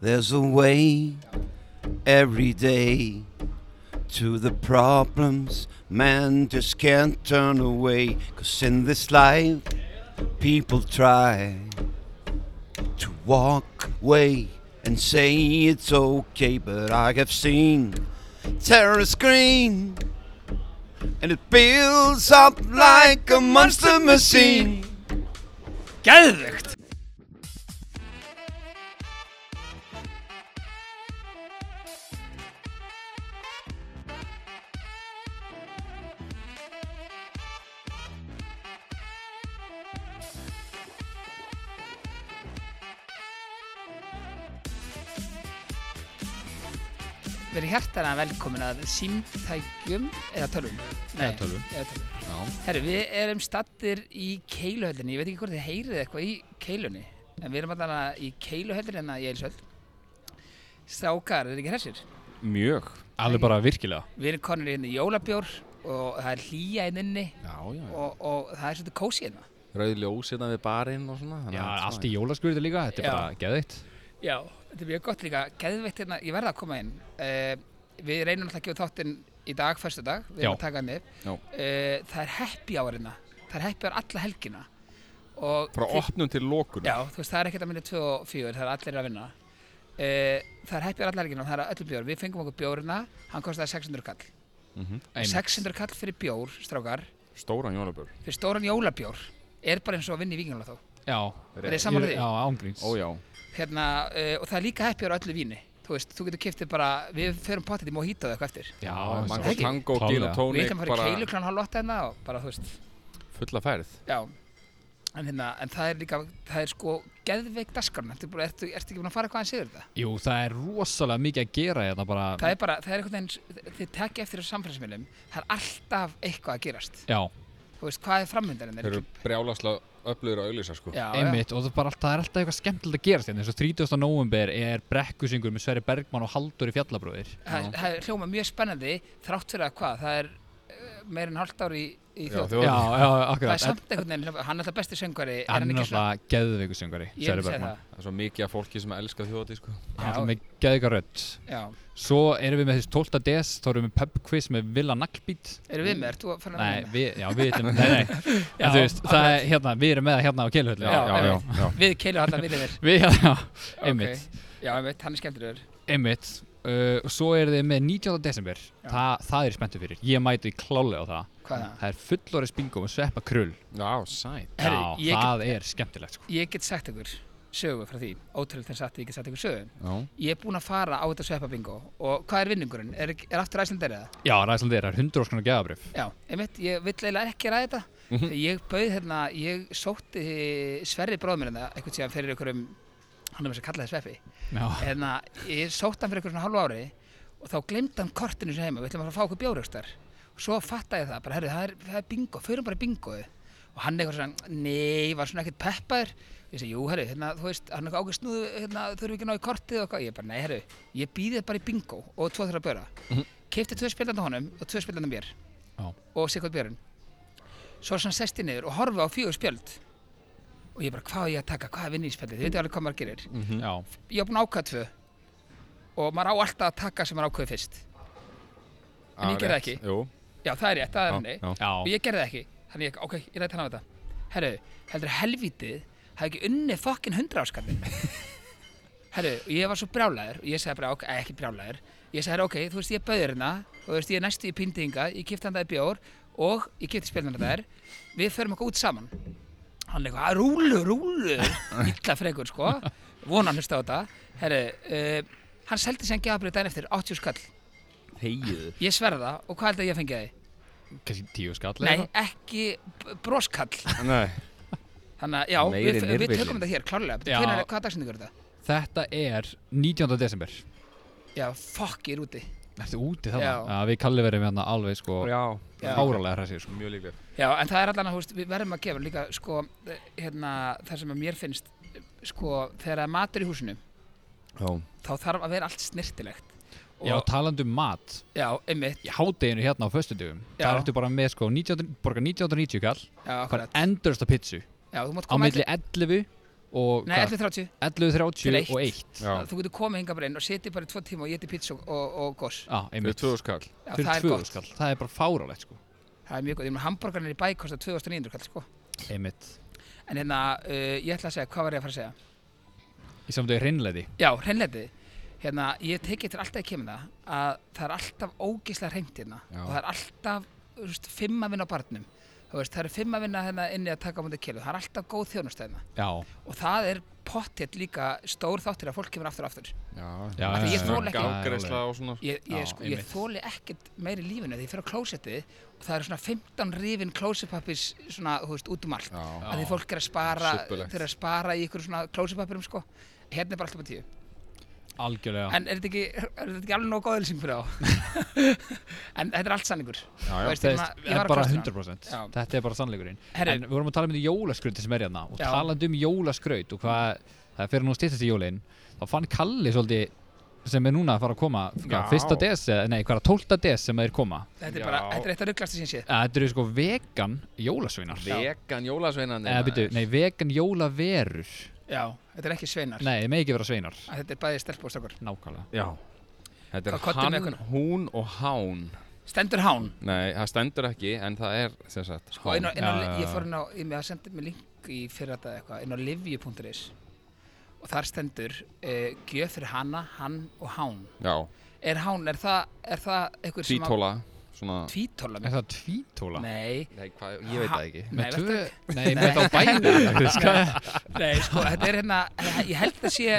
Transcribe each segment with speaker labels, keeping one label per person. Speaker 1: There's a way every day to the problems man just can't turn away. Cause in this life, people try to walk away and say it's okay, but I have seen terrorist green and it builds up like a monster machine.
Speaker 2: Geðvögt Verið hjartana velkomin að símtækjum eða tölvum Nei,
Speaker 3: Eða tölvum.
Speaker 2: eða tölvum.
Speaker 3: Já,
Speaker 2: Herru, við erum stattir í keiluhöllinni Ég veit ekki hvort þið heyrið eitthvað í keilunni En við erum alltaf í keiluhöllinni hérna í Eilsöld Strákar, er ekki hressir?
Speaker 4: Mjög
Speaker 3: alveg bara virkilega
Speaker 2: Við erum konur hérna í jólabjór og það er hlýja inn inni
Speaker 3: Já, já,
Speaker 2: og, og það er svolítið kósi hérna
Speaker 4: Rauð ljós hérna við barinn og svona þannig
Speaker 3: já
Speaker 4: að-
Speaker 3: allt í jólaskurðu líka, þetta er
Speaker 2: Já.
Speaker 3: bara geðveitt
Speaker 2: Já, þetta er mjög gott líka, geðveitt hérna, ég verða að koma inn uh, Við reynum alltaf að gefa þáttinn í dag, fyrstu dag, við erum
Speaker 3: Já.
Speaker 2: að taka hann upp
Speaker 4: Já.
Speaker 2: uh, Það er happy hour hérna, það er happy hour alla helgina og
Speaker 4: Frá opnum til lókun
Speaker 2: Já, þú veist, það er ekkert að minna 2 og 4, það er allir að vinna uh, Það er happy hour alla helgina og það er öllu bjór, við fengum okkur bjórina, hann kostaði 600 kall Og 600 kall fyrir bjór, strákar,
Speaker 4: Stóran jólabjör
Speaker 2: fyrir stóran jólabjór er bara eins og að vinna í vikingjóla þó
Speaker 3: Já,
Speaker 2: Er þið saman því?
Speaker 3: Ég- Já, ángríns
Speaker 4: Ó já
Speaker 2: hérna, uh, og það er líka happy á öllu víni þú veist, þú getur kiftið bara, við förum pottet í mojito eða eitthvað eftir
Speaker 3: Já,
Speaker 4: Mango
Speaker 2: ekki.
Speaker 4: tango, gin
Speaker 3: Klárlega.
Speaker 4: og
Speaker 2: við
Speaker 4: tónik
Speaker 2: ætlum að fara í keilu
Speaker 4: bara
Speaker 2: klána hálf åtta hérna og bara, þú veist,
Speaker 4: fulla færð
Speaker 2: já en, hérna, en það er líka, það er sko geðveik daskarn, ertu, búin- ertu, ertu ekki búin að fara eitthvað aðeins yfir þetta?
Speaker 3: Jú, það er rosalega mikið að gera hérna bara
Speaker 2: Það er bara, það er einhvern veginn, þið tekja eftir þessu samfélagsmiðlum, það er alltaf eitthvað að gerast,
Speaker 3: Já,
Speaker 2: þú veist, hvað er framöndan
Speaker 4: Þeir eru brjálaslega öflugir að auðlýsa sko
Speaker 2: já, já,
Speaker 3: einmitt og það er, bara, alltaf- það er alltaf eitthvað skemmtilegt að gerast hérna eins og 30. november er brekkusingur með Sverri Bergmann og Halldóri Fjallabröðir
Speaker 2: það, er- það er hljóma mjög spennandi þrátt fyrir að hvað, það er uh, meir en hálft ár í, í
Speaker 4: Já,
Speaker 2: þjóð
Speaker 4: þjóð-
Speaker 3: Já, já,
Speaker 2: það
Speaker 3: akkurat
Speaker 2: er samt einhvern veginn, hann er alltaf besti söngvari er
Speaker 3: Hann
Speaker 2: hann
Speaker 3: er
Speaker 2: ekki svona,
Speaker 3: náttúrulega geðveikusöngari
Speaker 2: ég vil
Speaker 3: Sverri
Speaker 2: segja
Speaker 3: Bergmann
Speaker 2: það
Speaker 4: Það er svo mikið af fólki sem elskar þjóðati sko
Speaker 3: Hann er
Speaker 2: Já.
Speaker 3: með geðveika rödd
Speaker 2: já,
Speaker 3: Svo erum við með þessi 12. des Þá erum við með pub quiz með Villa Naglbít
Speaker 2: erum við með, ert þú að fara
Speaker 3: Nei,
Speaker 2: með
Speaker 3: við, já, við ætlum, nei, nei,
Speaker 2: Já,
Speaker 3: en þú veist, það er hérna, við erum með það hérna á
Speaker 4: Já,
Speaker 3: keiluhöllu.
Speaker 2: Já,
Speaker 4: já, já, já.
Speaker 2: við keilu allan við þér
Speaker 3: Við, já, já, einmitt,
Speaker 2: já, einmitt, hann er skemmtilegur
Speaker 3: einmitt, uh, og svo eru þið með 19. desember,
Speaker 2: Já.
Speaker 3: Þa, það er spenntu fyrir, ég mæti klálega á það.
Speaker 2: hvað er það?
Speaker 3: Það er fullorðis bingo með sveppa krull,
Speaker 4: Já, sæt
Speaker 3: já,
Speaker 2: Herri, ég get-
Speaker 3: það er skemmtilegt, sko.
Speaker 2: ég get sagt ykkur sögu frá því ótrúlega þess að ég get sagt ykkur sögu
Speaker 4: Já
Speaker 2: ég er búinn að fara á þetta sveppa bingo og hvað er vinningurinn? er, er aftur æslandar eða?
Speaker 3: Já, ræðsland er, það er 100 óskunar geðabrif.
Speaker 2: já, einmitt, ég vill eiginlega ekki ræða þetta Þegar ég bauð hérna, ég sótti Sverri bróðminn hérna, eitthvað sem fyrir ykkur um hann er með þess að kalla það sveppi
Speaker 3: Já,
Speaker 2: hérna, ég sótt hann fyrir eitthvað svona hálfu ári og þá glemd hann kortinu sem heima, við ætlum að fara að fá okkur bjóraugstar og svo fattaði ég það, bara herru, það er, það er bingo, förum bara í bingoðu og hann eitthvað svona, nei, var svona ekkert peppaður ég segi, jú, herru, hérna, þú veist, hann er eitthvað ákveð snúðu, hérna, þurfum við ekki að ná í kortið og eitthvað, ég bara, nei, herru, ég býði bara í bingo og tvo þurra bjóra mm -hmm. tvö spilandi honum og tvö spilandi mér
Speaker 3: Já.
Speaker 2: og sikkert björun svo er hann sesti niður og horfi á fjögur spjöld og ég bara, hvað á ég að taka, hvað er vinni í spjöldið, þið veitum alveg hvað maður gerir
Speaker 3: já,
Speaker 2: ég hef búin að ákvæða tvö og maður á alltaf að taka sem maður ákveði fyrst En ég gerði það ekki.
Speaker 4: Jú
Speaker 2: já það er rétt, það er henni
Speaker 4: já, já.
Speaker 2: og
Speaker 3: já,
Speaker 2: ég gerði það ekki þannig ég, ok, ég rætti hann á þetta herru, heldur helvítið hafði ekki unnið fokkin hundra áskallin herru, og ég var svo brjálæður og ég sagði bara, ok, eh, ekki brjálæður ég sagði, herru, ok, þú veist ég bauður hérna og þú veist ég er næstu í pindinga, ég kipti hann það í bjór og ég kipti spilnum það er við förum okkur út saman hann er eitthvað, "Ah, rúlu, rúlu illa frekur sko, vonan hlusta á þetta herru, uh, hann seldi sem gefabrið dæn eftir 80 skall
Speaker 4: Þegið
Speaker 2: ég sverða og hvað held að ég fengi að því?
Speaker 3: kannski tíu skall.
Speaker 2: Nei, ekki b- broskall
Speaker 4: Nei
Speaker 2: Þannig að, já,
Speaker 4: Meiri
Speaker 2: við, við
Speaker 4: nirvillin.
Speaker 2: tökum þetta hér, klárlega
Speaker 3: Já.
Speaker 2: Hvernig, hvað dagsendingur er þetta?
Speaker 3: Þetta er 19. desember.
Speaker 2: Já, fuck, ég er úti
Speaker 3: Ertu úti
Speaker 2: Já.
Speaker 3: þannig? Já, við kallið verðum hérna alveg, sko,
Speaker 4: Já
Speaker 2: Já.
Speaker 3: áralega hressir, sko.
Speaker 4: Mjög líklega
Speaker 2: Já, en það er allan að, þú veist, við verðum að gefa líka, sko, eh, hérna, það sem að mér finnst eh, sko, þegar það er matur í húsinu
Speaker 4: Já
Speaker 2: þá þarf að vera allt snirtilegt og,
Speaker 3: Já, talandi um mat,
Speaker 2: já, einmitt,
Speaker 3: í hádeginu hérna á föstudögum
Speaker 2: Já.
Speaker 3: það ertu bara með sko 19, borga 1990 kall
Speaker 2: já,
Speaker 3: bara
Speaker 2: akkurat
Speaker 3: endursta pizzu á
Speaker 2: Já, þú mátt koma
Speaker 3: milli 11 og
Speaker 2: Nei, 11.30 Til
Speaker 3: 11.30
Speaker 2: eitt.
Speaker 3: og 1
Speaker 4: Já,
Speaker 2: Þú getur komið hingað bara inn og setið bara í tvo tíma og getið pizza og, og, og gos
Speaker 3: Já,
Speaker 4: með
Speaker 3: einmitt
Speaker 4: tvöðu skall
Speaker 2: Já,
Speaker 3: Fyrir
Speaker 2: það er
Speaker 3: 2
Speaker 2: gott.
Speaker 3: skall, það er bara fárálegt sko
Speaker 2: Það er mjög gott, ég meina hambúrgarnir í bæ kosta 2900 kall sko
Speaker 3: Einmitt
Speaker 2: En hérna, uh, ég ætla að segja, hvað var ég að fara að segja?
Speaker 3: Í samt við hreinleiti
Speaker 2: Já, hreinleiti Hérna, ég teki eftir alltaf að kemur það að það er alltaf ógeðslega hreint hérna
Speaker 4: Já.
Speaker 2: og það er alltaf, þú veist, fimm að vinna á barnum Þú veist, það eru fimm að vinna hérna inni að taka á mútið kilu Það er alltaf góð þjónustæðina
Speaker 3: Já,
Speaker 2: og það er pottet líka stór þáttir að fólk kemur aftur og aftur
Speaker 4: Já,
Speaker 3: Já,
Speaker 2: Af því ég
Speaker 3: já,
Speaker 2: þoli
Speaker 3: já,
Speaker 2: ekki-
Speaker 3: já,
Speaker 4: Gágreisla
Speaker 3: já,
Speaker 4: og svona
Speaker 2: Ég, ég,
Speaker 3: Já,
Speaker 2: sko, ég
Speaker 3: einmitt.
Speaker 2: þóli ekkert meir í lífinu þegar ég fer á klósettið og það eru svona 15 rifin klósettpappis svona, þú veist, út um allt
Speaker 4: Já,
Speaker 2: að því fólk er að spara,
Speaker 4: Subbulegt.
Speaker 2: þeir eru að spara í ykkur svona klósepappirum sko hérna er bara alltaf á tíu
Speaker 3: algjörlega
Speaker 2: en er þetta ekki, er þetta ekki alveg nóg góð lýsing fyrir þá en þetta er allt sanningur
Speaker 4: já, já.
Speaker 2: veist,
Speaker 3: Það
Speaker 2: ég
Speaker 3: er-
Speaker 2: var- ég
Speaker 3: er
Speaker 2: var að
Speaker 3: bara
Speaker 2: kostra.
Speaker 3: 100%
Speaker 2: Já.
Speaker 3: Þetta er bara sannleikurinn
Speaker 2: Herru.
Speaker 3: En við vorum að tala um þetta jólaskrauti sem er hérna og
Speaker 2: Já.
Speaker 3: talandi um jólaskraut og hvað það fyrir nú stýttast í jólin þá fann Kalli svolítið sem er núna að fara að koma hvað,
Speaker 4: Já.
Speaker 3: fyrsta des, eða- nei, hvað er það, 12. des sem þeir koma
Speaker 2: þetta er
Speaker 4: Já.
Speaker 2: bara, þetta er eitt af rugglasta sem sé
Speaker 3: Eh, Þetta eru sko vegan jólasveinar
Speaker 4: Vegan jólasveinan
Speaker 3: Eða byrju, nei, vegan jólaverur
Speaker 2: já, þetta er ekki sveinar
Speaker 3: Nei, það með ekki vera sveinar
Speaker 2: Að þetta er bæði stelp og stakar
Speaker 3: Nákvæmlega
Speaker 4: Já Þetta
Speaker 2: Hvað köllum
Speaker 4: er
Speaker 2: við
Speaker 4: hann,
Speaker 2: ykkur?
Speaker 4: hún og hán
Speaker 2: stendur hán
Speaker 4: Nei, það stendur ekki, en það er sem sagt
Speaker 2: og inn á, inn á,
Speaker 3: Já, já, já.
Speaker 2: ég fór inn á, ég með að senda mig link í fyrir þetta eitthvað, inn á livju.is og þar stendur uh, gjöf fyrir hana, hann og hán
Speaker 4: Já,
Speaker 2: er hán, er það, er það eitthvað sem að-
Speaker 4: tvítóla Svona
Speaker 2: tvítóla
Speaker 3: Er það tvítóla?
Speaker 2: nei,
Speaker 4: Nei, hvað, ég veit það ekki
Speaker 2: Nei,
Speaker 3: Með
Speaker 2: vertu
Speaker 3: tvö?
Speaker 2: ekki.
Speaker 3: Nei, með þá bæna
Speaker 2: Nei, sko, þetta er hérna, ég held að sé,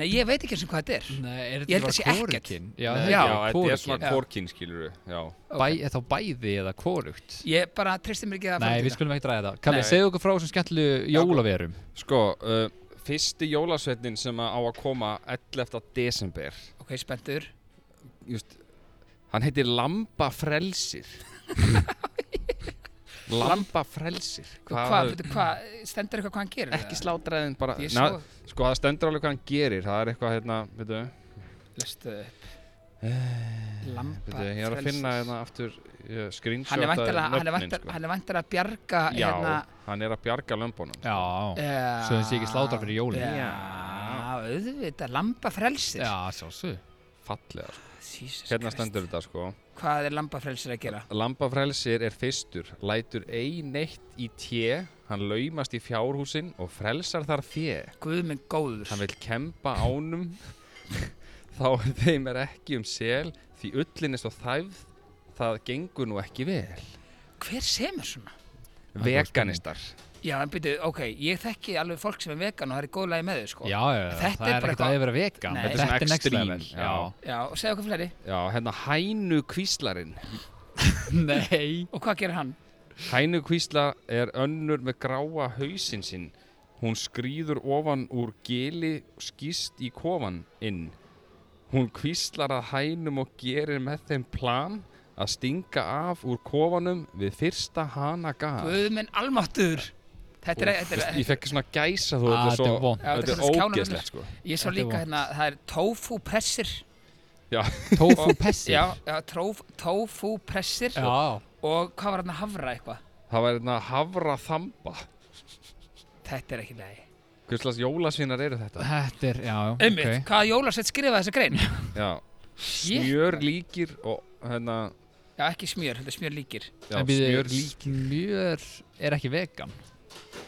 Speaker 2: nei, ég veit ekki eins og hvað þetta er.
Speaker 3: Nei, er
Speaker 2: Ég held
Speaker 3: bara
Speaker 2: að sé ekkert.
Speaker 3: kórukinn?
Speaker 4: Já,
Speaker 3: Já,
Speaker 2: Nei,
Speaker 3: það
Speaker 4: já,
Speaker 3: er
Speaker 2: já,
Speaker 4: þetta er svona
Speaker 3: kórukinn.
Speaker 2: Já.
Speaker 4: kvorkin, skilur við Já,
Speaker 3: Bæ, er þá bæði eða kórukt?
Speaker 2: Ég bara treysti mér ekki að
Speaker 3: Nei, við skulum ekki ræða það. Kalli,
Speaker 4: Nei.
Speaker 3: segðu okkur frá þessum skemmtlu jólaverum.
Speaker 4: Sko, uh, fyrsti jólasveitnin sem að á að koma 11. desember
Speaker 2: Ok, spenntur.
Speaker 4: Just, Hann heitir Lamba Frelsir Lamba Frelsir
Speaker 2: Hvað, hvað, veitu hvað, stendur eitthvað hvað hann gerir?
Speaker 4: Ekki slátræðin bara
Speaker 2: Ég
Speaker 4: Na,
Speaker 2: svo,
Speaker 4: Sko, það stendur alveg hvað hann gerir Það er eitthvað, hérna, veitu
Speaker 2: lestu það upp. Lamba
Speaker 4: Bíddu, Eh, Ég er að
Speaker 2: frelsis.
Speaker 4: finna hérna aftur uh,
Speaker 2: Hann er
Speaker 4: screenshot
Speaker 2: væntanlega- hann er
Speaker 4: sko.
Speaker 2: væntanlega- hann er vantar að bjarga
Speaker 4: Já,
Speaker 2: hérna.
Speaker 4: hann er að bjarga lömbunum
Speaker 3: Já,
Speaker 2: Já.
Speaker 3: Svo hann sé ekki slátrað fyrir jólin.
Speaker 2: Já, auðvitað, lamba frelsir.
Speaker 3: já sjálfsög.
Speaker 4: Fallega, sko.
Speaker 2: Jesus
Speaker 4: hérna
Speaker 2: Christ.
Speaker 4: stendur þetta sko
Speaker 2: Hvað er lamba frelsir að gera?
Speaker 4: Lambafrelsir er fyrstur, lætur ei neitt í té, hann laumast í fjárhúsin og frelsar þar þjé.
Speaker 2: Guð minn góður.
Speaker 4: Hann vil kempa ánum, þá er þeim er ekki um sel, því ullin er svo þæfð, það gengur nú ekki vel.
Speaker 2: Hver semur svona?
Speaker 3: er bara
Speaker 4: Veganistar.
Speaker 2: Já, en byrju, ok, ég þekki alveg fólk sem er vegan og það er góð lagi með þau, sko.
Speaker 3: Já, já,
Speaker 2: Þetta er
Speaker 3: það er
Speaker 2: bara
Speaker 3: ekkert
Speaker 2: eitthvað-
Speaker 3: að vera vegan.
Speaker 2: Nei.
Speaker 3: Þetta
Speaker 2: Þetta
Speaker 3: er
Speaker 4: er
Speaker 3: next
Speaker 4: svona
Speaker 3: level.
Speaker 4: extreme,
Speaker 3: Já.
Speaker 2: Já, og segja okkur fleiri.
Speaker 4: Já, hérna hænu kvíslarinn.
Speaker 3: Nei.
Speaker 2: Og hvað gerir hann?
Speaker 4: Hænu kvísla er önnur með gráa hausinn sinn. Hún skrýður ofan úr gili skýst í kofan inn. Hún kvíslar að hænum og gerir með þeim plan að stinga af úr kofanum við fyrsta hana gaf.
Speaker 2: Guð minn almáttur! Þetta er, þetta er,
Speaker 4: Ég fekk svona gæsa þú,
Speaker 3: Ah,
Speaker 4: þetta er
Speaker 3: þetta er
Speaker 4: svo,
Speaker 3: vont.
Speaker 2: Já, þetta er
Speaker 4: þetta er
Speaker 2: svona skjánavinur.
Speaker 4: ógeðslegt sko.
Speaker 2: ég sá
Speaker 3: Þetta er
Speaker 2: líka
Speaker 3: vont.
Speaker 2: hérna, það er tofu pressir.
Speaker 3: Tofu pessir.
Speaker 2: Já, já tróf, tofu pressir
Speaker 3: Já.
Speaker 2: og hvað var hann að hafra eitthvað?
Speaker 4: Það var hérna havra þamba.
Speaker 2: Þetta er ekki lagi.
Speaker 4: Hvers slags jólasvinar eru þetta?
Speaker 3: Þetta er, já, já,
Speaker 2: Einmitt, okay. hvaða jólasett skrifaði þessa grein?
Speaker 4: Já,
Speaker 2: Shit.
Speaker 4: smjör líkir og hérna,
Speaker 2: Já, ekki smjör, þetta er smjör líkir.
Speaker 4: já,
Speaker 3: En býðu,
Speaker 4: smjör líkir.
Speaker 3: Smjör er ekki vegan.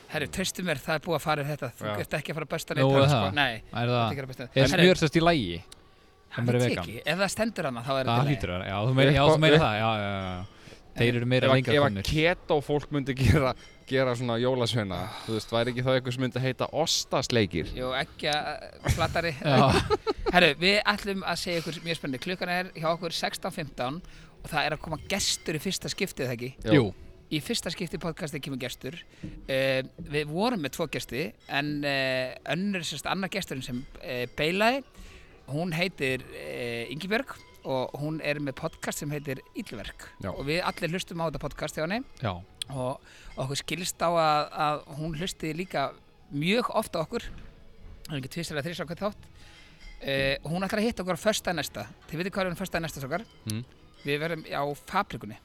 Speaker 2: Herri, tröstu mér, það er búið að fara í þetta. Þú
Speaker 4: Já.
Speaker 2: ert ekki að fara að besta
Speaker 3: Nú,
Speaker 2: neitt.
Speaker 3: er
Speaker 2: sko.
Speaker 3: það?
Speaker 2: Nei,
Speaker 3: Er
Speaker 2: það er
Speaker 3: það,
Speaker 2: ekki að besta
Speaker 3: er smjör sérst í lægi? sem
Speaker 2: það
Speaker 3: eru
Speaker 2: er
Speaker 3: vegan?
Speaker 2: vegan. Ef það stendur hana, þá er
Speaker 3: Það
Speaker 2: þetta
Speaker 3: hlýtur að vera. Já, þú meina, já, þú meina það. Já, já, já. Þeir eru meira
Speaker 4: ef, að-
Speaker 3: lengra
Speaker 4: ef að
Speaker 3: konur.
Speaker 4: keto fólk myndi gera, gera svona jólasveina þú veist, væri ekki þá eitthvað sem myndi heita ostasleikir
Speaker 2: Jú, ekki að flatari.
Speaker 3: Já,
Speaker 2: Herru, við ætlum að segja ykkur mjög spennandi. Klukkan er hjá okkur 16.15 og það er að koma gestur í fyrsta skiptið, eða ekki?
Speaker 4: Já.
Speaker 3: jú.
Speaker 2: Í fyrsta skiptið podcastið kemur gestur. Uh, við vorum með tvo gesti en uh, önnur, sérst, annar gesturinn sem uh, beilaði, hún heitir uh, Ingibjörg og hún er með podcast sem heitir Íllverk.
Speaker 4: Já.
Speaker 2: Og við allir hlustum á þetta podcast hjá henni
Speaker 3: Já.
Speaker 2: og okkur skilst á að, að hún hlusti líka mjög ofta okkur það er ekki tvisar að þrísa okkur þátt uh, hún ætlar
Speaker 3: Hmm?
Speaker 2: að hitta okkur á fösta næsta þið veitir hvað er hún fösta næsta okkar
Speaker 4: Mm.
Speaker 2: við verðum á fabrikunni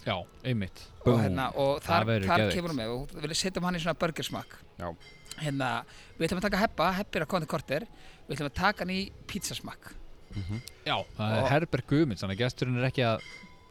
Speaker 3: já, einmitt
Speaker 2: og, hérna, og
Speaker 3: Það
Speaker 2: þar,
Speaker 3: verður
Speaker 2: þar
Speaker 3: geðveikt.
Speaker 2: kemur hún með og við setjum hann í svona burgersmak
Speaker 4: Já.
Speaker 2: hérna, við ætlum að taka heppa, heppi er að koma til korter við ætlum að taka hann í pizzasmak
Speaker 3: já, það er
Speaker 2: Og-
Speaker 3: Herbert Guðmunds þannig að gesturinn er ekki að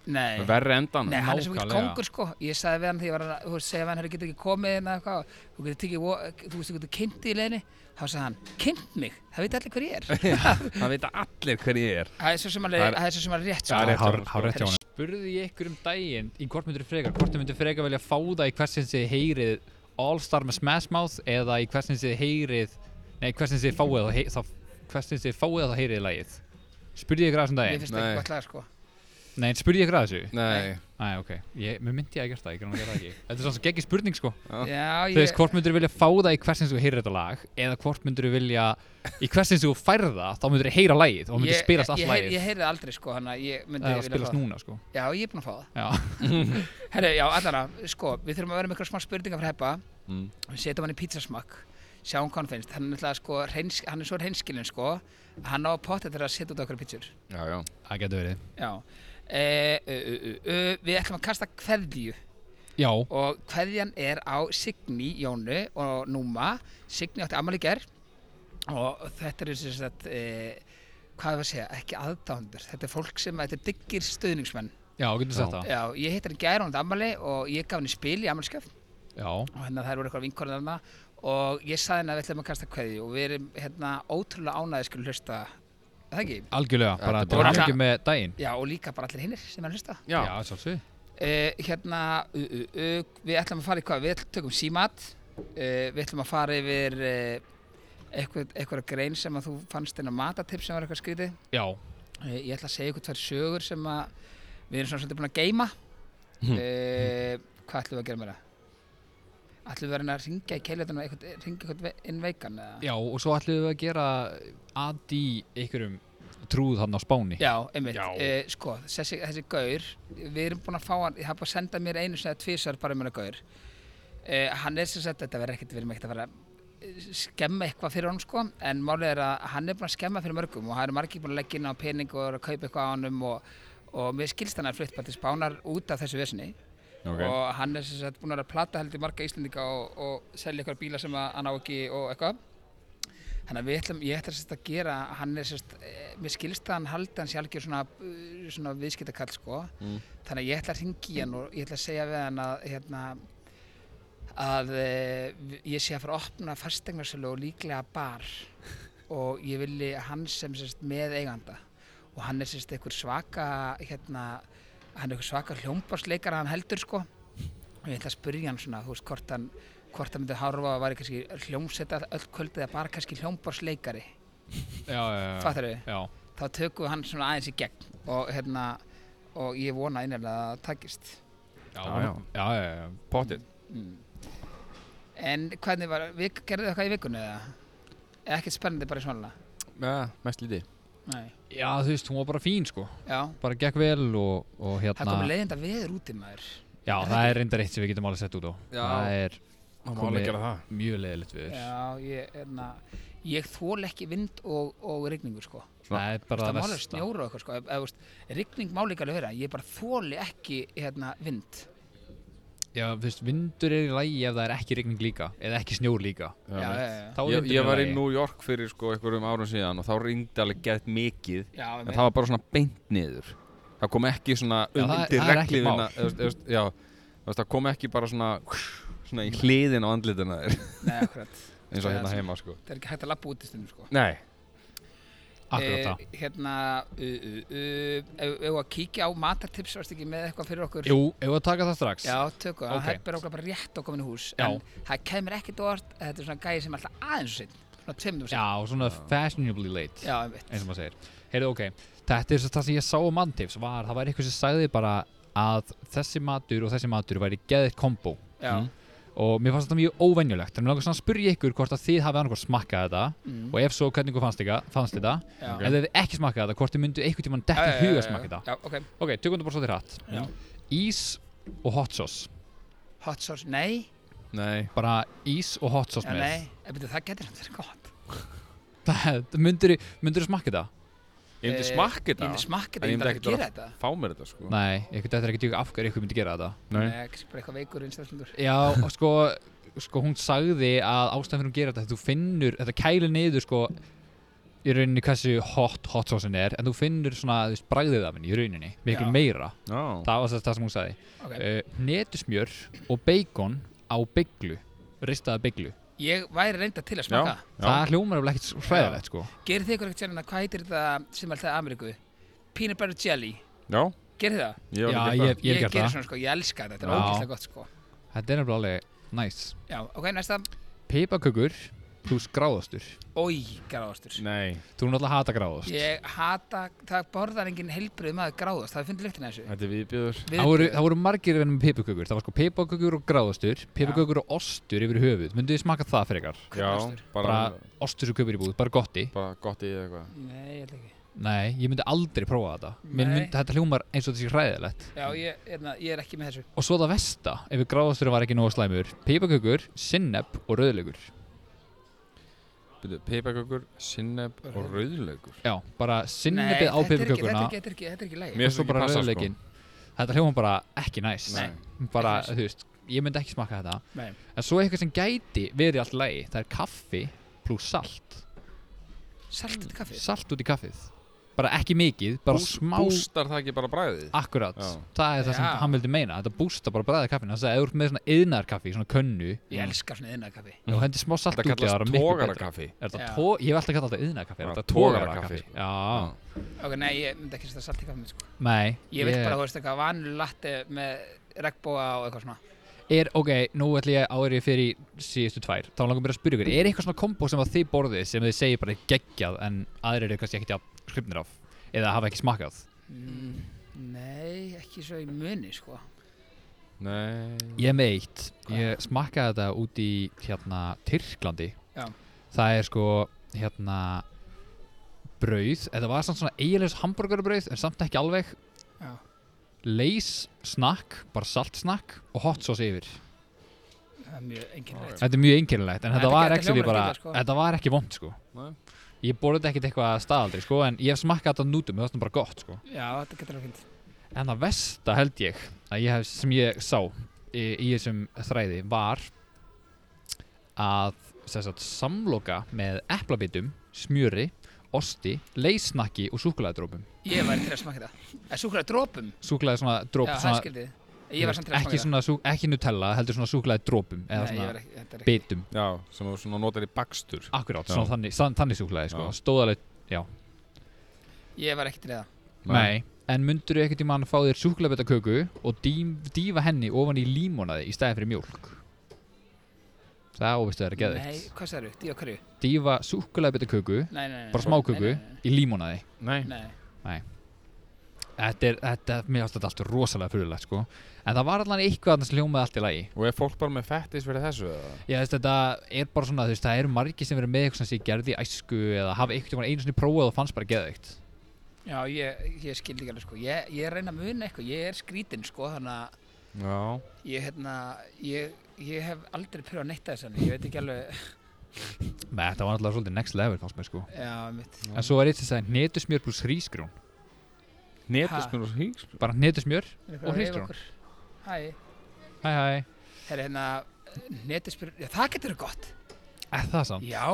Speaker 2: nei,
Speaker 4: verri endan
Speaker 2: nei hann er svo mikið
Speaker 3: nákvæmlega.
Speaker 2: kongur sko ég sagði við hann þegar ég var að þú veist, segja við hann, hann getur ekki komið hérna eitthvað, þú getur tekið, vo- þú veist, þú getur kynnt í leiðinni þá sagði hann, kynnt mig, það veit allir hver ég er
Speaker 4: Það veit allir hver ég er
Speaker 2: það er svo sem að,
Speaker 4: Það er-
Speaker 2: það er svo sem að rétt
Speaker 4: Það er
Speaker 2: sko.
Speaker 4: rétt hjá honum, sko.
Speaker 3: hár rétt hjá honum spurði ég ykkur um daginn í hvort myndir frekar hvort myndir frekar velja fá það í hversins þið heyrið All Star með Smash Mouth eða í hversins þið heyrið nei, hversins þið fáið þá hei- þá- hversins þið fáið þá heyrið lagið spurði ég ykkur að þessum
Speaker 2: mér
Speaker 3: daginn
Speaker 2: finnst það
Speaker 4: Nei.
Speaker 2: ekki gott lag sko
Speaker 3: nei, spurði ég ykkur að þessu
Speaker 4: Nei,
Speaker 3: Æ, ok, ég, mér myndi ég að gert það, ég kannan að gera það ekki Þetta er svona geggjur spurning sko
Speaker 4: Já.
Speaker 2: já,
Speaker 3: Þú veist,
Speaker 2: ég,
Speaker 3: hvort myndir þú vilja fá það í hversins þú heyrir þetta lag eða hvort myndir þú vilja í hversins þú færð það, þá myndir þú heyra lagið og myndir
Speaker 2: ég,
Speaker 3: spilast allt
Speaker 2: ég, heyr-
Speaker 3: lagið
Speaker 2: ég heyrði það aldrei sko þannig að ég myndi
Speaker 3: Það er
Speaker 2: vilja
Speaker 3: að
Speaker 2: fá
Speaker 3: spilast
Speaker 2: það.
Speaker 3: núna sko
Speaker 2: já, ég er búin að fá það
Speaker 3: Já,
Speaker 2: Herru, já, allana, sko, við þurfum að vera með eitthvað smá spurningar fyrir heppa
Speaker 4: Mm.
Speaker 2: Við setjum hann í pizzasmakk, sjáum hvað hann finnst Hann er, náttúrulega, sko, reyns, hann er svo reynskilinn, sko að Hann á potið þegar að setja út okkur pizzur
Speaker 4: já, já
Speaker 3: það getur verið
Speaker 2: Já e, ö, ö, ö, ö, Við ætlum að kasta kveðju
Speaker 3: Já,
Speaker 2: Og kveðjan er á Signý, Jónu og Núma Signý átti ammali ger Og þetta er sem sagt e, Hvað er að segja, ekki aðdándur Þetta er fólk sem, þetta er diggir stuðningsmenn
Speaker 3: já, getur
Speaker 4: Já.
Speaker 3: sett það
Speaker 2: Já, ég heitt hann í gær, hún átti ammali Og ég gaf henni spil í ammalskjöf
Speaker 3: Já,
Speaker 2: og hérna þær voru eitthvað vinkorinn þarna og ég saði henni að við ætlum að kasta kveðju og við erum hérna ótrúlega ánæðið skulle hlusta, er það ekki?
Speaker 3: algjörlega, bara
Speaker 4: Þetta
Speaker 3: til
Speaker 2: bara-
Speaker 3: hamingju með daginn
Speaker 2: Já, og líka bara allir hinnir sem er að hlusta.
Speaker 4: Já,
Speaker 3: Já, sjálfsög
Speaker 2: Uh, hérna, uh, uh, uh, við ætlum að fara í hvað, við ætlum tökum símat, uh, við ætlum að fara yfir uh, eitthvað, eitthvað grein sem að þú fannst inn á matatipp sem var eitthvað skrítið.
Speaker 3: Já,
Speaker 2: Uh, ég ætla að segja ykkur tvær sögur sem að við erum svona svolítið búin að geyma.
Speaker 4: Hm.
Speaker 2: Uh, hvað ætlum við að gera með það? Ætlum við að reyna að ringja í keilutunum og eitthvað- hringja eitthvað ve- inn veikan eða?
Speaker 3: já, og svo ætlum við að gera að í einhverjum trúð þarna á Spáni
Speaker 2: Já, einmitt,
Speaker 4: Já.
Speaker 2: Eh, sko, þessi, þessi gaur, við erum búin að fá hann, ég hafði bara sendað mér einu sem það tvísar bara um hennar gaur. Uh, hann er sem sagt, þetta verður ekkert, við erum ekkert að fara að eh, skemma eitthvað fyrir honum sko, en málið er að hann er búin að skemma fyrir mörgum og það eru margir búin að leggja inn á pening og eru að kaupa eitthvað á honum og, og mér skilst hann að flutt bara til spánar út af þessu vesinni
Speaker 4: ok
Speaker 2: og hann er sem sagt búin að vera að plata heldur marga Íslendinga og, og selja eitthvað bíla sem að hann á ekki og eitthvað þannig að við ætlum, ég ætla sem sagt að gera hann er sem sagt, eh, mér skilst að hann haldi hans algjör svona, eh, svona viðskiptakall sko,
Speaker 4: Mm.
Speaker 2: þannig að ég ætla að ringi í hann og ég ætla að segja við hann að hérna, að e, ég sé að fara að opna fastegnarsölu og líklega bar og ég vilji hann sem sérst með eiganda og hann er sérst einhver svaka hérna, hann er einhver svaka hljómbarsleikara hann heldur sko og ég ætla að spyrja hann svona, þú veist, hvort hann hvort hann myndi horfa að væri kannski hljómsetta öll kvöldið eða bara kannski hljómbarsleikari
Speaker 3: já, já,
Speaker 2: fattar við,
Speaker 3: já, já.
Speaker 2: þá tökum við hann svona aðeins í gegn og hérna og ég vona einnig að það takist
Speaker 3: Já,
Speaker 4: Já, já.
Speaker 3: já, já, já, já.
Speaker 4: Pottit
Speaker 2: Mm. En hvernig var, vik, gerðu þið eitthvað í vikunni eða? Eða Ekkert spennandi bara í svona?
Speaker 4: Já, mest lítið
Speaker 2: Nei.
Speaker 3: Já, þú veist, hún var bara fín sko
Speaker 2: Já,
Speaker 3: bara gekk vel og, og hérna
Speaker 2: það komið leiðinda veður úti maður.
Speaker 3: Já, það er reyndar eitt sem við getum alveg sett út á
Speaker 4: Já.
Speaker 3: Það er
Speaker 4: Það má
Speaker 3: Komi-
Speaker 4: alveg gera það
Speaker 3: mjög leiðilegt við þér
Speaker 2: Já, ég, erna, ég þól ekki vind og, og rigningu sko.
Speaker 3: Það er
Speaker 2: Það
Speaker 3: bara það
Speaker 2: máli
Speaker 3: versta
Speaker 2: snjóra og eitthvað sko. Eð, eð, veist, rigning má líka alveg vera, ég bara þóli ekki hérna, vind.
Speaker 3: Já, þú veist, vindur er í lagi ef það er ekki rigning líka eða ekki snjór líka
Speaker 2: Já, já,
Speaker 4: mitt.
Speaker 2: já.
Speaker 3: Þá er
Speaker 4: Ég,
Speaker 3: vindur
Speaker 4: ég var í
Speaker 3: lagi.
Speaker 4: New York fyrir sko einhverjum árum síðan og þá ringdi alveg gett mikið
Speaker 2: Já,
Speaker 4: en
Speaker 2: einmitt.
Speaker 4: það var bara svona beint niður það kom ekki svona
Speaker 3: Já, það-
Speaker 4: undir
Speaker 3: það er ekki
Speaker 4: reglífina
Speaker 3: mál.
Speaker 4: þú veist- þú veist, já, þú veist, það kom ekki bara svona svona í hliðin á andlitina þér
Speaker 2: Nei, akkurat.
Speaker 4: eins og hérna heima sko
Speaker 2: Það er ekki hægt að lappa út í stundum sko.
Speaker 4: Nei,
Speaker 3: Akkurat það
Speaker 2: Eh, hérna, uh, uh, uh, ef ef við að kíkja á matartips, varst ekki með eitthvað fyrir okkur?
Speaker 3: Jú, ef við taka það strax
Speaker 2: Já, tökum, það
Speaker 3: Ok.
Speaker 2: okay. hefur okkur bara rétt á komin í hús
Speaker 3: Já.
Speaker 2: en það kemur ekkert orð að þetta er svona gæði sem er alltaf aðeins og sinn svona tveimdum
Speaker 3: Já,
Speaker 2: sinn
Speaker 3: svona fashionably late
Speaker 2: Já, einmitt
Speaker 3: eins og maður segir Heyrðu, ok, þetta er svo það sem ég sá á manntifs var, það var eitthvað sem sagði bara að þessi matur og þessi matur væri geðið kombo
Speaker 2: Já,
Speaker 4: Mm.
Speaker 3: og mér fannst þetta mjög óvenjulegt en mér langar svona að spyrja ykkur hvort að þið hafið annað smakkað þetta
Speaker 2: Mm.
Speaker 3: og ef svo, hvernig ykkur fannst, ykkar- fannst þetta
Speaker 2: já.
Speaker 3: ef þið hefði ekki smakkað þetta, hvort þið myndu einhvern tímann dekka í huga að smakka þetta
Speaker 2: Já, ok
Speaker 3: Ok, tökum þetta bara svolítið
Speaker 2: Já.
Speaker 3: hratt Ís og hot sauce
Speaker 2: Hot sauce, nei
Speaker 4: nei
Speaker 3: Bara ís og hot sauce
Speaker 2: Já,
Speaker 3: með
Speaker 2: nei, en byrju, það getur hann verið gott
Speaker 3: Það, myndir, myndir smakka það?
Speaker 4: Ég myndi
Speaker 2: Eh,
Speaker 4: smakka
Speaker 2: ég
Speaker 4: þetta
Speaker 2: myndi smakka þetta,
Speaker 4: en
Speaker 2: ég myndi
Speaker 4: ekkert
Speaker 2: alveg gera
Speaker 4: vera að
Speaker 2: þetta.
Speaker 4: Fá mér þetta sko
Speaker 3: Nei, ykkur þetta er ekki djúka af hverju ykkur myndi gera þetta
Speaker 2: Nei, kannski bara eitthvað veikur einstaklingur
Speaker 3: Já, og sko, sko hún sagði að ástæðan fyrir hún gera þetta þú finnur, þetta kælir niður sko í rauninni hversu hot hot saucein er en þú finnur svona, þú veist, bragðið af henni í rauninni, miklu
Speaker 2: Já.
Speaker 3: meira
Speaker 4: Já.
Speaker 3: það var sem- það sem hún sagði
Speaker 2: okay.
Speaker 3: uh, netusmjör og bacon á bygglu ristaða bygglu
Speaker 2: Ég væri reynda til að
Speaker 4: Já,
Speaker 2: smaka
Speaker 4: já.
Speaker 3: það hljómar alveg ekkert svo hræðilegt sko
Speaker 2: Gerið þið ykkur ekkert sérna, hvað heitir þetta sem alltaf Ameríku? Peanut butter jelly
Speaker 4: já,
Speaker 2: Gerið þið það?
Speaker 4: ég var
Speaker 3: Já,
Speaker 4: ekki
Speaker 3: ég-
Speaker 2: Ég,
Speaker 3: gert
Speaker 2: gerir
Speaker 3: það.
Speaker 2: svona sko, ég elska þetta, þetta
Speaker 3: Já.
Speaker 2: er ógeðslega gott sko
Speaker 3: þetta er nefnilega alveg næs
Speaker 2: Já, ok, næsta
Speaker 3: pipakökur pluss gráðastur
Speaker 2: Ói, gráðastur
Speaker 4: Nei,
Speaker 3: þú náttúrulega hata gráðast
Speaker 2: Ég hata, það borðar enginn heilbrið maður gráðast, það er fundið lyktina af þessu
Speaker 4: þetta er viðbjöður
Speaker 2: Við-
Speaker 3: Það voru, það voru margir verið með pipakökur Það var sko pipakökur og gráðastur Pipakökur og ostur yfir höfuð Myndu þið smaka það frekar?
Speaker 4: Já,
Speaker 2: Gráðastur.
Speaker 4: bara,
Speaker 3: Bara ostur sem kaupir í búð, bara gotti
Speaker 4: bara gott í eða eitthvað
Speaker 2: Nei, ég held ekki
Speaker 3: Nei, ég myndi aldrei prófa þetta Mér
Speaker 2: Nei.
Speaker 3: myndi, Þetta hljómar eins og þetta sé hræðilegt
Speaker 2: Já, ég, erna, ég er ekki með þessu
Speaker 3: Og svo það vesta, ef gráðastur var ekki nógu slæmur Pipakökur, sinneb og rauðlegur
Speaker 4: Byrju, Peipakökur, sinneb og rauðlaugur
Speaker 3: Já, bara
Speaker 2: Nei,
Speaker 3: sinnebið á
Speaker 2: þetta er ekki- Þetta
Speaker 3: pipakökuna
Speaker 2: er ekki, þetta er ekki, þetta er ekki læg
Speaker 4: Mér
Speaker 3: Og
Speaker 4: finnst
Speaker 3: svo
Speaker 4: ekki
Speaker 3: bara
Speaker 4: passa, sko.
Speaker 3: rauðlegin Þetta hljómar bara ekki næs
Speaker 4: Nei.
Speaker 3: Bara,
Speaker 2: ekki næs.
Speaker 3: þú veist, ég myndi ekki smakka þetta
Speaker 2: Nei,
Speaker 3: En svo eitthvað sem gæti verið allt lægi Það er kaffi pluss salt
Speaker 2: saltið kaffið
Speaker 3: salt út í kaffið bara ekki mikið, bara smá
Speaker 4: Bústar það ekki bara bræðið
Speaker 3: akkurat,
Speaker 4: Já.
Speaker 3: það er það sem
Speaker 2: Já.
Speaker 3: hann vildi meina þetta bústa bara bræðið kaffinu, þannig að ef þú ert með svona yðnar kaffi, svona könnu
Speaker 2: Ég elska svona yðna kaffi
Speaker 3: og hendi smá salt
Speaker 4: Þetta
Speaker 3: út í það,
Speaker 4: kallast
Speaker 3: það er miklu
Speaker 4: tógara
Speaker 3: betra er
Speaker 2: Já.
Speaker 3: það tó, ég hef alltaf kallað þetta yðnar kaffi,
Speaker 4: Já,
Speaker 3: er þetta
Speaker 4: togarakaffi.
Speaker 3: tógara kaffi já,
Speaker 4: Já.
Speaker 2: Ok, nei, ég myndi ekki setja saltið kaffið mitt sko
Speaker 3: nei
Speaker 2: Ég vil bara, þú veist, eitthvað vanlu latte með regnbóa og eitthvað svona
Speaker 3: er, ok, nú ætlum ég árið fyrir í síðustu tvær, þá langum mér að spyrja ykkur er eitthvað svona kombo sem að þið borðið sem þið segir bara er geggjað en aðrir eru kannski ekki að skrifnir af eða hafa ekki smakað
Speaker 2: mm, Nei, ekki svo í muni sko
Speaker 4: Nei
Speaker 3: Ég er með eitt Ég smakkaði þetta út í hérna Tyrklandi
Speaker 2: Já.
Speaker 3: Það er sko hérna brauð, þetta var samt svona eiginlegs hambúrgarabrauð en samt ekki alveg
Speaker 2: Já.
Speaker 3: Leys snakk, bara saltsnakk og hot sauce yfir
Speaker 2: Það er mjög enginnlegt
Speaker 3: Þetta er mjög einkennilegt en
Speaker 2: Þetta
Speaker 3: þetta var
Speaker 2: gæti
Speaker 3: ekki
Speaker 2: hljómað
Speaker 3: bara,
Speaker 2: illa, sko.
Speaker 3: þetta var ekki vond sko
Speaker 4: Nei.
Speaker 3: Ég borði þetta ekkert eitthvað að staðaldri sko en ég hef smakkað þetta nútum, það var bara gott sko
Speaker 2: Já, þetta getur alveg fint
Speaker 3: En það versta held ég að ég hef, sem ég sá í, í þessum þræði var að sem sagt, samloka með eplabitum, smjöri, osti, leysnakki og súkulæðdrópum.
Speaker 2: Ég væri til að smaka þetta Það er súkulega drópum
Speaker 3: Súkulæði svona dróp,
Speaker 2: Já, það
Speaker 3: svona,
Speaker 2: skildið Ég var samt til að smaka
Speaker 3: ekki,
Speaker 2: þetta
Speaker 3: svona, sú, ekki Nutella, heldur svona súkulæði drópum eða
Speaker 2: Nei, ég var
Speaker 3: svona
Speaker 2: ekki, þetta er ekki
Speaker 3: bitum.
Speaker 4: Já, sem þú svona notar í bakstur
Speaker 3: Akkurát,
Speaker 4: Já.
Speaker 3: svona þannig, sann, þannig súkulæði sko,
Speaker 4: Já.
Speaker 3: stóðaleg,
Speaker 2: Ég var ekki til í það
Speaker 3: nei. En myndur þú ekkert í mann að fá þér súkulæðbetaköku og dýf, dýfa henni ofan í límonaði í stæði fyrir mjólk? Það óvistu það er geðvikt.
Speaker 2: Nei, hvað sagður, dí og hverju?
Speaker 3: dýfa súkulæðbitaköku
Speaker 2: Nei, nei, nei
Speaker 3: bara
Speaker 2: nei.
Speaker 3: smáköku
Speaker 2: Nei, nei,
Speaker 3: í límonaði
Speaker 4: Nei,
Speaker 2: nei, nei.
Speaker 3: þetta er, þetta, mér finnst þetta allt rosalega fyrirlegt sko en það var allan eitthvað þarna sem hljómaði allt í lagi
Speaker 4: og er fólk bara með fettis fyrir þessu eða?
Speaker 3: ég veist þetta er bara svona þú veist það eru margir sem verið með eitthvað sem ég gerði í æsku eða hafa eitthvað einu sinni prófað og fannst bara geðveikt
Speaker 2: Já, ég, ég skildi ekki alveg sko Ég, ég reyna að muna eitthvað, ég er skrítinn sko Þannig að
Speaker 4: Já
Speaker 2: ég, hérna, ég, ég hef aldrei pröfað neitt að þessan ég veit ekki alveg
Speaker 3: Nei, þetta var allavega svolítið next level fannst mér sko
Speaker 2: já, mitt,
Speaker 3: en svo var eitt sem sagði netusmjör pluss hrísgrjón
Speaker 4: Netusmjör og hýgsmjör
Speaker 3: bara netusmjör
Speaker 2: Og
Speaker 3: hrísgrjón.
Speaker 2: hæ,
Speaker 3: hæ hæ
Speaker 2: herri hérna netuspyr, já það getur verið gott
Speaker 3: er það samt
Speaker 2: já,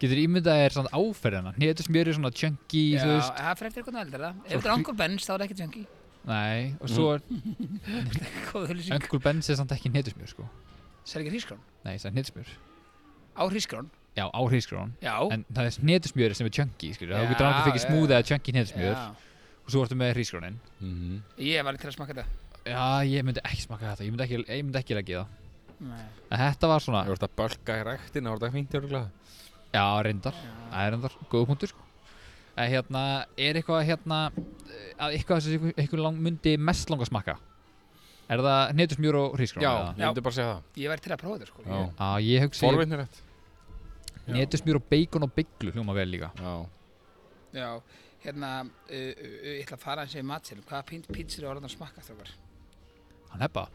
Speaker 3: getur ímyndað þér svona áferðina netusmjör er svona chunky
Speaker 2: já
Speaker 3: þú veist
Speaker 2: það fyrir eftir eitthvað eldur það ef þetta
Speaker 3: Svo
Speaker 2: er
Speaker 3: hrí-
Speaker 2: Uncle Ben's þá er það ekki tjöngi
Speaker 3: nei og svo er
Speaker 2: góð hulsing,
Speaker 3: Uncle Ben's er samt ekki netusmjör sko
Speaker 2: það er ekki hrískrón
Speaker 3: nei, það er netusmjör
Speaker 2: á hrískrón,
Speaker 3: já, á hrísgrjón
Speaker 2: já
Speaker 3: en það er hnetusmjöri sem er chunky skilur. þá
Speaker 2: Já,
Speaker 3: getur annað fyrir
Speaker 2: já,
Speaker 3: smúðið að chunky hnetusmjör
Speaker 2: já,
Speaker 3: og svo ertu með hrísgrónin Mhm.
Speaker 2: ég var ekki til að smaka þetta
Speaker 3: já, ég myndi ekki smaka þetta, ég myndi ekki, ég myndi ekki leggja það
Speaker 2: Nei,
Speaker 3: en þetta var svona,
Speaker 4: Þú ert að bölka í rektina, þú ert að fínt örgulega
Speaker 3: já, reyndar
Speaker 2: já.
Speaker 3: það er reyndar, góða punktur sko. en hérna, er eitthvað hérna eh, að eitthvað sem ykkur- ykkur lang, myndi mest langa að smakka er það hnetusmjör og hrísgrón
Speaker 4: Já,
Speaker 3: eða?
Speaker 4: ég myndi bara að segja það
Speaker 2: ég var til að prófa þetta sko
Speaker 4: Já.
Speaker 2: Ég-
Speaker 3: já, ég hugsi
Speaker 4: Forvitnir rétt
Speaker 3: hnetusmjör og bacon og bygglu hljóma vel líka
Speaker 4: Já
Speaker 2: já, hérna uh, uh, uh, ég ætla að fara eins og í matselum hvaða pín- pítsur er orðan að smakka þrókar
Speaker 3: hann neppa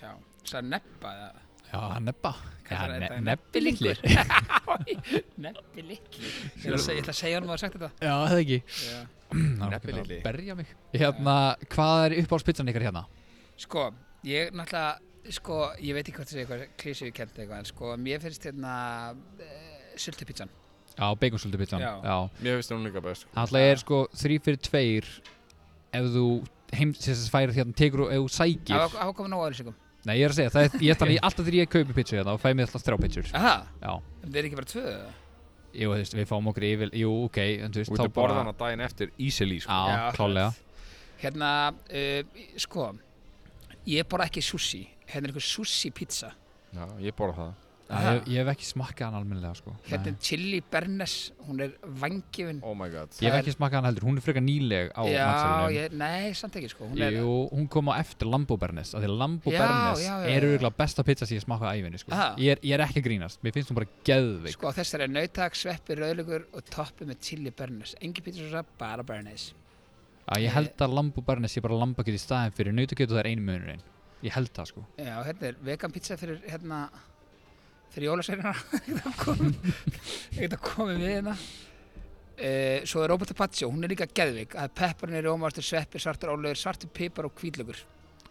Speaker 2: já, það er neppa eða
Speaker 3: já, hann neppa
Speaker 2: Kallar
Speaker 3: Já,
Speaker 2: þetta
Speaker 3: ne-
Speaker 2: nebbi
Speaker 3: nebbilikli.
Speaker 2: litli. Nebbi litli. Ég ætla að seg- ég ætla að segja honum að hafa sagt þetta
Speaker 3: já, það ekki
Speaker 2: Já.
Speaker 3: Nefnilega
Speaker 4: Nefnililli.
Speaker 3: Berja mig Hérna, hvað er upp á spitsan ykkar hérna?
Speaker 2: Sko, ég náttúrulega, sko, ég veit ekki hvort það sé eitthvað klísið kent eitthvað, en sko, mér finnst hérna uh, sultupizzan.
Speaker 3: Já, beikonsultu pitsan
Speaker 2: Já.
Speaker 3: Já
Speaker 4: Mér finnst hún líka best sko.
Speaker 3: Alltaf er sko 3 fyrir 2 Ef þú heims þess að færa hérna Tekur og ef þú sækir
Speaker 2: Það var komið nóg aðeins ykkur.
Speaker 3: Nei, ég er að segja Það er, ég er þannig alltaf þegar ég kaupi pitsu hérna Og fæ mig alltaf þrjá pitsur
Speaker 2: Aha,
Speaker 3: Já
Speaker 2: en það er ekki bara tvö eða?
Speaker 3: Jú, þú veist, við fáum okkur yfir Jú, ok En þú veist,
Speaker 4: Þú
Speaker 3: þá
Speaker 4: getur borðað hana daginn eftir easily sko.
Speaker 3: Já,
Speaker 2: Já.
Speaker 3: klálega
Speaker 2: Hérna, uh, sko, ég borða ekki sushi, hérna er einhver sushi pizza,
Speaker 4: Já, ég borða það
Speaker 3: Já,
Speaker 2: Aha.
Speaker 3: ég, ég hef ekki smakkað hann almennilega sko
Speaker 2: hérna
Speaker 3: Nei.
Speaker 2: er chili bernes, hún er vangifin.
Speaker 4: Oh my god
Speaker 3: Ég hef ekki smakkað hann heldur, hún er frekar nýleg á
Speaker 2: Já,
Speaker 3: matsalunum
Speaker 2: ég, nei, samt ekki sko, hún er,
Speaker 3: Jú, hún kom á eftir Lambo Bernes af Því að Lambo
Speaker 2: Já,
Speaker 3: Bernes
Speaker 2: já, já,
Speaker 3: er
Speaker 2: já.
Speaker 3: auðvitað besta pizza sem ég smakkaði á æfinni sko.
Speaker 2: Aha.
Speaker 3: ég, er, ég er ekki að grínast, mér finnst hún bara geðveik
Speaker 2: sko, þessar er nautak, sveppi, rauðlugur og toppi með chili bernes. Engi pizza, bara bernes.
Speaker 3: að Ég held að Lambo Bernes sé bara lambakjöt í staðin fyrir nautakjöt og það er einu munurinn Ég held það sko
Speaker 2: Já, hérna er vegan pizza fyrir hérna fyrir jólasveinuna ekkert að koma við hérna uh, svo er Roberta Paccio, hún er líka geðvik að pepparinn er ómastur sveppi, svartur ólögur svartur pipar og hvítlögur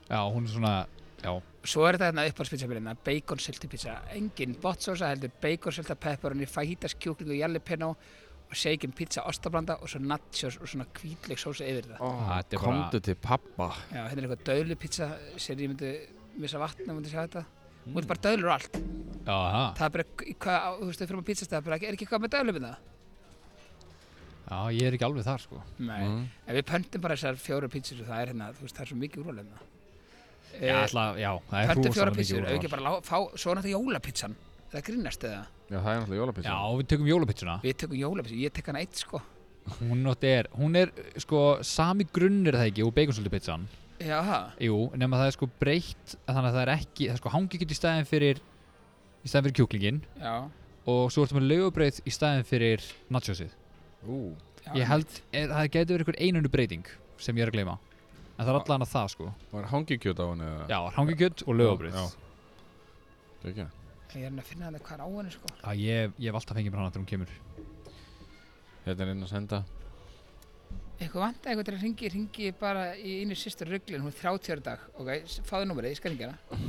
Speaker 3: Já, hún er svona, já,
Speaker 2: svo er þetta hérna uppáðspizzabilina, bacon silti pizza engin botsósa heldur bacon silta pepparinn í fajitas kjúklingu jalapeno og shaken pizza ostablanda og svo nachos og svona hvítleg sósa yfir það
Speaker 4: oh,
Speaker 3: Þetta er bara-
Speaker 4: Komdu til pappa
Speaker 2: Já, hérna er eitthvað döðlu pizza sér ég myndi missa vatna, myndi sjá þetta hún er bara döðlur og allt
Speaker 3: já, ha.
Speaker 2: það er bara, hvað, þú veist, þau fyrir maður pizzastæða bara, er ekki eitthvað með hérna? dælumina?
Speaker 3: já, ég er ekki alveg þar sko
Speaker 2: Nei, en við pöntum bara þessar fjóra pizzur og það er hérna, þú veist, það er svo mikið úrval hérna. Eh,
Speaker 3: Já, ætla, já, það er
Speaker 2: pöntum
Speaker 3: rosalega
Speaker 2: fjóra
Speaker 3: mikið
Speaker 2: pizzur,
Speaker 3: úrval.
Speaker 2: auðvitað bara lá, fá, svo er náttúrulega jólapizzan, það grínast eða,
Speaker 4: Já, það er náttúrulega
Speaker 3: Já,
Speaker 4: jólapizza
Speaker 3: við tökum jólapizzuna
Speaker 2: við tökum jólapizza, ég tek hana eitt sko.
Speaker 3: Hún nátt er, hún er sko sami grunnir það ekki og beikonsultupizzan
Speaker 2: Já, það,
Speaker 3: Jú, nema það er sko breytt þannig að það er ekki, það er sko hangi í staðin fyrir í staðin fyrir kjúklingin
Speaker 2: já.
Speaker 3: og svo ertu með lögubreið í staðin fyrir nachosið
Speaker 4: Ú,
Speaker 2: já
Speaker 3: Ég held, er, það getur verið einhver einundu breyting sem ég er að gleyma en það er allan að það sko
Speaker 4: var hangikjöt á henni eða?
Speaker 3: Já, hangi og lögubreið
Speaker 4: Já,
Speaker 3: Já,
Speaker 4: Það er ekki
Speaker 2: Ég er hérna að finna hana hvað er á henni sko.
Speaker 3: ég, ég hef alltaf fengið mér hana þegar hún kemur
Speaker 4: Þetta Hérna er inn að senda
Speaker 2: Eitthvað vant eitthvað til að ringi, ringi ég bara í einu sýstur rugglin, hún er 30 ára í dag, ok, s- fáðu númerið, ég skal ringi hana.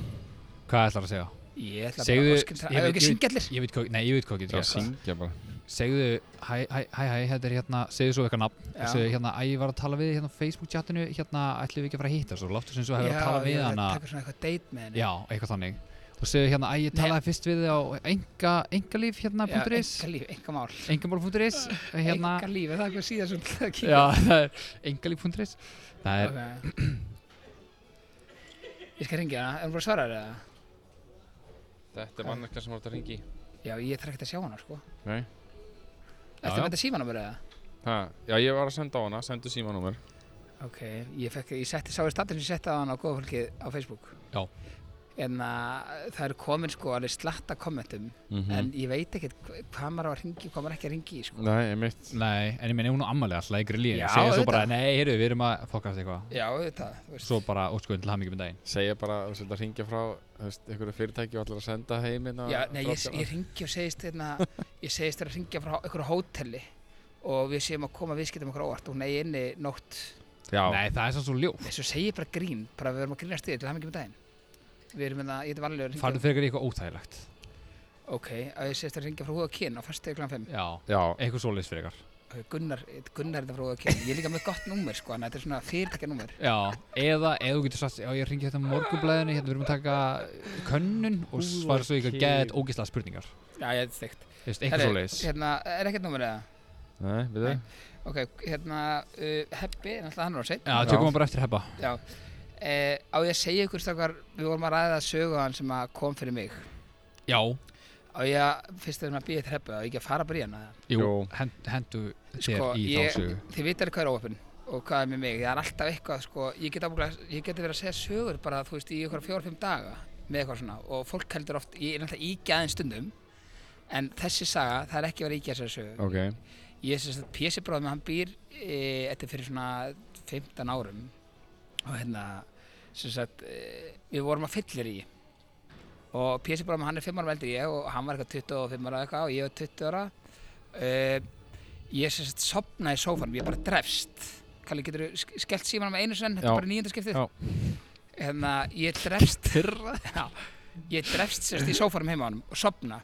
Speaker 3: Hvað ætlar að segja?
Speaker 2: Ég ætla
Speaker 3: Segðu-
Speaker 2: bara að skilta, ef
Speaker 3: ég
Speaker 2: ekki
Speaker 3: veit- ég veit-
Speaker 2: syngja allir.
Speaker 3: Ég veit hvað, nei, ég veit hvað
Speaker 4: Já,
Speaker 3: getur gert.
Speaker 4: syngja bara
Speaker 3: Segðu, hæ, hæ, hæ, hæ, þetta er hérna, segðu svo eitthvað nafn
Speaker 2: Já.
Speaker 3: og segðu hérna, æ, ég var að tala við þig hérna á Facebook-tjatinu, hérna, ætlum við ekki að fara að hitta svo, láttu sem svo hefur að tala
Speaker 2: ég
Speaker 3: við
Speaker 2: ætla
Speaker 3: hana,
Speaker 2: taka svona eitthvað date með henni.
Speaker 3: já, eitthvað þannig, og segðu hérna, æ, ég talaði fyrst við þig á enga, engalíf, hérna,
Speaker 2: Já,
Speaker 3: punktur is,
Speaker 2: einkalíf, einkamál
Speaker 3: engamál.is, hérna,
Speaker 2: einkalíf, er það eitthvað síðan sem það kýr
Speaker 3: já, það er engalíf.is,
Speaker 2: Eh,
Speaker 3: það er,
Speaker 2: okay. ég skal ringja hana, er hún bara að svara þér eða?
Speaker 4: Þetta er mannekla sem voru að ringi
Speaker 2: já, ég þarf ekkert að sjá hana sko
Speaker 4: Nei
Speaker 2: Ertu
Speaker 3: já.
Speaker 2: með þetta símanúmer eða?
Speaker 4: ha, Já, ég var að senda á hana, sendu símanúmer
Speaker 2: Ok, ég, fekk, ég setti, sá í standin sem ég setti á hana á góða fólkið á Facebook
Speaker 3: Já.
Speaker 2: En að það er komin sko alveg slatta kommentum
Speaker 4: mm
Speaker 2: En ég veit ekkert hva- hvað maður á að ringi og hvað maður ekki að ringi í sko
Speaker 4: Nei, ég mitt
Speaker 3: nei, en ég meina, hún á ammali alltaf í grillíðin,
Speaker 2: Já,
Speaker 3: segja svo bara,
Speaker 2: auðvitað.
Speaker 3: nei, heyrðu, við erum að fokast eitthvað,
Speaker 2: Já, þetta, þú veist
Speaker 3: svo bara, óskuðin til hamingjum í daginn,
Speaker 4: Segja bara, þú veist, að ringja frá Þú veist, einhverju fyrirtæki og allar að senda heiminn
Speaker 2: Já, nei, ég, ég ringi og segist hérna, ég segist þér að ringja frá einhverju hóteli og við séum að koma viðskiptum okkur á óvart og hún eigi inni nótt
Speaker 4: Já,
Speaker 3: nei, það er samt svo ljótt.
Speaker 2: þessu segi ég bara grín, bara við erum að grínast þig til hamingjum í daginn við erum hérna, ég er vanlega að
Speaker 3: Farðu
Speaker 2: ringja
Speaker 3: fyrir eitthvað óþægilegt.
Speaker 2: ok, að ég segist þér að ringja frá húða kyn á fyrstu klan 5
Speaker 3: Já,
Speaker 4: já
Speaker 3: eitthvað svoleiðis fyrir
Speaker 2: okay, Gunnar, Gunnar er þetta frá húða kyn ég er líka með gott númer sko, þannig að þetta er svona fyrirtækja númer
Speaker 3: Já, eða, eða þú getur sagt, já ég ringi þetta morgublaðinu, hérna við erum að taka könnun og svara svo eitthvað gett ógislega spurningar.
Speaker 2: já, ég er steikt
Speaker 3: Þú veist, eitthvað svoleiðis.
Speaker 2: hérna, er ekkert númer eða?
Speaker 4: Nei, við
Speaker 2: Nei. ok, hérna, uh, Heppi, náttúrulega hann var á
Speaker 3: Já,
Speaker 2: seinn
Speaker 3: tökum
Speaker 4: Já.
Speaker 3: við bara eftir heppa.
Speaker 2: Já, eh, á ég að segja ykkur stakar, við vorum að ræða sögu hann sem að kom fyrir mig.
Speaker 3: Já,
Speaker 2: Á ég að, fyrst erum að býja þetta heppu, á ég ekki að fara bara í hana.
Speaker 3: jú,
Speaker 4: Jú.
Speaker 3: hend, hendu þér
Speaker 2: Sko,
Speaker 3: í
Speaker 2: ég-
Speaker 3: þá sögu.
Speaker 2: Þið vita alveg hvað er óöfn og hvað er með mig, það er alltaf eitthvað, sko, ég geti get verið að segja sögur bara, þú veist, í ykkur fjóra-fimm daga með eitthvað svona og fólk heldur oft, ég er náttúrulega ígjaðin stundum, en þessi saga, það er ekki verið ígjað þessari sögu.
Speaker 4: Ok
Speaker 2: Ég er sérst að Pési bróðum, hann býr e, þetta er fyrir svona 15 árum og hérna sérst að e, við vorum að fyllir í og Pési bróðum, hann er 5 árum eldri en ég og hann var eitthvað 25 ára eða eitthvað og ég var 20 ára e, ég sem sagt sopna í sófanum, ég bara drefst Kalli, getur þú skellt símanum einu senn, þetta
Speaker 4: Já.
Speaker 2: er bara nýjönda skiptið
Speaker 4: Já.
Speaker 2: hérna, ég drefst Já, ég drefst sérst í sófarum heima á honum og sopna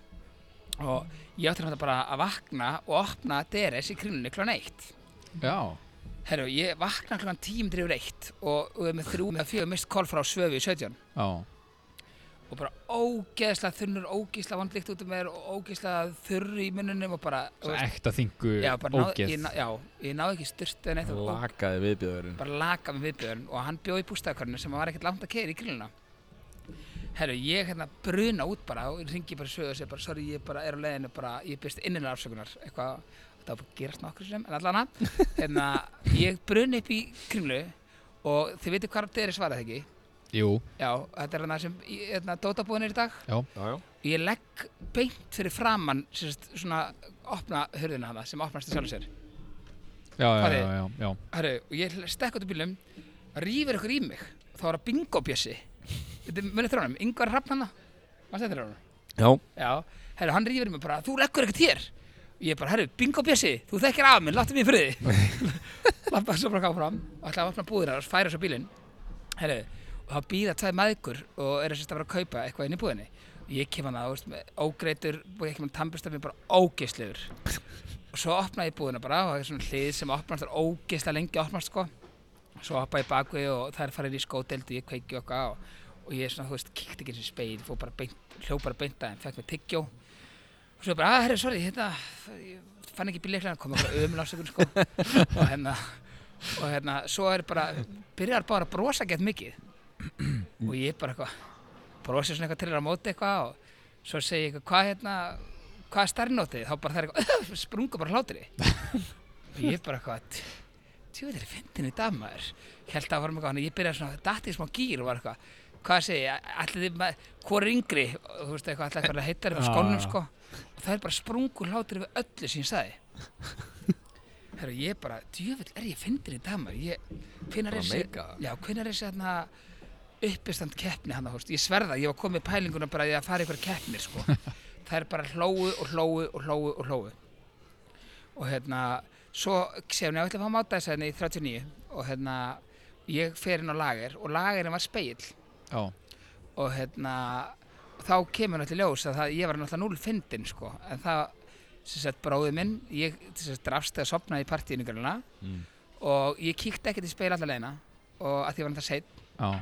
Speaker 2: og ég átti náttúrulega bara að vakna og opna DRS í kringlunni klón eitt
Speaker 3: Já,
Speaker 2: Herru, ég vakna klón tíum drifur eitt og og er með þrjú með fjögur mist kól frá svöfu í 17
Speaker 3: já,
Speaker 2: og bara ógeðslega þunnur, ógeðslega vandlíkt út um mér og ógeðslega þurr í munnunum og bara, þú
Speaker 3: svo ekta þingu
Speaker 2: já, bara náð,
Speaker 3: ógeð
Speaker 2: ég, ná- já, ég náði ekki styrtu en eitt og og
Speaker 5: Lakaði viðbjöðurinn
Speaker 2: bara laka með viðbjörn og hann bjóð í bústæðakörnu sem var ekkert langt að keira í grilluna Herru, ég hérna bruna út bara og ringi bara í sögu og segja bara, sorry, ég bara er á leiðinu bara, ég byrst innilega afsökunar, eitthvað, það var bara að gerast nokkur sem, en allan að, hérna, ég bruna upp í kringlu og þið veitir hvað þeir er svarað ekki,
Speaker 3: Jú,
Speaker 2: já, þetta er hérna sem, í- hérna, dótabúðin er í dag,
Speaker 4: Já, já.
Speaker 2: ég legg beint fyrir framann, sérst, svona, opna hurðina hana sem opnast í sjálf sér,
Speaker 3: já, já,
Speaker 2: Farið.
Speaker 3: já, já, já.
Speaker 2: Herru, og ég stekk út úr bílum, rýfur ykkur í mig, þá var það bingo bjössi. Þetta er munið þrónum, yngvar hrappn hana, maður stættir þrónum.
Speaker 5: Já,
Speaker 2: Já, herru, hann rýfur í mig bara, þú leggur ekkert hér. Og ég bara, herru, bingo bjössi, þú þekkir af minn, láttu mig í friði. Lappa svo bara gáð fram, og ætlaði að opna búðina og færa svo bílinn. Herru, og þá býða tveið maðgur og eru sérst að vera að kaupa eitthvað inn í búðinni. Og Ég kem hann að, veist, með ógreitur, og ég kem hann tannbustaminn bara ógeislegur. Og svo opnaði ég búðina bara og það er svona hlið sem opnast, það er ógeislega lengi að opnast sko. Svo hoppaði ég bakvið og það er farið í skódeld og ég kveiki okkur á. Og ég er svona, þú veist, kíkti ekki eins og speil, fór bara beint, hljóf bara beint aðeins, fekk mér tyggjó. Og svo bara, að herri, sorry, hérna, ég fann ekki bílíklega, kom okkur ömulásökun sko. og hérna, og hérna, svo er bara, byrjar bara að brosa gett mikið. og ég bara eitthvað, brosi svona eitthvað til þeirra á móti eitthvað og svo segi ég eitthvað, hvað hérna, hvað er stærnótið? Þá bara það er eitthvað, sprunga bara hlátri. og ég bara eitthvað, tjóðir, fyndin í dag maður. Held að varum eitthvað, þannig að ég byrjaði svona, datti í smá gýr og var eitthvað, hvað segi ég, allir þið, ma- hvor er yngri? Og Þú veist eitthvað, allir eitthvað að heita þeirra
Speaker 3: Já,
Speaker 2: skónum
Speaker 3: já.
Speaker 2: sko. Og það er bara sprungu hlátri við öllu sem ég sagði. Herra, ég bara, djöfull, er ég fyndin í dag maður? Ég, hvenær
Speaker 5: Bara
Speaker 2: er þessi,
Speaker 5: meika það.
Speaker 2: já, hvenær er þessi hérna, uppistand keppni hann að ég sverða, ég var komið í pælinguna bara í að fara í ykkur keppnir sko. það er bara hlóu og hlóu og hlóu og hlóu og hérna svo segir hún, ég ætla að fá máta þess hérna í 39 og hérna ég fer inn á lager og lagerinn var speill
Speaker 3: já.
Speaker 2: og hérna þá kemur náttúrulega í ljós að það, ég var náttúrulega núl fyndin sko, en það sem sagt bróði minn, ég sem sagt drafst eða sopnaði í partíinu grunna
Speaker 5: Mm.
Speaker 2: og ég kíkti ekkert í speil allar leina og að því ég var náttúrulega seitt
Speaker 3: já.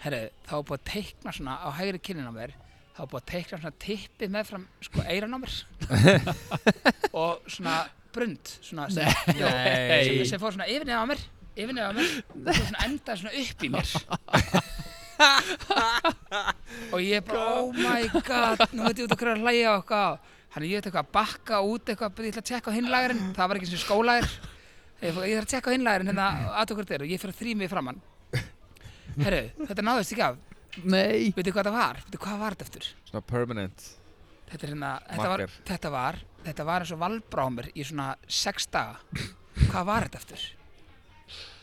Speaker 2: herru, þá var búið að teikna svona á hægri kinnin á mér þá var búið að teikna svona tippi með fram sko eiran á mér og svona brund svona sem, já, sem, sem fór svona yfirnið á mér yfirnið á mér og svona endaði svona upp í mér og ég bara oh my god, nú veit ég út okkur að hlæja og eitthvað hann ég veit eitthvað að bakka út eitthvað bara ég ætla að tjekka á hinlægurinn, það var ekki sem skólægur ég ég þarf að tjekka á hinlægurinn hérna aðtökur þér og ég fyrir að þrými framann herru, þetta náðist ekki af
Speaker 3: Nei
Speaker 2: Veitu hvað það var? Veitu hvað var þetta eftir?
Speaker 5: svona permanent
Speaker 2: Þetta, er hérna, þetta, var,
Speaker 5: Marker.
Speaker 2: þetta var Þetta var eins og valbrámur í svona sex daga Hvað var þetta eftir?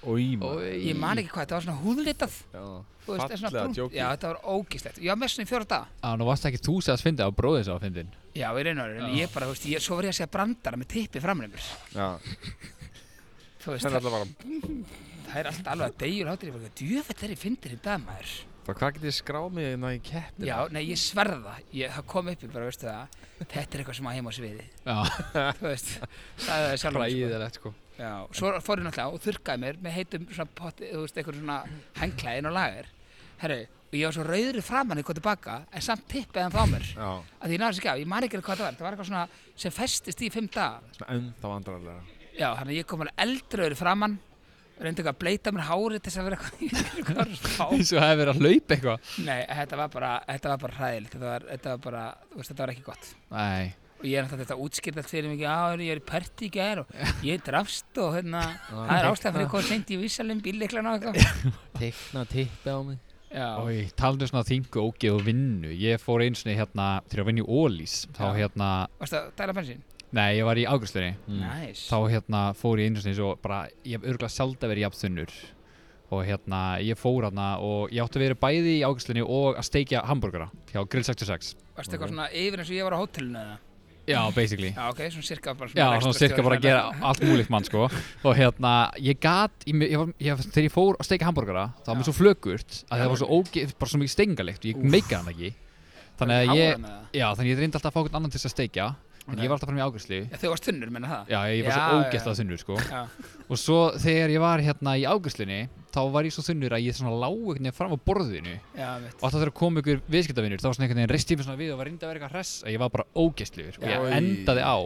Speaker 5: Í maður
Speaker 3: Oi.
Speaker 2: Ég man ekki hvað, þetta var svona húðlitað þú veist, það er svona
Speaker 5: Fallega
Speaker 2: brúnt.
Speaker 5: djókið.
Speaker 2: Já, þetta var ógíslegt Ég var með svona í fjóra daga
Speaker 3: Á, nú varst ekki þú sem að fyndi á bróðins á að fyndin
Speaker 2: Já, í raun og raun, en
Speaker 3: Já.
Speaker 2: ég bara, þú veist, ég, svo var ég að segja brandara með tippi framleimur
Speaker 4: Já.
Speaker 2: Þú veist, það,
Speaker 4: Það er alltaf bara
Speaker 2: það er alltaf alveg að deyjur hátir Ég bara, djöfell er ég fyndir í dag, maður
Speaker 4: Það hvað getið skráð mig hérna í keppnina?
Speaker 2: Já, nei, ég sverða það ég, Það kom upp, ég bara, veistu það Þetta er eitthvað sem á heima á sviði
Speaker 3: Já,
Speaker 2: Þú veist, sagði það sjálf
Speaker 3: ræðilegt sko
Speaker 2: Já, svo fór ég náttúrulega og þurrkaði mér með heitum svona potti, þú veist, einhverjum svona hengklæðin og lager. Herru, og ég var svo rauður í framann eitthvað tilbaka, en samt tippið hann frá mér.
Speaker 4: Já,
Speaker 2: Af því ég náði þess ekki af, ég man ekki alveg hvað það var, það var eitthvað svona sem festist í fimm daga.
Speaker 5: Svona ennþá vandrarlega
Speaker 2: Já, þannig að ég kom alveg eldrauður í framann, reyndi eitthvað að bleita mér hárið til þess að vera eitthvað, ég veit ekki hvað var að spá.
Speaker 3: Eins og hefði verið að hlaupa eitthvað
Speaker 2: Nei, þetta var bara, þetta var bara hræðilegt, þetta var, þetta var bara, þú veist, þetta var ekki gott.
Speaker 3: Nei
Speaker 2: og ég er náttúrulega þetta útskýrt allt fyrir mikið á, ég er í party í gær og ég drafst og hérna, það er ástæðan fyrir hvað seint í vísalum bílleiklan og eitthvað.
Speaker 5: Teikna tippi á mig
Speaker 2: Já,
Speaker 3: Í talandu um svona þingu ógeð og vinnu Ég fór einu sinni hérna til að vinna í Ólís Þá
Speaker 2: Já.
Speaker 3: hérna,
Speaker 2: varstu að dæla bensín?
Speaker 3: nei ég var í águstunni
Speaker 2: Næs.
Speaker 3: Mm. Þá hérna fór ég einu sinni svo bara Ég hef örgulega sjálf að vera jafnþunnur Og hérna ég fór hérna og ég átti að vera bæði í águstunni Og að steikja hambúrgara hjá Grill 66
Speaker 2: Varstu eitthvað svona yfir eins og ég var á hótelinu eða?
Speaker 3: já, basically
Speaker 2: Já, ok, svona cirka bara
Speaker 3: Já, svona
Speaker 2: rekstrarstjóri
Speaker 3: cirka bara að gera
Speaker 2: hræðilega.
Speaker 3: allt múlíkt mann sko Og hérna, ég gat, ég, ég, var- ég, þegar ég fór að steika hambúrgara Það var mér
Speaker 2: Já.
Speaker 3: svo flögurt að það var svo óge, bara svo mikið stengalikt Ég meika hann ekki Þannig að
Speaker 2: Hávaðan
Speaker 3: ég,
Speaker 2: eða?
Speaker 3: já, þannig að ég reyndi alltaf að fá einhvern annan til þess að steikja En ég var alltaf fram í ágæslu
Speaker 2: Já, Þau varst þunnur, menna það
Speaker 3: Já, ég var
Speaker 2: Já,
Speaker 3: svo
Speaker 2: já,
Speaker 3: ógeðslega
Speaker 2: já.
Speaker 3: þunnur sko
Speaker 2: Já.
Speaker 3: Og svo þegar ég var hérna í ágæslunni Þá var ég svo þunnur að ég svona lág einhvern veginn fram á borðinu
Speaker 2: Já, mitt
Speaker 3: Og alltaf þegar kom ykkur viðskiptavinur þá var svona einhvern veginn reist tíma svona við og var reyndi að vera eitthvað hress að ég var bara ógeðslegur og ég
Speaker 5: Oj.
Speaker 3: endaði á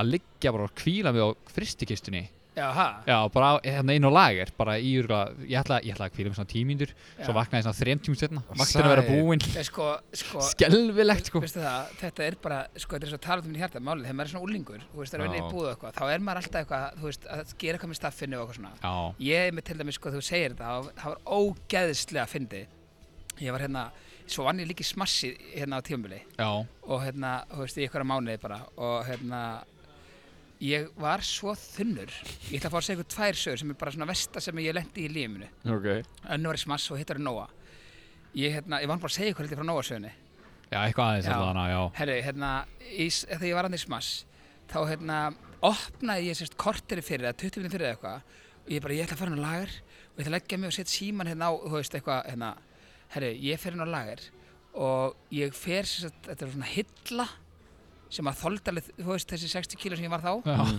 Speaker 3: að liggja bara og kvíla mig á fristikistunni
Speaker 2: Já, ha
Speaker 3: Já, bara á- hérna inn á lager bara í örgla, ég ætla, ég ætla að kvíla mig svona tímindur svo vaknaði ég svona þrem tímum setna vaktin að vera
Speaker 5: sæl.
Speaker 3: búinn
Speaker 2: Ég sko, sko
Speaker 3: Skelvilegt sko
Speaker 2: Veistu það, þetta er bara, sko, þetta er svo talað um minn hjarta Málið, þegar maður er svona úlingur, þú veist, það er að vinna
Speaker 5: Já.
Speaker 2: í búð og eitthvað Þá er maður alltaf eitthvað, þú veist, að gera eitthvað með staffinu og eitthvað svona
Speaker 3: Já,
Speaker 2: Ég er með til dæmis, sko, þú segir þetta, þá- það var ógeðslega fyndi Ég var hérna, svo vann ég líki smassi hérna á tímabili
Speaker 3: já,
Speaker 2: og hérna, þú veist, í einhverja mánuði bara og hérna ég var svo þunnur ég ætla að fá að segja ykkur tvær sögur sem er bara svona versta sem ég lendi í lífinu
Speaker 4: Ok
Speaker 2: önnur var í smass og hittar í Nóa ég, hérna, ég vann bara að segja ykkur hluti frá Nóa sögunni
Speaker 3: já, eitthvað aðeins
Speaker 2: Já.
Speaker 3: alltaf hana, já
Speaker 2: Herri, hérna, í, þegar ég var hann í smass þá hérna, opnaði ég sérst korteri fyrir eða 20 minni fyrir eða eitthvað og ég bara, ég ætla að fara hann á lager og ég ætla að leggja mig og setja síman hérna á, þú veist, eitthvað hérna, herri, ég fer hann á lager og ég fer sérst, þetta er svona hilla sem að þoldi alveg, þú veist, þessi 60 kíló sem ég var þá
Speaker 3: Já,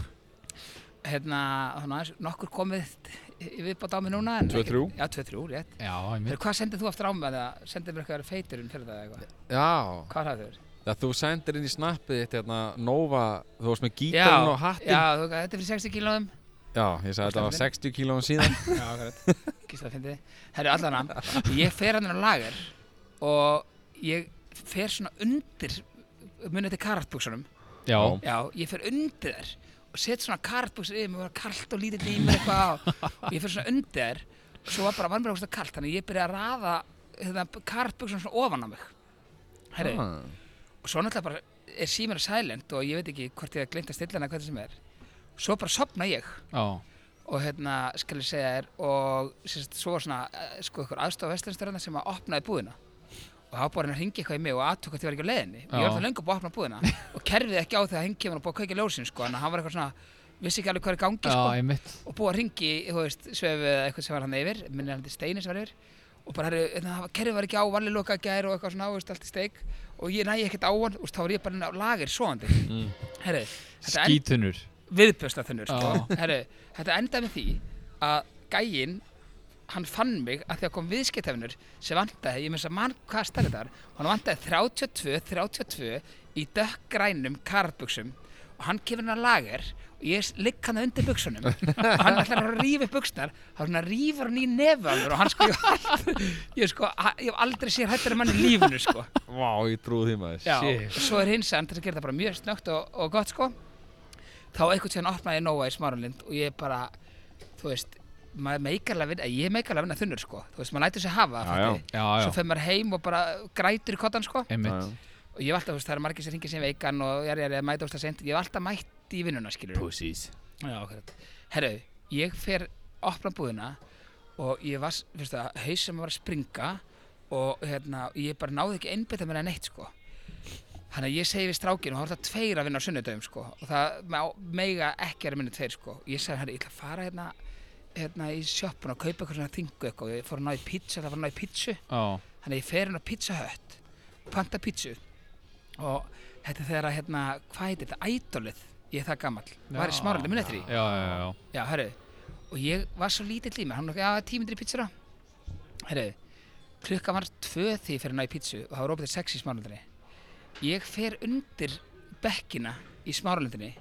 Speaker 2: hérna, þannig að nokkur komið viðbátt á mig núna en
Speaker 4: Tvö,
Speaker 2: ekki-
Speaker 4: þrjú?
Speaker 2: Já, 2-3, rétt
Speaker 3: já,
Speaker 2: Herri,
Speaker 3: einmitt
Speaker 2: hvað sendið þú aftur á mig að sendið mér eitthvað feiturinn fyrir það eða eitthvað?
Speaker 5: Já,
Speaker 2: Hvað hafði þau?
Speaker 5: það þú sendir inn í snappið þitt hérna Nova, þú varst með
Speaker 2: Já,
Speaker 5: gítarinn og hattinn.
Speaker 2: já, þú, þetta er fyrir 60 kílóðum
Speaker 5: Já, ég sagði þetta var
Speaker 2: Skemmtilegt.
Speaker 5: 60 kílóðum síðan.
Speaker 2: Já, akkurat. Gísla fyndi. Herru, allan að ég fer hann á lager og ég fer svona undir, munið þetta karatbuksunum,
Speaker 3: Já,
Speaker 2: já, ég fer undir þær og set svona karatbuksun yfir, mér var kalt og lítið í mér eitthvað á og ég fer svona undir þær og svo var bara, var mér ógust kalt, þannig að ég byrja að raða hérna, karatbuksunum svona ofan á mig. Herru,
Speaker 5: Ah.
Speaker 2: og svo náttúrulega bara er símur silent og ég veit ekki hvort ég hef gleymt að stilla hana hvað það sem er. Svo bara sopna ég
Speaker 3: já,
Speaker 2: og hérna skal ég segja þér og sérst, svo var svona eh, sko ykkur aðstofa vestlunstörðina sem að opnaði búðina og þá bara hann að ringi eitthvað í mig og aðtöku hvort ég var ekki á leiðinni ég var
Speaker 3: Já.
Speaker 2: alltaf löngu búið að opna búðina og kerfið ekki á þegar hinn kemur og búið að kveika ljósin sko en hann var eitthvað svona vissi ekki alveg hvað er í gangi
Speaker 3: já,
Speaker 2: sko
Speaker 3: einmitt
Speaker 2: og búið að ringi, þú veist, svefið eða eitthvað sem var hann yfir, minni hann til steini sem var yfir og bara, herru, hérna, það var- kerfið var ekki á, varli loka gær og eitthvað svona, þú veist, allt í steik og ég næ ekkert á hann, þú veist, þá var ég bara inn á lager svoandi, mm. herru, þetta en-
Speaker 3: Skítunur
Speaker 2: viðbjösta þennur
Speaker 3: Já.
Speaker 2: sko. Herru, þetta endaði með því að gæinn hann fann mig að því að kom viðskiptefnur sem vantaði, ég með þess að mann hvað stærði þar og hann vantaði 32, 32 í dökkgrænum karbuxum og hann kemur hann að lager og ég ligg hann undir buxunum og hann ætlar að rífa upp buxnar þá svona rífur hann í nefaldur og hann sko, ég hef aldrei, ég, sko, ég hef aldrei sér hættur mann í lífinu sko
Speaker 5: Vá, ég trúi því maður.
Speaker 2: Já, svo er hins að til að gera það bara mjög snögt og, og gott sko þá einhvern tíðan opnaði ég Nóa í Smáralind og ég bara, þú veist maður meikarlega vinna, ég meikarlega vinna þunnur sko þú veist, maður lætur sér hafa
Speaker 5: Já, já.
Speaker 2: fattu?
Speaker 3: Já,
Speaker 2: svo
Speaker 3: já,
Speaker 2: fer maður heim og bara grætur í kottan sko
Speaker 3: einmitt
Speaker 2: og ég hef alltaf, þú veist, það eru margir sem ringir sem veikan og ég er að mæta úst að senda, ég hef alltaf mætt í vinnuna skilur
Speaker 5: Pussies.
Speaker 2: Já, akkurat. Herru, ég fer opna búðina og ég var, fyrst það, haus sem var að springa og hérna, ég bara náði ekki einbytta mér að neitt, sko. Þannig að ég segi við strákinu, þá er það tveir að vinna á sunnudöfum, sko. Og það má- mega ekki vera minni tveir, sko. Ég segi, herru, ég ætla að fara hérna, hérna í sjoppuna og kaupa eitthvað svona þingu eitthvað. Ég fór að ná í pizza, það var að ná í pizzu.
Speaker 3: Já,
Speaker 2: Þannig að ég fer hérna á Pizza Hut, panta pizzu og þetta er þegar að, hérna, hvað heitir þetta, ædolið, ég er það gamall, var í
Speaker 3: Já.
Speaker 2: smáraldi, munið eftir því?
Speaker 3: já, já, já, já.
Speaker 2: Já, herru, og ég var svo lítill í mér, hann var ekki að tímindri pítsura. Herru, klukka var tvö því fyrir að ná í pítsu og það var opið til sex í smáralundinni. Ég fer undir bekkina í smáralundinni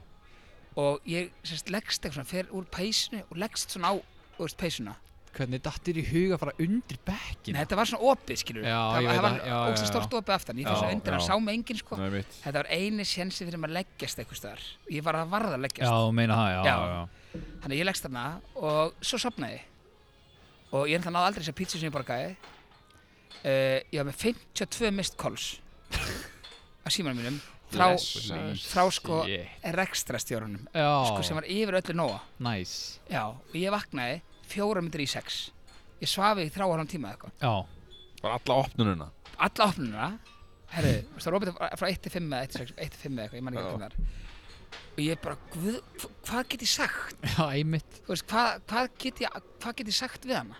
Speaker 2: og ég sérst leggst eitthvað svona, fer úr peysinu og leggst svona á, þú veist, peysuna.
Speaker 3: Hvernig dattir í huga að fara undir
Speaker 2: Nei,
Speaker 3: bekkina?
Speaker 2: þetta var svona opið, skilur það,
Speaker 3: Já, ég
Speaker 2: var-
Speaker 3: veit
Speaker 2: það
Speaker 3: það,
Speaker 2: var
Speaker 3: já, já,
Speaker 2: ógst
Speaker 3: já.
Speaker 2: stort opið aftan, ég
Speaker 5: Já,
Speaker 2: fyrir svona undir, hann
Speaker 5: já.
Speaker 2: sá mig enginn, sko.
Speaker 5: Það er mitt.
Speaker 2: Þetta var eini sjensi fyrir maður að leggjast eitthvað staðar. Ég var að varða að leggjast.
Speaker 3: Já, þú meina það, já,
Speaker 2: Já.
Speaker 3: já, já
Speaker 2: Þannig að ég leggst þarna og svo sopnaði ég. Og ég náði aldrei þessa pítsu sem ég borgaði. Uh, ég var með 52 mist calls á símanum mínum frá,
Speaker 5: Blessaður.
Speaker 2: frá sko
Speaker 3: Shit.
Speaker 2: rekstrastjórunum
Speaker 3: Já,
Speaker 2: sko sem var yfir öllu nóa.
Speaker 3: næs
Speaker 2: Já, og ég vaknaði fjóra myndir í sex. Ég svafi í þrá hálfum tíma eða eitthvað.
Speaker 3: Já,
Speaker 5: Bara alla opnununa.
Speaker 2: Alla opnuna, herru, þú veist, það var opið frá- frá 1 til 5 eða 1 til 6, 1 til 5 eða eitthvað, ég man ekki
Speaker 4: Já.
Speaker 2: hvernig það er og ég bara, guð, hv- hvað get ég sagt
Speaker 3: Já, einmitt
Speaker 2: þú veist, hvað, hvað get ég hvað get ég sagt við hana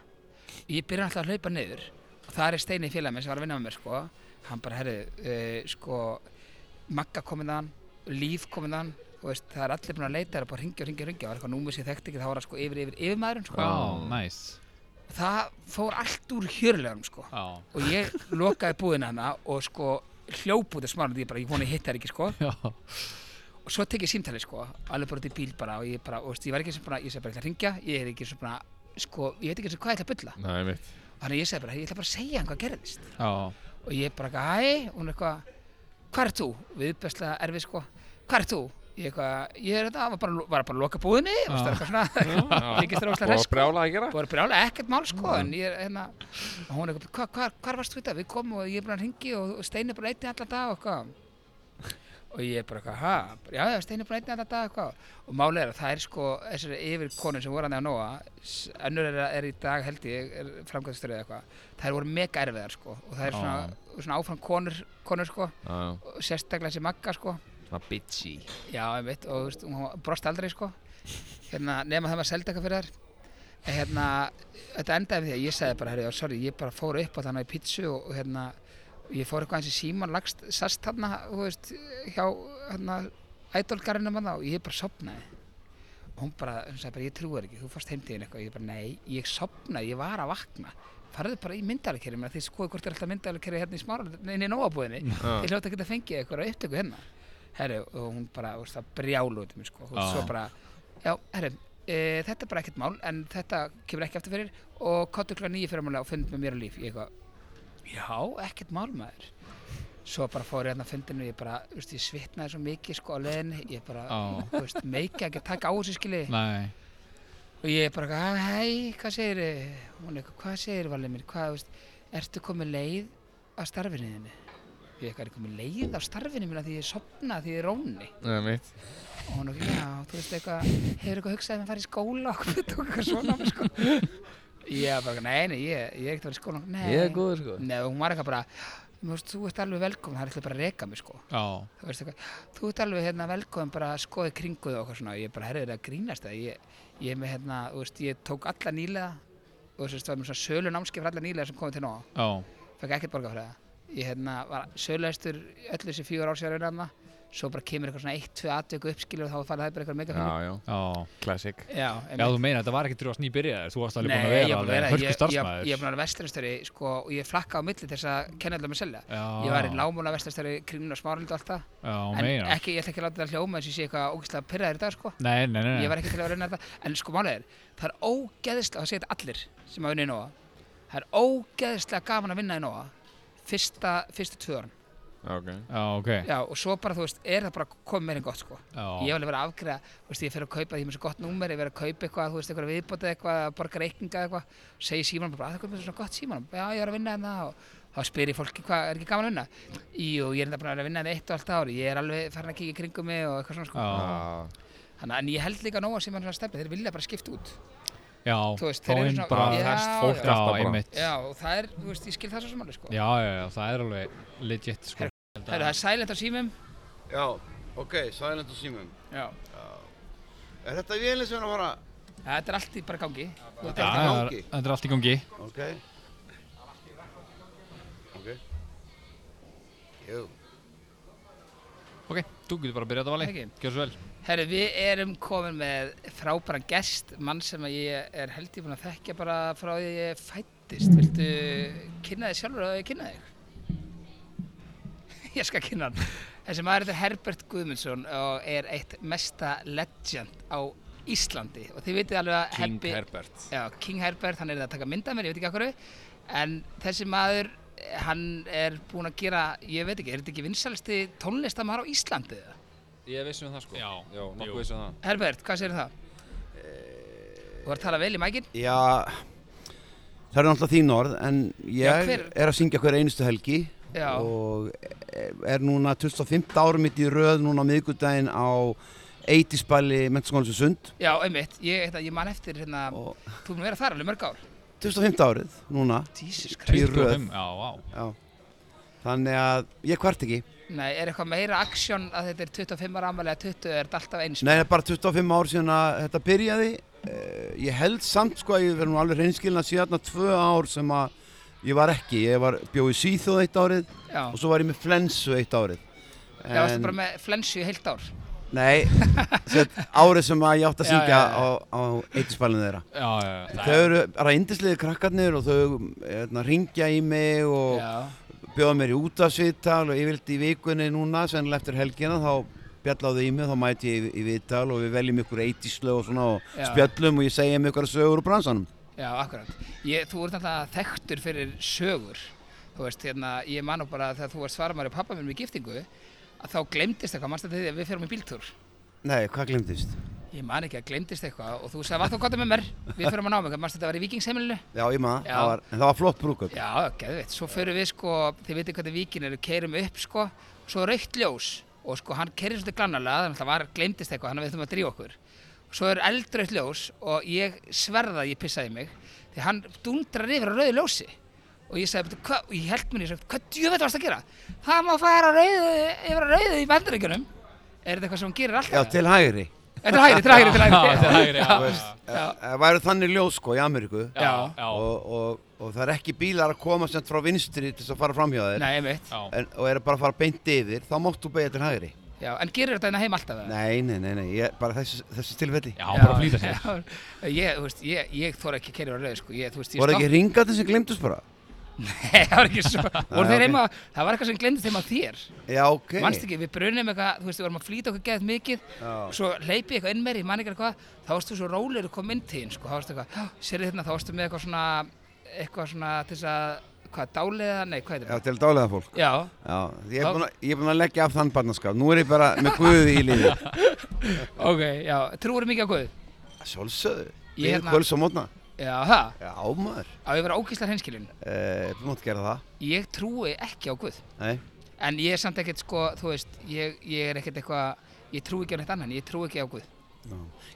Speaker 2: ég byrja alltaf að hlaupa niður og það er steini félag minn sem var að vinna með mér, sko hann bara, herru, uh, sko Magga komið hann, Líf komið hann þú veist, það er allir búin að leita það er bara að ringja og ringja og ringja, það var eitthvað númið sem ég þekkti ekki þá var það sko yfir, yfir, yfir sko
Speaker 3: Já, næs
Speaker 2: það fór allt úr hjörleganum, sko
Speaker 3: Já,
Speaker 2: og ég lokaði búðina hana og sko hljóp út af smána því ég bara, ég vona ég hitt þær ekki sko
Speaker 3: já,
Speaker 2: og svo tek ég símtali sko, alveg bara út í bíl bara og ég bara, og veist, ég var ekki sem bara, ég segi bara, ég ætla að ringja ég er ekki sem bara, sko, ég veit ekki sem hvað ég ætla að bylla
Speaker 5: Nei, mitt
Speaker 2: þannig að ég segi bara, ég ætla bara að segja hann hvað gerðist
Speaker 3: já
Speaker 2: og ég bara, hæ, hún er eitthvað hvað er þú? Viðbærslega erfið sko hvað er þú? Ég eitthvað, ég er þetta, var bara, var bara að loka búðinni og það er eitthvað svona,
Speaker 4: Ah.
Speaker 2: þykist þér ógeðslega hress,
Speaker 4: og
Speaker 2: sko.
Speaker 4: brjála að gera
Speaker 2: Búið að brjála ekkert mál sko, en ég er hérna, og hún er eitthvað, hva, hva, hvar varst þú þetta? Við komum og ég er búin að ringi og, og Steini er búin að einni allan dag og eitthvað. Og ég er bara eitthvað, ha, Bara, já, já, Steini er búin að einni allan dag og eitthvað. Og málið er að það er sko, þessari yfir konur sem voru hann á Nóa, s- önnur er, er í dag held ég, er framkvæmstöru eða eitthvað, það voru mega erfiðar sko, og það er svona, svona áfram konur, konur sko,
Speaker 5: Svona
Speaker 2: og sérstaklega sem magga sko.
Speaker 5: bitchy
Speaker 2: Já, ég veit, og þú veist, hún brosti aldrei, sko, hérna, nema það var selda eitthvað fyrir þær. En hérna, þetta endaði við því að ég sagði bara, herri, já, sorry, ég bara fór upp á þannig í pítsu og, og hérna, ég fór eitthvað eins í síman, lagst, sast þarna, þú veist, hjá, hérna, ædolgarinum að og ég bara sopnaði. Og hún bara, hún sagði bara, ég trúi þér ekki, þú fórst heimtíðin eitthvað, ég bara, nei, ég sopnaði, ég var að vakna. Farðu bara í myndalegkerri, menn þið skoðu hvort er alltaf myndalegkerri hérna í smára, inn í nóabúðinni, ég hljóta að geta fengið eitthvað að upptöku hérna herri, og hún bara, þú veist, það brjálu út um mig, sko, og
Speaker 3: Já.
Speaker 2: svo bara já, herri, e, þetta er bara ekkert mál en þetta kemur ekki aftur fyrir og kottu klá nýju fyrir málega og fund með mér og líf ég eitthvað, já, ekkert mál maður svo bara fór ég hérna að fundinu ég bara, þú veist, ég svitnaði svo mikið sko á leðinni, ég bara,
Speaker 3: Já.
Speaker 2: þú veist, meika ekki að taka á þessu skili
Speaker 3: Nei,
Speaker 2: og ég er bara, eitthvað, "Ah, hæ, hvað segir hún er eitthvað, hvað segir valið mér hvað, þú veist, ertu komið leið á starfinu þinni ég eitthvað er komið leið á starfinu mínu af því ég sopna því ég er róni
Speaker 5: Nei, mitt
Speaker 2: og hún er, já, þú veist eitthvað hefur eitthvað hugsað um að fara í skóla og hvað tók eitthvað svona á mig, sko ég er bara, eitthvað, nei, nei, ég, ég er ekkert að fara í skóla nei,
Speaker 5: góður sko
Speaker 2: nei, og hún var eitthvað bara þú veist, þú ert alveg velkomin, það er eitthvað bara að reka mig, sko
Speaker 3: já,
Speaker 2: þú veist eitthvað, þú ert alveg hérna velkomin bara að skoða í kringu þig og eitthvað svona, ég er bara herrið að grínast það, ég, ég er með hérna, þú veist, ég tók alla nýlega og þú veist, það var með svona sölu námskeið fyrir alla nýlega sem komið til nóg,
Speaker 3: já,
Speaker 2: fekk ekkert borga fyrir það ég hérna var söluhestur öllu þessi fjögur ársjára hérna, svo bara kemur eitthvað svona eitt, tvö atveiku uppskilu og þá fara það bara eitthvað mega
Speaker 4: já, já,
Speaker 3: já
Speaker 5: Classic
Speaker 2: Já,
Speaker 3: Já,
Speaker 2: einmitt.
Speaker 3: þú meina, þetta var ekki drjóðast nýbyrjaðir Þú varst alveg búin að
Speaker 2: Nei, ég er
Speaker 3: vera
Speaker 2: búin að vera,
Speaker 3: alveg
Speaker 2: ég, ég, ég, ég
Speaker 3: hörku
Speaker 2: er
Speaker 3: starfsmæður
Speaker 2: búin að vera vestlunastjóri sko, og ég flakka á milli til þess að kenna allar mig selja.
Speaker 3: Já.
Speaker 2: Ég var í lámúla vestlunastjóri kringun og smárild og allt það.
Speaker 3: Já,
Speaker 2: en
Speaker 3: meina
Speaker 2: ekki, ég ætla ekki að láta það hljóma eins og ég sé eitthvað ógeðslega pyrraður í dag sko.
Speaker 3: Nei, nei, nei,
Speaker 2: Ég
Speaker 3: nei.
Speaker 2: var ekki til að reyna þetta. En sko málið er, það er ógeðslega, það segir þetta allir sem hafa unnið í Nóa. Það er ógeðslega gaman að vinna í Nóa fyrsta, fyrstu tvö árin.
Speaker 5: Ok
Speaker 3: Já, ok
Speaker 2: Já, og svo bara, þú veist, er það bara komið meira en gott sko. Ég
Speaker 3: Já,
Speaker 2: hef alveg verið að afgreða, þú veist, ég fer að kaupa því með svo gott númer, ég fer að kaupa eitthvað, þú veist, eitthvað viðbótið eitthvað, borga reykinga eitthvað, segi símanum bara, að það er með svona gott símanum, já, ég er að vinna hérna og þá spyr ég fólki, hvað, er ekki gaman að vinna? Jú, ég er enda bara að vinna hérna eitt og allt ári, ég er alveg farin að kíkja í kringum mig og eitthvað svona, sko.
Speaker 3: já,
Speaker 5: Ah,
Speaker 2: Þannig, að- en ég held líka nóg að sem hann svona stefni, þeir vilja bara skipta út.
Speaker 3: já
Speaker 2: Þú veist, þeir eru
Speaker 3: Fáinn
Speaker 2: svona-
Speaker 3: bara
Speaker 2: Já,
Speaker 3: fæst fólk
Speaker 2: já.
Speaker 3: Já,
Speaker 5: Kasta bara.
Speaker 3: einmitt Já,
Speaker 2: Já, og það er, þú veist, ég skil það svo sem alveg, sko.
Speaker 3: já, já, það er alveg legit, sko
Speaker 2: Heyrðu, það er silent á símum.
Speaker 1: Já, ok, silent og símum.
Speaker 2: Já.
Speaker 1: Er þetta vélinn sem er að fara?
Speaker 2: Þetta er allt í bara gangi. Þú ert
Speaker 1: allt í
Speaker 3: Já, það er-
Speaker 1: gangi.
Speaker 3: þetta er allt í gangi
Speaker 1: Ok. Ok. Jú.
Speaker 3: Ok, þú getur bara að byrja þetta vali
Speaker 2: Ekki.
Speaker 3: Gjör svo vel
Speaker 2: Herri, við erum komin með frábæran gest, mann sem að ég er held ég búin að þekkja bara frá því að ég fættist. Viltu kynna þig sjálfur að ég kynna þig? ég skal kynna hann. Þessi maður þetta er Herbert Guðmundsson og er eitt mesta legend á Íslandi. Og þið vitið alveg að
Speaker 5: King
Speaker 2: Hebbi-
Speaker 5: Herbert
Speaker 2: Já, King Herbert, hann er að taka mynda mér, ég veit ekki okkur en þessi maður, eh, hann er búinn að gera, ég veit ekki, er þetta ekki vinsælsti tónlistamæður á Íslandi? eða?
Speaker 5: Ég vissi um það sko
Speaker 3: Já.
Speaker 5: Já,
Speaker 3: Jú.
Speaker 5: nokkuð vissi um það
Speaker 2: Herbert, hvað segir það? Eh, Þú var að tala vel í mækinn?
Speaker 1: Já, það eru náttúrulega þín orð, en ég
Speaker 2: Já, hver-
Speaker 1: er að syngja hver einustu helgi
Speaker 2: Já.
Speaker 1: og er núna 25 árum mitt í röð núna á miðgudaginn á 80 spæli Mentaskólansu Sund
Speaker 2: Já, einmitt, ég, þetta, ég man eftir hérna,
Speaker 1: og
Speaker 2: þú erum verið þar alveg mörg ár.
Speaker 1: 25 árið núna
Speaker 2: Jesus Christ.
Speaker 1: Í röð.
Speaker 3: 25, já, vá
Speaker 1: Já, Þannig að ég kvart ekki.
Speaker 2: Nei, er eitthvað meira aksjón að þetta er 25 ára ammali eða 20 er þetta alltaf eins?
Speaker 1: Nei, það er bara 25 ár síðan að þetta byrjaði. Eh, Ég held samt sko að ég verði nú alveg reynskilin að síðan að tvö ár sem að ég var ekki. Ég var bjóð í Svíþjóð eitt árið
Speaker 2: Já,
Speaker 1: og svo var ég með flensu eitt árið.
Speaker 2: það varstu bara með flensu í heilt ár.
Speaker 1: Nei, sett, árið sem að ég átti að
Speaker 2: Já,
Speaker 1: syngja
Speaker 2: já, já.
Speaker 1: á, á eittispælinu þeirra.
Speaker 3: Já, já, já.
Speaker 1: Þau eru bara indisliðið krakkarnir og þau ringja í mig og
Speaker 2: Já,
Speaker 1: bjóða mér í útafsviðtal og ég vildi í vikunni núna, sennilega eftir helgina þá bjallaði í mig, þá mæti ég í, í viðtal og við veljum ykkur eitíslög og svona og
Speaker 2: Já.
Speaker 1: spjöllum og ég segja um ykkur sögur úr bransanum.
Speaker 2: já, akkurat. Ég, þú ert alltaf þekktur fyrir sögur. Þú veist, hérna, ég man nú bara þegar þú varst svaramæri pappa minn með giftingu, að þá glemdist eitthvað, mannst þetta því að við fyrir með bíltúr.
Speaker 1: Nei, hvað glemdist?
Speaker 2: Ég man ekki að glemdist eitthvað og þú sagði, var þú gott með mér? Við fyrir að náma eitthvað, mannst þetta var í vikingsheimilinu?
Speaker 1: Já, ég maður,
Speaker 2: Já.
Speaker 1: það var, en það var flott brúkup.
Speaker 2: Já, geðveitt, svo förum við sko, þið veitir hvað það víkin eru, keirum upp sko, svo raukt ljós og sko hann keirir svolítið glannalega, þannig að það var, gleymdist eitthvað, þannig að við þurfum að drífa okkur. Svo er eldrautt ljós og ég sverða að ég pissaði í mig, því hann dundrar yfir á rauðu ljósi og ég sagði, "Bíddu, hvað, og ég held mér, ég sagði, hvað djöfett varst að gera? Það má fara á rauðu, yfir á rauðu í bandaríkjunum. Er þetta eitthvað sem hann gerir alltaf?
Speaker 1: Já, til hægri.
Speaker 2: Þetta er hægri, til hægri, til
Speaker 3: Já, til
Speaker 2: hægri.
Speaker 3: hægri, já.
Speaker 1: Þú veist, það væru þannig ljós sko í Ameríku
Speaker 3: Já,
Speaker 2: Já.
Speaker 3: já,
Speaker 1: og, og, og það er ekki bílar að koma sem frá vinstri til þess að fara framhjá þér
Speaker 2: Nei, einmitt.
Speaker 3: já.
Speaker 1: en, og eru bara að fara beint yfir, þá máttu beigja til hægri.
Speaker 2: Já, en gerir þetta hérna heim alltaf? eða?
Speaker 1: Nei, nei, nei, nei, ég, bara þessi, þessi tilfelli.
Speaker 3: Já, bara flýta sér.
Speaker 2: já. Ég, þú veist, ég, ég þóra ekki að kerja á rauð, sko, ég, þú veist, ég
Speaker 1: Voru ekki ringandi sem glemdust bara?
Speaker 2: Nei, það var ekki svo, voru
Speaker 1: ok.
Speaker 2: þeir heima, það var eitthvað sem glemdist heima á þér,
Speaker 1: Já, ok.
Speaker 2: mannst ekki, við brunum eitthvað, þú veist, við vorum að flýta okkur geðið mikið,
Speaker 1: Já.
Speaker 2: svo hleypi ég eitthvað inn meir, ég man ekki eitthvað, þá varst þú svo rólegur að koma inn til hinn, sko, þá varst eitthvað, sér þérna, þá varstu með eitthvað svona, eitthvað svona, til þess að, hvað, dáleiða, nei, hvað
Speaker 1: Já,
Speaker 2: heitir það?
Speaker 1: til dálega fólk.
Speaker 2: Já,
Speaker 1: Já, ég er
Speaker 2: Já.
Speaker 1: búinn að- ég er búinn að leggja af þann barnaskap. Nú er ég bara með guði í liði.
Speaker 2: ok, já, trúur mikið á Guð,
Speaker 1: Sjálfsögðu.
Speaker 2: Ég
Speaker 1: Ég er
Speaker 2: hérna-
Speaker 1: kvöls á mótna.
Speaker 2: já, það,
Speaker 1: Já, maður.
Speaker 2: á ég að vera ógíslar hinskilin,
Speaker 1: Eh, Þú mátt gera það.
Speaker 2: ég trúi ekki á Guð.
Speaker 1: Nei.
Speaker 2: En ég er samt ekkert sko, þú veist, ég, ég er ekkert eitthvað, ég trú ekki á neitt annan, ég trú ekki á Guð.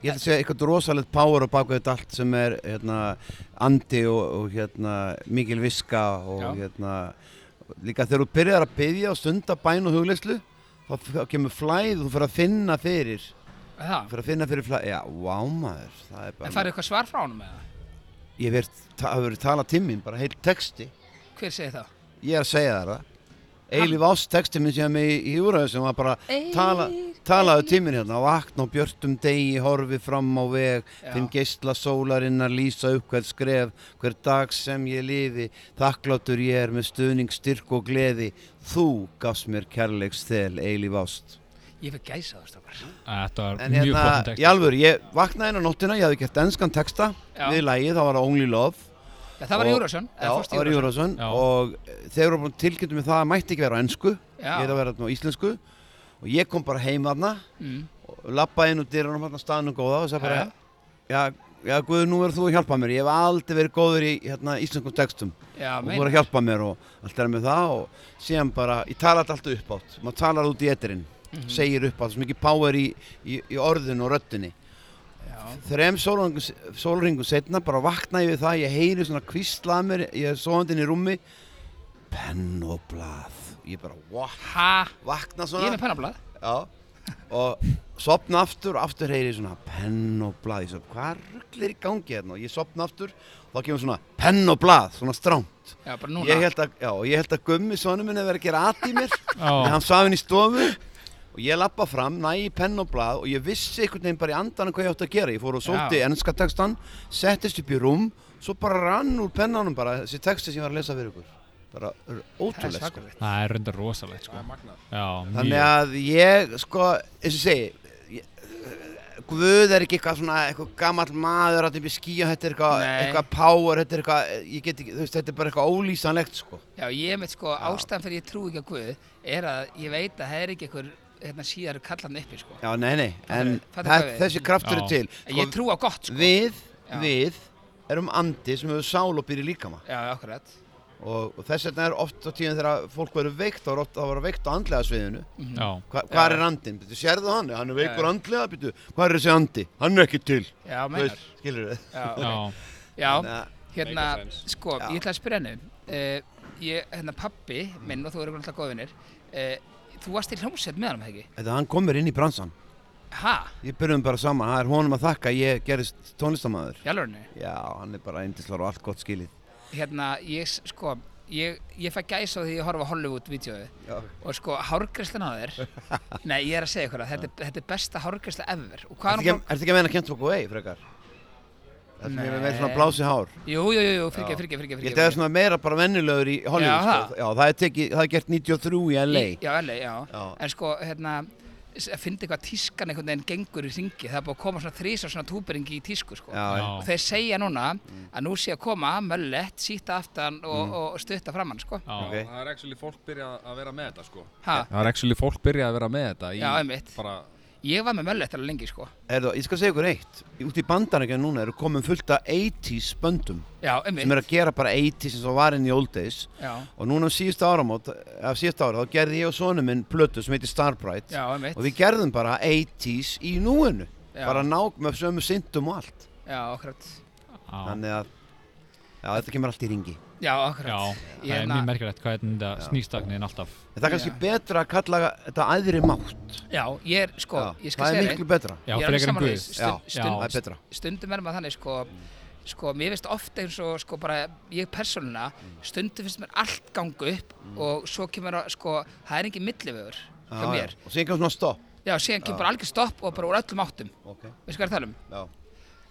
Speaker 1: Ég ætla að segja eitthvað rosalegt power á baku þetta allt sem er hérna, andi og, og hérna, mikil viska og
Speaker 2: Já.
Speaker 1: hérna, líka þegar þú byrjar að byggja og stunda bæn og hugleyslu þá f- þá kemur flæð og þú fyrir að finna fyrir
Speaker 2: Er Það.
Speaker 1: fyrir að finna fyrir flæð, já, vá maður það er bara,
Speaker 2: En farið eitthvað svar frá honum eða?
Speaker 1: ég hef verið- það hefur verið talað tíminn, bara heil texti
Speaker 2: Hver segir það?
Speaker 1: Ég er að segja þér það. Eilif Ást texti minn sem ég í úröðu sem var bara tala, talaðu tíminn hérna vakna á björtum degi, horfi fram á veg
Speaker 2: Já.
Speaker 1: finn geisla sólarinnar lýsa upp hver skref hver dag sem ég lifi þakklátur ég er með stuðning, styrk og gleði þú gafst mér kærleiks þel Eilif Ást
Speaker 2: Ég fyrir gæsa það, strákar.
Speaker 3: Þetta var
Speaker 1: En
Speaker 3: mjög
Speaker 1: hérna,
Speaker 3: flottum text.
Speaker 1: í alvöru, ég vaknaði inn á nóttina ég hafði gert enskan texta
Speaker 2: Já.
Speaker 1: við lagið, það var Only Love
Speaker 2: Já, það
Speaker 1: Og-
Speaker 2: var Júrasson.
Speaker 1: Já, það var Júrasson
Speaker 3: Já.
Speaker 1: og eh, þeir voru búin tilkynntum með það að mætti ekki vera á ennsku
Speaker 2: Já.
Speaker 1: ég er að vera þarna á íslensku og ég kom bara heim þarna
Speaker 2: Mm.
Speaker 1: og lappaði inn úr dyrunum þarna staðnum góða og sagði bara
Speaker 2: Já.
Speaker 1: já, já Guður, nú verður þú að hjálpa mér ég hef aldrei verið góður í hérna, íslenskum textum
Speaker 2: Já,
Speaker 1: og þú
Speaker 2: meina.
Speaker 1: verður að hjálpa mér og allt er með það og síðan bara, ég tala þetta alltaf upp átt maður talar út í eterinn,
Speaker 2: Mhm.
Speaker 1: segir upp átt svo mikið power í, í, í orðinu og röddinni hérna-
Speaker 2: Já.
Speaker 1: Þrem sólringu setna bara vakna ég við það, ég heyri svona kvíslað mér, ég er svoandi inn í rúmi penn og blað ég bara, what?
Speaker 2: Ha,
Speaker 1: Vakna
Speaker 2: ég er með
Speaker 1: svona
Speaker 2: pennablað.
Speaker 1: Já. og sopna aftur og aftur heyri ég svona penn og blað ég svo, hvað rugglir í gangi hérna og ég sopna aftur og þá kemur svona penn og blað, svona strámt
Speaker 2: Já, bara núna.
Speaker 1: ég held, að, já, og ég held að gummi svonum minn að vera að gera aðt í mér en
Speaker 3: Já,
Speaker 1: hann saf inn í stofu og ég lappa fram, næ í penn og blað og ég vissi einhvern veginn bara í andanum hvað ég átti að gera ég fór og sótti
Speaker 2: Já.
Speaker 1: ennska textan settist upp í rúm, svo bara rann úr pennanum bara þessi texti sem ég var að lesa fyrir ykkur bara r-
Speaker 2: það er
Speaker 1: ótrúlega sko.
Speaker 2: svakalegt.
Speaker 3: það er reyndar rosalegt, sko. Já,
Speaker 1: þannig
Speaker 3: mjög.
Speaker 1: að ég sko, eins og ég segi ég, Guð er ekki eitthvað svona eitthvað gamall maður að upp í skíja, þetta er eitthvað,
Speaker 2: Nei.
Speaker 1: eitthvað power, þetta er eitthvað, ég get ekki, þú veist, þetta er bara eitthvað ólýsanlegt sko.
Speaker 2: Já, ég veit sko, ástæðan fyrir ég trú ekki á Guð er að ég veit að það er ekki einhver, hérna síðar kallan uppi, sko.
Speaker 1: Já, nei, nei, en
Speaker 2: Fattar- fattar
Speaker 1: það,
Speaker 2: hvað við-
Speaker 1: þessi kraftur
Speaker 3: Já.
Speaker 1: er til.
Speaker 2: En Ég trú á gott, sko.
Speaker 1: Við,
Speaker 2: Já.
Speaker 1: við erum andi sem hefur sál og byrja líkama
Speaker 2: Já, akkurat.
Speaker 1: og, og þess vegna er oft á tíðan þegar fólk verður veikt, þá er oft að vera veikt á andlega sviðinu.
Speaker 2: Mhm.
Speaker 3: Já,
Speaker 1: Hva, hvar
Speaker 2: Já.
Speaker 1: er andin? Býtu, sérðu hann? Hann er veikur
Speaker 2: Já.
Speaker 1: andlega, býtu, hvað er þessi andi? Hann er ekki til.
Speaker 2: Já,
Speaker 1: Þú
Speaker 2: meinar.
Speaker 1: skilurðu?
Speaker 2: Já,
Speaker 3: já.
Speaker 2: já.
Speaker 1: Þannig að-
Speaker 2: Hérna,
Speaker 4: Make a sense.
Speaker 2: sko,
Speaker 1: Já.
Speaker 2: ég ætla að spyrja henni uh, ég, hérna pappi minn og þú eru alltaf góðvinir uh, þú varst í hljómsveit með hann með ekki
Speaker 1: Þetta hann komur inn í bransan.
Speaker 2: ha,
Speaker 1: Ég byrjum bara saman, það er honum að þakka að ég gerist tónlistamæður.
Speaker 2: í alvörinu
Speaker 1: Já, hann er bara eindislar og allt gott skilið.
Speaker 2: hérna, ég s- sko ég, ég fæ gæs á því ég horfa Hollywood-vídeói
Speaker 1: Já.
Speaker 2: og sko, hárgræslan á þér nei, ég er að segja ykkur að þetta, er- þetta er besta hárgræsla ever og hvað
Speaker 1: Ertu
Speaker 2: er
Speaker 1: ekki,
Speaker 2: hún búin-
Speaker 1: ertu ekki að meina Kent Walkway, frekar? Þetta er meira meira svona
Speaker 2: Nei.
Speaker 1: blási hár.
Speaker 2: jú, jú, jú, jú, fyrir ekki, fyrir ekki, fyrir
Speaker 1: Ég held að það er svona meira bara vennilegur í Hollywood,
Speaker 2: Já,
Speaker 1: sko. Já, það er, tekið, það er gert 93 í LA.
Speaker 2: já, LA, já.
Speaker 1: Já.
Speaker 2: en sko, hérna s- að finna eitthvað tískan einhvern veginn gengur í ringi það er búið að koma svona þrísar svona túberingi í tísku sko.
Speaker 1: Já, já. Mm.
Speaker 2: og þeir segja núna að nú sé að koma möllett, síta aftan og, og stutta framann sko.
Speaker 3: Já.
Speaker 1: Ok.
Speaker 5: Það er actually fólk byrja að vera með þetta sko
Speaker 2: ha,
Speaker 5: Það er actually fólk byrja að vera með þetta í
Speaker 2: já, einmitt
Speaker 5: bara
Speaker 2: ég var með möllett alveg lengi sko.
Speaker 1: Erðu, ég skal segja ykkur eitt. Út í bandarækja núna eru komin fullt af 80s böndum
Speaker 2: já,
Speaker 1: sem
Speaker 2: einmitt
Speaker 1: eru að gera bara 80s eins og var inn í old days
Speaker 2: já,
Speaker 1: og núna um síðust áramót, af síðust ára þá gerði ég og sonu minn plötu sem heitir Starbright
Speaker 2: já, einmitt
Speaker 1: og við gerðum bara 80s í núinu
Speaker 2: Já.
Speaker 1: bara nák með sömu syndum og allt
Speaker 2: já, akkurat
Speaker 3: Já,
Speaker 1: þannig að já, þetta kemur allt í ringi
Speaker 2: já, akkurat
Speaker 3: já,
Speaker 2: Ég
Speaker 3: það er
Speaker 2: hérna-
Speaker 3: mjög merkilegt hvað þetta snýstakniðin alltaf
Speaker 1: en það er kannski betra að kalla þetta aðri mátt
Speaker 2: já, ég er, sko,
Speaker 1: Já,
Speaker 2: ég skal
Speaker 1: það er
Speaker 2: segja
Speaker 1: miklu betra
Speaker 3: Já,
Speaker 2: Ég er alveg
Speaker 3: frekar en
Speaker 2: sammála því.
Speaker 1: Já,
Speaker 3: Guð
Speaker 2: Stund-
Speaker 1: það
Speaker 2: stund-
Speaker 1: er betra Mm.
Speaker 2: stundum er maður þannig sko, sko mér finnst oft eins og sko bara ég persónuna,
Speaker 1: Mm.
Speaker 2: stundum finnst mér allt ganga upp og svo kemur að sko, það er engin millivögur hjá
Speaker 1: Já, já.
Speaker 2: mér.
Speaker 1: og síðan kannski svona stopp
Speaker 2: Já, síðan kemur bara algjör stopp og bara úr öllum áttum,
Speaker 1: okay.
Speaker 2: veist hvað ég er að tala um?
Speaker 1: já.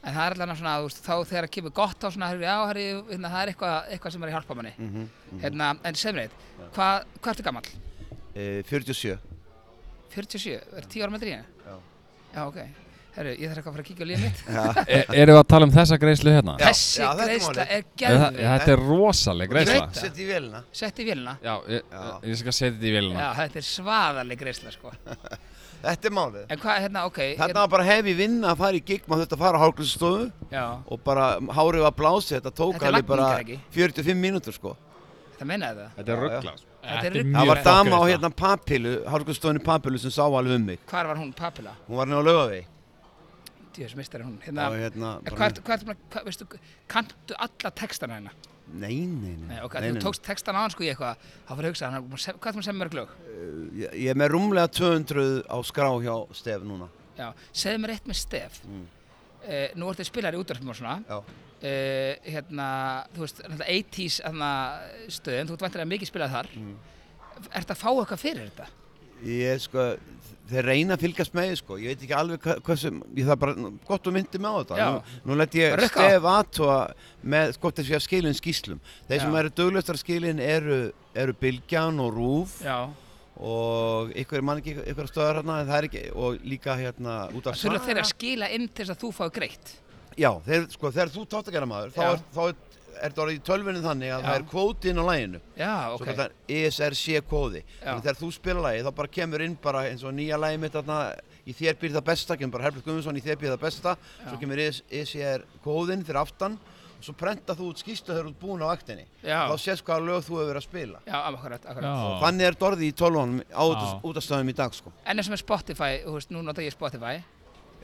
Speaker 2: En það er allavega svona, þú veist, þá þegar kemur gott á svona, herri, já, herri, hérna, það er eitthvað, eitthvað sem er að hjálpa manni.
Speaker 1: Mhm,
Speaker 2: Hérna, en segð mér eitt, hvað, hvað ertu gamall?
Speaker 1: E, 47
Speaker 2: 47, er 10 ára með dríðina?
Speaker 1: Já.
Speaker 2: Já, ok. Herru, ég þarf eitthvað að fara að kíkja á lífið mitt.
Speaker 4: E,
Speaker 5: Erum við að tala um þessa greiðslu hérna?
Speaker 1: Já,
Speaker 2: Þessi
Speaker 1: já, þetta er
Speaker 2: greiðsla
Speaker 1: málið.
Speaker 2: er
Speaker 5: Það-
Speaker 2: gerðið.
Speaker 5: Þetta er rosaleg greiðsla
Speaker 2: Veit-
Speaker 1: Sett í velina
Speaker 2: Sett í vélina.
Speaker 5: Já, ég,
Speaker 1: Já.
Speaker 5: ég skal setja þetta í vélina
Speaker 2: Já, þetta er svaðaleg greiðsla, sko.
Speaker 1: Þetta er málið
Speaker 2: En hvað, hérna, ok.
Speaker 1: Þetta var bara hefi vinna að fara í gig maður þurfti að fara á hálfgrunnstofu
Speaker 2: hérna, já,
Speaker 1: og bara hárið var blásið þetta tók
Speaker 2: Þetta er
Speaker 1: alveg bara
Speaker 2: lagningar, ekki?
Speaker 1: 45 mínútur sko
Speaker 2: það meinaði það.
Speaker 4: Þetta er
Speaker 1: Já, já.
Speaker 4: ruggla sko.
Speaker 2: Þetta er
Speaker 3: Þetta er
Speaker 2: rugl.
Speaker 3: mjög
Speaker 1: Það var
Speaker 3: fokk
Speaker 1: dama á
Speaker 3: greiðsla.
Speaker 1: hérna papilu, hálfgrunnstofunni papilu sem sá alveg um mig
Speaker 2: Hvar var hún, Papila?
Speaker 1: Hún var nú á laugavi
Speaker 2: Djöfis, mistari hún.
Speaker 1: Já,
Speaker 2: Hérna,
Speaker 1: hérna
Speaker 2: en
Speaker 1: bara-
Speaker 2: hvað ertu, hvað ertu, búin að- hvað, veistu, kanntu alla textana hérna?
Speaker 1: Nei, nei, nei
Speaker 2: Nei, ok, þú tókst textana á hann, sko, í eitthvað, þá fyrir að hugsa, hann, er búinn að sem- hvað ertu maður sem mörg lög?
Speaker 1: Ég ég er með rúmlega 200 á skrá hjá Stef núna
Speaker 2: Já, segðu mér eitt með Stef. Mm. nú ertu spilar í útvarpum og svona.
Speaker 1: Já
Speaker 2: uh, hérna, þú veist, náttúrulega 80s hérna, stöðum, þú ert vantilega mikið spilað þar mm. Ertu að fá eitthvað fyrir þetta?
Speaker 1: Ég sko, þeir reyna að fylgjast með því, sko, ég veit ekki alveg hva- hversu, ég það bara gott að myndi með á þetta,
Speaker 2: Já.
Speaker 1: nú, nú let ég
Speaker 2: Bara rukka á.
Speaker 1: stef aðtóa með hvort þessi að skilin skýslum, þeir sem
Speaker 2: Já.
Speaker 1: eru duglustar skilin eru, eru Bilgjan og Rúf
Speaker 2: Já,
Speaker 1: og ykkur er mann ekki ykkur stöðar hérna, en það er ekki, og líka hérna út af
Speaker 2: þurfa þeir að skila inn til þess að þú fái greitt
Speaker 1: Já, þeir, sko, þegar þú tótt að gera maður, þá
Speaker 2: Já.
Speaker 1: er, þá er, er það orðið í tölvunni þannig að
Speaker 2: Já.
Speaker 1: það er kvóti inn á E læginu,
Speaker 2: Já,
Speaker 1: svo
Speaker 2: ok,
Speaker 1: kallar ESRC kvóði,
Speaker 2: Já.
Speaker 1: þannig þegar þú spila lagið þá bara kemur inn bara eins og nýja lagið mitt þarna, í þér býr það besta, kemur bara Herbjörn Guðmundsson í þér býr það besta, svo
Speaker 2: Já.
Speaker 1: kemur E ES, ESR kvóðinn fyrir aftan og svo prenta þú út skýslu þegar þú ert búin á vaktinni,
Speaker 2: Já.
Speaker 1: þá sést hvaða lög þú hefur verið að spila.
Speaker 2: já, akkurat, akkurat
Speaker 3: Já.
Speaker 1: Þannig er dorðið í tölvunum á
Speaker 3: Já.
Speaker 1: útastöðum í dag sko.
Speaker 2: En eins og með Spotify, þú veist, nú nota ég Spotify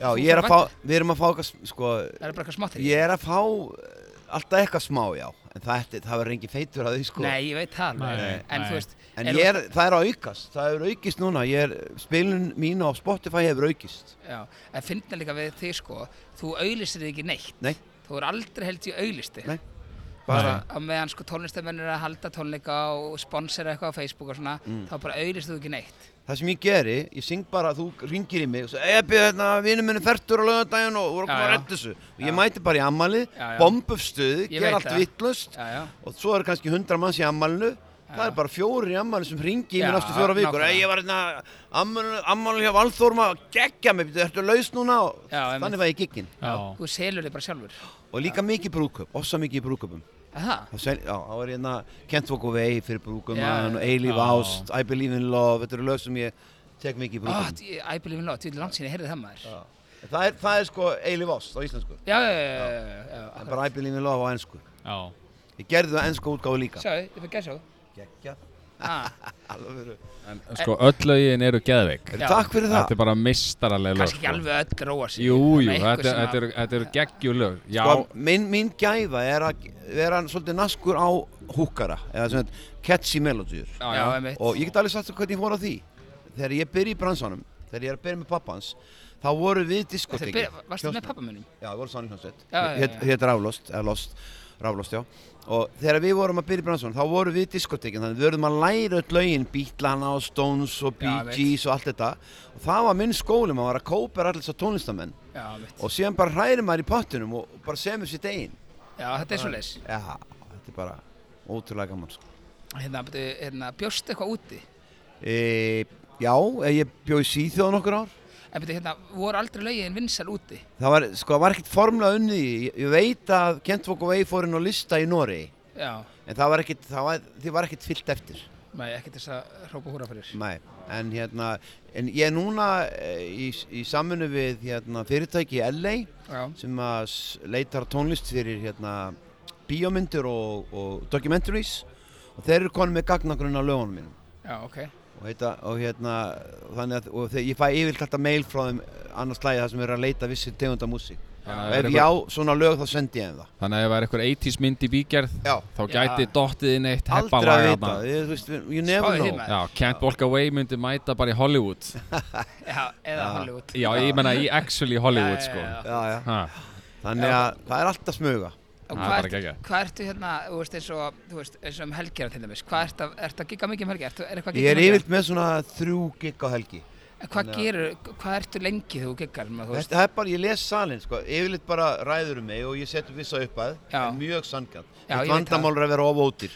Speaker 1: Já,
Speaker 2: Þú
Speaker 1: ég er
Speaker 2: fórst
Speaker 1: að
Speaker 2: að
Speaker 1: fá, við erum að fá eitthvað, sko,
Speaker 2: Það er bara eitthvað smátt
Speaker 1: ég er að fá eh, alltaf eitthvað smá, já, en það, ætti- það verður engin feitur að því, sko.
Speaker 2: Nei, ég veit það alveg
Speaker 3: Nei,
Speaker 2: En
Speaker 3: nei.
Speaker 2: þú veist,
Speaker 1: en ég er, það er að aukast, það er aukist núna, ég er, spilun mín á Spotify hefur aukist.
Speaker 2: já, En finna líka við þig sko Þú auðlýsir þig ekki neitt
Speaker 1: Nei.
Speaker 2: Þú er aldrei held ég auðlýsti
Speaker 1: Nei. Bara,
Speaker 2: Á meðan sko tónlistamennir eru að halda tónleika og sponsera eitthvað á Facebook og svona
Speaker 1: Mm.
Speaker 2: þá bara auðlýst þú ekki neitt
Speaker 1: það sem ég geri, ég syng bara að þú ringir í mig og segir, ég byrði hérna, vinur minni fertur á lögadaginn og voru að koma
Speaker 2: Já,
Speaker 1: að
Speaker 2: já.
Speaker 1: redda þessu. Og ég mæti bara í ammalið,
Speaker 2: Já, já.
Speaker 1: bomb upp stuði,
Speaker 2: Ég
Speaker 1: gera
Speaker 2: veit
Speaker 1: allt
Speaker 2: það.
Speaker 1: vittlust
Speaker 2: Já, já
Speaker 1: og svo eru kannski 100 manns í ammalinu. Það er bara fjóri ammali sem ringi í mér
Speaker 2: Já,
Speaker 1: næstu fjóra vikur.
Speaker 2: nákvæmlega.
Speaker 1: Ei, ég var hérna ammali hjá Valþórma að gegja mig, betur, ertu laus núna? Og
Speaker 2: Já, einmitt.
Speaker 1: þannig var ég gigginn.
Speaker 3: Já.
Speaker 2: Þú selur þig bara sjálfur
Speaker 1: Og líka mikið brúköp, ossa mikið í brúköpum.
Speaker 2: Er Það?
Speaker 1: Þá sel- já, þá er hérna Can't Walk Away fyrir brúkumann
Speaker 2: Já.
Speaker 1: og Eilíf
Speaker 3: Já.
Speaker 1: Ást, I Believe in Love, þetta eru lög sem ég tek mikið í
Speaker 2: Ó,
Speaker 1: brúkumann.
Speaker 2: Ah, I believe in love, þú langt síðan ég heyrði það maður Já,
Speaker 1: Já. Það er, það er sko Eilíf Ást á íslensku.
Speaker 2: já, já, já, já, já,
Speaker 1: Það
Speaker 2: já.
Speaker 1: er bara I Believe in Love á ennsku.
Speaker 3: Já.
Speaker 1: Ég gerði það ennsku útgáfu líka.
Speaker 2: Sjáðu, ég fyrir gæsa á
Speaker 1: Gekja.
Speaker 2: ah,
Speaker 1: Alvöru.
Speaker 4: En sko, öll lögin eru geðveik
Speaker 2: Já.
Speaker 1: Takk fyrir það
Speaker 4: Þetta er bara mistaraleg lög sko.
Speaker 2: kannski ekki alveg öll róa sig
Speaker 4: Jú, jú,
Speaker 2: Nema eitthvað
Speaker 4: þetta,
Speaker 2: sem að-
Speaker 4: þetta eru- þetta eru geggjulög Já,
Speaker 1: sko, minn, minn gæfa er að vera svolítið naskur á húkara eða svona catchy melodýr
Speaker 4: já,
Speaker 2: já,
Speaker 4: já,
Speaker 2: einmitt.
Speaker 1: og ég get alveg sagt þér hvernig ég fór á því þegar ég byrja í bransanum þegar ég er að byrja með pappans þá voru við
Speaker 2: Þetta
Speaker 1: diskoteki
Speaker 2: byrja- varstu með pappa munum
Speaker 1: Já, við vorum saman í hljómsveit.
Speaker 2: Já, já, já.
Speaker 1: Hét- Hét Ráflost, eða Lost, Ráflost, já. Og þegar við vorum að byrja í bransunum, þá vorum við diskotekin, þannig við vorum að læra öll lögin, Beatlana og Stones og
Speaker 2: Já,
Speaker 1: Bee
Speaker 2: veit.
Speaker 1: Gees og allt þetta. Og það var minn skóli, maður var að kópa allir þessar tónlistamenn.
Speaker 2: já, mitt.
Speaker 1: Og síðan bara hræri maður í pottunum og bara semur sér deginn.
Speaker 2: já, þetta er svo leis
Speaker 1: Já, þetta er bara ótrúlega gaman, sko.
Speaker 2: hérna, byrju, hérna, bjóstu eitthvað úti
Speaker 1: E, já, eh, ég bjóð í Svíþjóð nokkur ár.
Speaker 2: en byrju, hérna, voru aldrei lögin vinsal úti
Speaker 1: Það var, sko, það var ekkert formlega unnið. í. Ég, ég veit að Kentvok og Vei fórin á lista í Noregi.
Speaker 2: já,
Speaker 1: En það var ekkert, það var, því var ekkert fyllt eftir.
Speaker 2: maður ekki til þess að hrópa húra fyrir
Speaker 1: Nei, en hérna, en ég er núna eh, í, í saminu við hérna, fyrirtæki í LA
Speaker 2: já,
Speaker 1: sem að s- leitar tónlist fyrir hérna, bíómyndir og, og documentaries og þeir eru konum með gagnagrunn á lögunum mínum
Speaker 2: já, ok
Speaker 1: og, heita, og hérna, þannig að og þeir, ég fæ yfirlt alltaf mail frá þeim annars lægi þar sem eru að leita vissi tegunda músík
Speaker 4: þannig
Speaker 1: og
Speaker 4: að
Speaker 1: ef
Speaker 4: ef
Speaker 1: ég á svona lög þá sendi ég þeim það
Speaker 4: Þannig að ef það er eitthvað 80s mynd í bígerð
Speaker 1: Já,
Speaker 4: þá
Speaker 2: Já.
Speaker 4: gæti dottið inn eitt
Speaker 1: aldrei að
Speaker 4: heppalaga
Speaker 1: vita, ég, þú veist, you
Speaker 2: Spáðu
Speaker 1: never
Speaker 2: því,
Speaker 1: know
Speaker 2: maður.
Speaker 4: Já, Can't Walk Away myndi mæta bara í Hollywood
Speaker 2: já, eða Hollywood
Speaker 4: Já, ég menna í actually Hollywood
Speaker 2: Já, já,
Speaker 4: sko
Speaker 2: já, já.
Speaker 1: Já, já.
Speaker 4: Ha,
Speaker 1: Þannig að það er alltaf smuga
Speaker 2: Og
Speaker 4: Það
Speaker 2: hvað
Speaker 4: er bara
Speaker 2: ertu-
Speaker 4: geggjað.
Speaker 2: hvað ertu hérna, þú veist, eins og, þú veist, eins og um helgera til dæmis, hvað ertu að, ertu að gigga mikið um helgera, ertu, er eitthvað að
Speaker 1: Ég
Speaker 2: gigga
Speaker 1: er yfirlt með svona þrjú gig á helgi
Speaker 2: En hvað
Speaker 1: Þannig að-
Speaker 2: gerur, hvað ertu lengi þegar þú giggar, maður, þú veist,
Speaker 1: Þetta er bara, ég les salin sko, yfirleitt bara ræður um mig og ég setur vissa upp að,
Speaker 2: Já.
Speaker 1: en mjög sangan.
Speaker 2: Já, ég
Speaker 1: Mitt
Speaker 2: veit
Speaker 1: vandamál er að vera ofótir.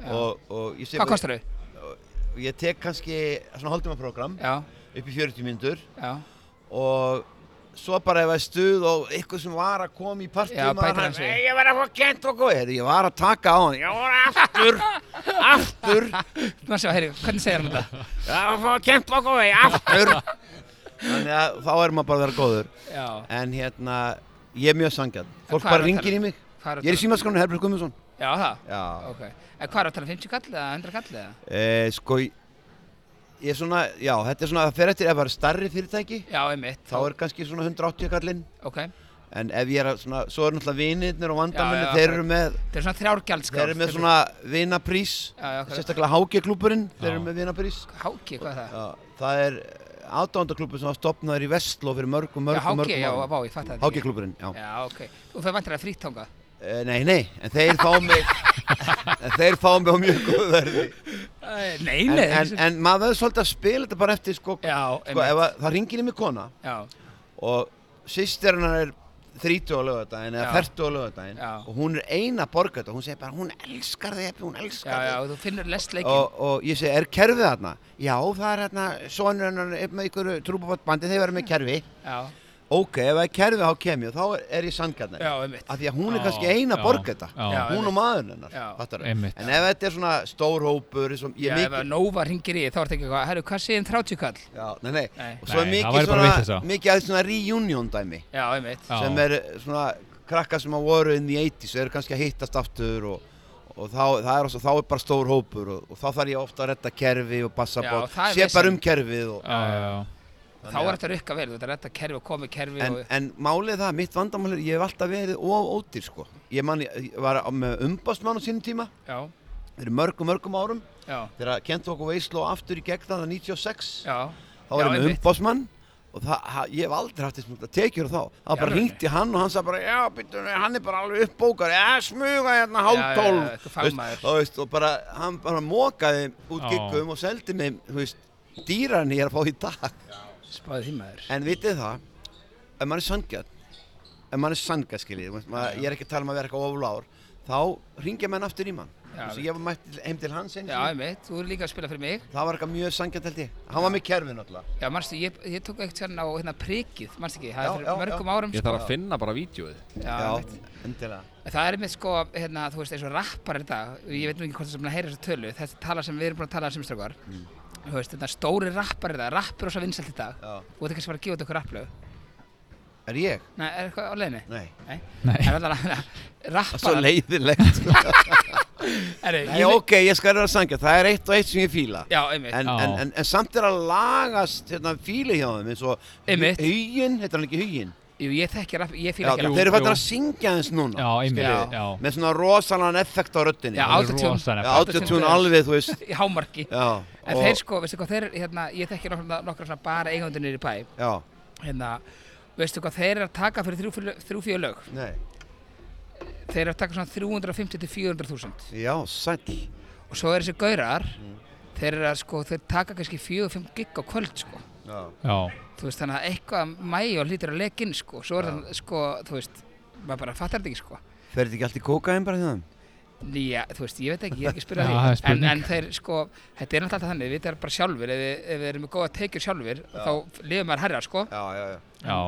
Speaker 2: Já.
Speaker 1: Og, og ég, sé,
Speaker 2: hvað kostar þau?
Speaker 1: ég tek kannski svona hálftímaprogram
Speaker 2: Já,
Speaker 1: upp í 40 mínútur
Speaker 2: já,
Speaker 1: og svo bara ef það er stuð og eitthvað sem var að koma í partíum
Speaker 2: Já, bætir hann sig.
Speaker 1: sig. Ég var að fá kent og góð, ég var að taka á hann, ég var aftur, aftur,
Speaker 2: maður sjá, heyri, hvernig segir hann þetta?
Speaker 1: ég var að fá kent og góð, aftur. Þannig að þá er maður bara að vera góður.
Speaker 2: Já,
Speaker 1: En hérna, ég er mjög sangjarn. Fólk
Speaker 2: hvað
Speaker 1: bara
Speaker 2: er að
Speaker 1: ringir
Speaker 2: tala
Speaker 1: í
Speaker 2: um?
Speaker 1: mig.
Speaker 2: hvað er
Speaker 1: Ég er í símaskronu Herbjörg Guðmundsson.
Speaker 2: Já, það,
Speaker 1: Já.
Speaker 2: ok, en hvað er að tala, um 50 kall eða 100 kall eða?
Speaker 1: Eh, sko, ég er svona, já, þetta er svona, það fer eftir ef það er starri fyrirtæki,
Speaker 2: Já, einmitt,
Speaker 1: þá er kannski svona 180 kallinn.
Speaker 2: ok,
Speaker 1: En ef ég er að svona, svo eru náttúrulega vinirnir og vandamenni,
Speaker 2: Já, já,
Speaker 1: þeir
Speaker 2: akkurat.
Speaker 1: eru með,
Speaker 2: þetta er svona þrjárgjaldskáð.
Speaker 1: þeir eru með svona vinaprís,
Speaker 2: Já, já, akkurat.
Speaker 1: sérstaklega hágeklúburinn, þeir
Speaker 3: Já.
Speaker 1: eru með vinaprís.
Speaker 2: Háki, hvað er það?
Speaker 1: Já, það er aðdándaklúbur sem var stopnaður í Vestló fyrir mörgum,
Speaker 2: Já,
Speaker 1: mörgum,
Speaker 2: háki, já,
Speaker 1: mörgum
Speaker 2: vá, ég fatt það
Speaker 1: Hágeklúburinn, já.
Speaker 2: Já, ok, og það vantar að frítanga.
Speaker 1: Eh, Nei, nei, en þeir fá mig en þeir fá mig á mjög góðu verði
Speaker 2: Nei,
Speaker 1: en,
Speaker 2: nei,
Speaker 1: en, en maður verður svolítið að spila þetta bara eftir sko,
Speaker 2: Já,
Speaker 1: sko
Speaker 2: einmitt,
Speaker 1: ef að, það ringir í mig kona
Speaker 2: já,
Speaker 1: og sýstir hennar er 30 á lögadaginn eða
Speaker 2: Já.
Speaker 1: 40 á lögadaginn
Speaker 2: Já.
Speaker 1: og hún er eina borga þetta og hún segir bara hún elskar þig, Ebbi, hún
Speaker 2: já,
Speaker 1: elskar
Speaker 2: já,
Speaker 1: þig
Speaker 2: og þú finnur lestleikin.
Speaker 1: Sko, og, og ég segi, er kerfið þarna? Já, það er hérna, sonur hennar er með ykkur trúbabotbandi, þeir verður með kerfi
Speaker 2: Já,
Speaker 1: ok, ef það er kerfið þá kem ég og þá er, er ég sangarnar
Speaker 2: já, einmitt,
Speaker 1: af því að hún er
Speaker 3: Já,
Speaker 1: kannski eina
Speaker 3: já,
Speaker 1: borga þetta
Speaker 3: já.
Speaker 2: Já,
Speaker 1: hún og
Speaker 2: einmitt.
Speaker 1: maðurinn hennar
Speaker 2: Já.
Speaker 1: fattarðu?
Speaker 3: Einmitt.
Speaker 1: en ef þetta er svona stór hópur eins og
Speaker 2: já,
Speaker 1: ég
Speaker 2: ef að
Speaker 1: mikið
Speaker 2: Nova ringir í, þá er þetta ekki eitthvað, herru, hvað segir um 30 kall?
Speaker 1: já, nei, nei.
Speaker 2: Nei.
Speaker 1: og svo er
Speaker 3: Nei, það
Speaker 1: mikið
Speaker 3: væri bara
Speaker 1: svona,
Speaker 3: vitleysa.
Speaker 1: mikið aðeins svona reunion dæmi
Speaker 2: Já, einmitt,
Speaker 3: Já.
Speaker 1: sem er svona krakka sem að voru inn í 80s og eru kannski að hittast aftur og, og þá, það er, også, þá er bara stór hópur og, og þá þarf ég ofta að retta kerfi og
Speaker 2: Já,
Speaker 1: bassabót,
Speaker 2: það er
Speaker 1: sé
Speaker 2: vesen.
Speaker 1: bara um kerfið og,
Speaker 3: Já, já, já.
Speaker 2: þá er þetta að rukka vel, þú ert að retta kerfi og komi kerfi
Speaker 1: en,
Speaker 2: og...
Speaker 1: en málið er það, mitt vandamál er ég hef alltaf verið of ódýr sko ég, man, ég var á- með umbásmann á sínum tíma
Speaker 2: Já,
Speaker 1: fyrir mörgum, mörgum árum
Speaker 2: já,
Speaker 1: þegar Kent okkur veisló aftur í gegn þannig 96
Speaker 2: já,
Speaker 1: þá var
Speaker 2: Já,
Speaker 1: ég með
Speaker 2: einmitt.
Speaker 1: umbásmann og það, ha, ég hef aldrei haft þessum tekjur þá það bara
Speaker 2: alvöru?
Speaker 1: ringti hann og hann sagði bara já, býttu, nei, hann er bara alveg uppbókar já, smuga hérna
Speaker 2: Já, já, já,
Speaker 1: hálftólf
Speaker 2: þetta er
Speaker 1: Veist,
Speaker 2: fagmaður.
Speaker 1: og, veist, og bara, hann bara mókaði út
Speaker 3: Já.
Speaker 1: giggum og seldi mig þú veist, dýran ég er að fá í dag
Speaker 2: spáði því maður.
Speaker 1: en vitið það, ef maður er sangjarn ef maður er sangjarn skiljið maður, ég er ekki að tala um að vera eitthvað oflár þá ringja menn aftur í mann
Speaker 2: Já,
Speaker 1: Þessi, ég var mætt til- heim til hans einu
Speaker 2: Já,
Speaker 1: sinni.
Speaker 2: einmitt, þú er líka að spila fyrir mig.
Speaker 1: það var eitthvað mjög sangjarn held ég hann var með kerfið náttúrulega
Speaker 2: Já, mannstu, ég, ég tók eitt hérna á hérna prikið, mannstu ekki, það
Speaker 1: Já, já,
Speaker 2: er fyrir mörgum
Speaker 1: já.
Speaker 2: árum, sko.
Speaker 4: Ég þarf að finna bara vídjóið
Speaker 2: Já, einmitt.
Speaker 1: Já, endilega.
Speaker 2: En Það er einmitt sko, hérna, þú veist, eins og rappar í dag, ég veit nú ekki hvort það sem að heyra þessa tölu, þessi tala sem við erum búin að tala um strákar,
Speaker 1: Mm.
Speaker 2: þú veist, þetta stóri rappar í dag, rappur og svo vinsalt í dag,
Speaker 1: Já.
Speaker 2: þú veit ekki sem var að gefa út okkur rapplög,
Speaker 1: Er ég?
Speaker 2: nei, er eitthvað á leiðinni?
Speaker 1: Nei.
Speaker 2: Nei.
Speaker 3: Nei.
Speaker 2: En allavega,
Speaker 1: Svo
Speaker 2: rappar,
Speaker 1: leiðilegt.
Speaker 2: Herri,
Speaker 1: Nei,
Speaker 2: ég-
Speaker 1: ok, ég skal vera að sangja, það er eitt og eitt sem ég fíla
Speaker 2: Já, einmitt
Speaker 1: en,
Speaker 3: Já.
Speaker 1: en, en, en samt er að lagast hérna, fíli hjá þeim eins og
Speaker 2: Einmitt.
Speaker 1: hugin, heitir hann ekki hugin
Speaker 2: Jú, ég þekki rapp, ég
Speaker 1: Já,
Speaker 2: fíla ekki
Speaker 3: jú.
Speaker 2: rapp
Speaker 1: þeir eru fættir
Speaker 3: jú.
Speaker 1: að syngja eins núna
Speaker 3: Já, einmitt,
Speaker 2: Skiljiði.
Speaker 3: já
Speaker 1: með svona rosalann effekt á röddinni
Speaker 2: Já,
Speaker 3: Alveg
Speaker 2: 80.
Speaker 1: Já,
Speaker 3: rosalega.
Speaker 1: 80 alveg, þú veist
Speaker 2: Í hámarki
Speaker 1: Já,
Speaker 2: En
Speaker 1: og-
Speaker 2: þeir sko, veistu hvað þeir, hérna, ég þekki nokkra, nokkra svona bara eigundir niður í bæ
Speaker 1: Já,
Speaker 2: Hérna, veistu hvað þeir eru að taka fyrir þrjú, fjö- þrjú fjögur lög
Speaker 1: nei,
Speaker 2: Þeir eru að taka svona 350 til 400 þúsund
Speaker 1: já, sæll
Speaker 2: Og svo eru þessi gaurar
Speaker 1: Mm.
Speaker 2: Þeir eru að sko, þeir taka kannski 4-5 gig á kvöld sko
Speaker 1: Já,
Speaker 3: Já,
Speaker 2: Þú veist, þannig að eitthvað mæjó hlýtur að leggja inn sko Svo er það sko, þú veist, maður bara fattar þetta ekki sko
Speaker 1: fer þetta ekki allt í kókaðin bara hjá þeim?
Speaker 2: Nýja, þú veist, ég veit ekki, ég er ekki að spyrja
Speaker 3: Já,
Speaker 2: því
Speaker 3: það er
Speaker 2: en,
Speaker 3: spurning.
Speaker 2: en þeir sko, þetta er náttúrulega alltaf þannig, við þetta er bara sjálfur Ef við, ef við erum með góða tekjur sjálfur,
Speaker 1: Já.
Speaker 2: þá lifum maður herra sko
Speaker 1: Já, já, já
Speaker 3: já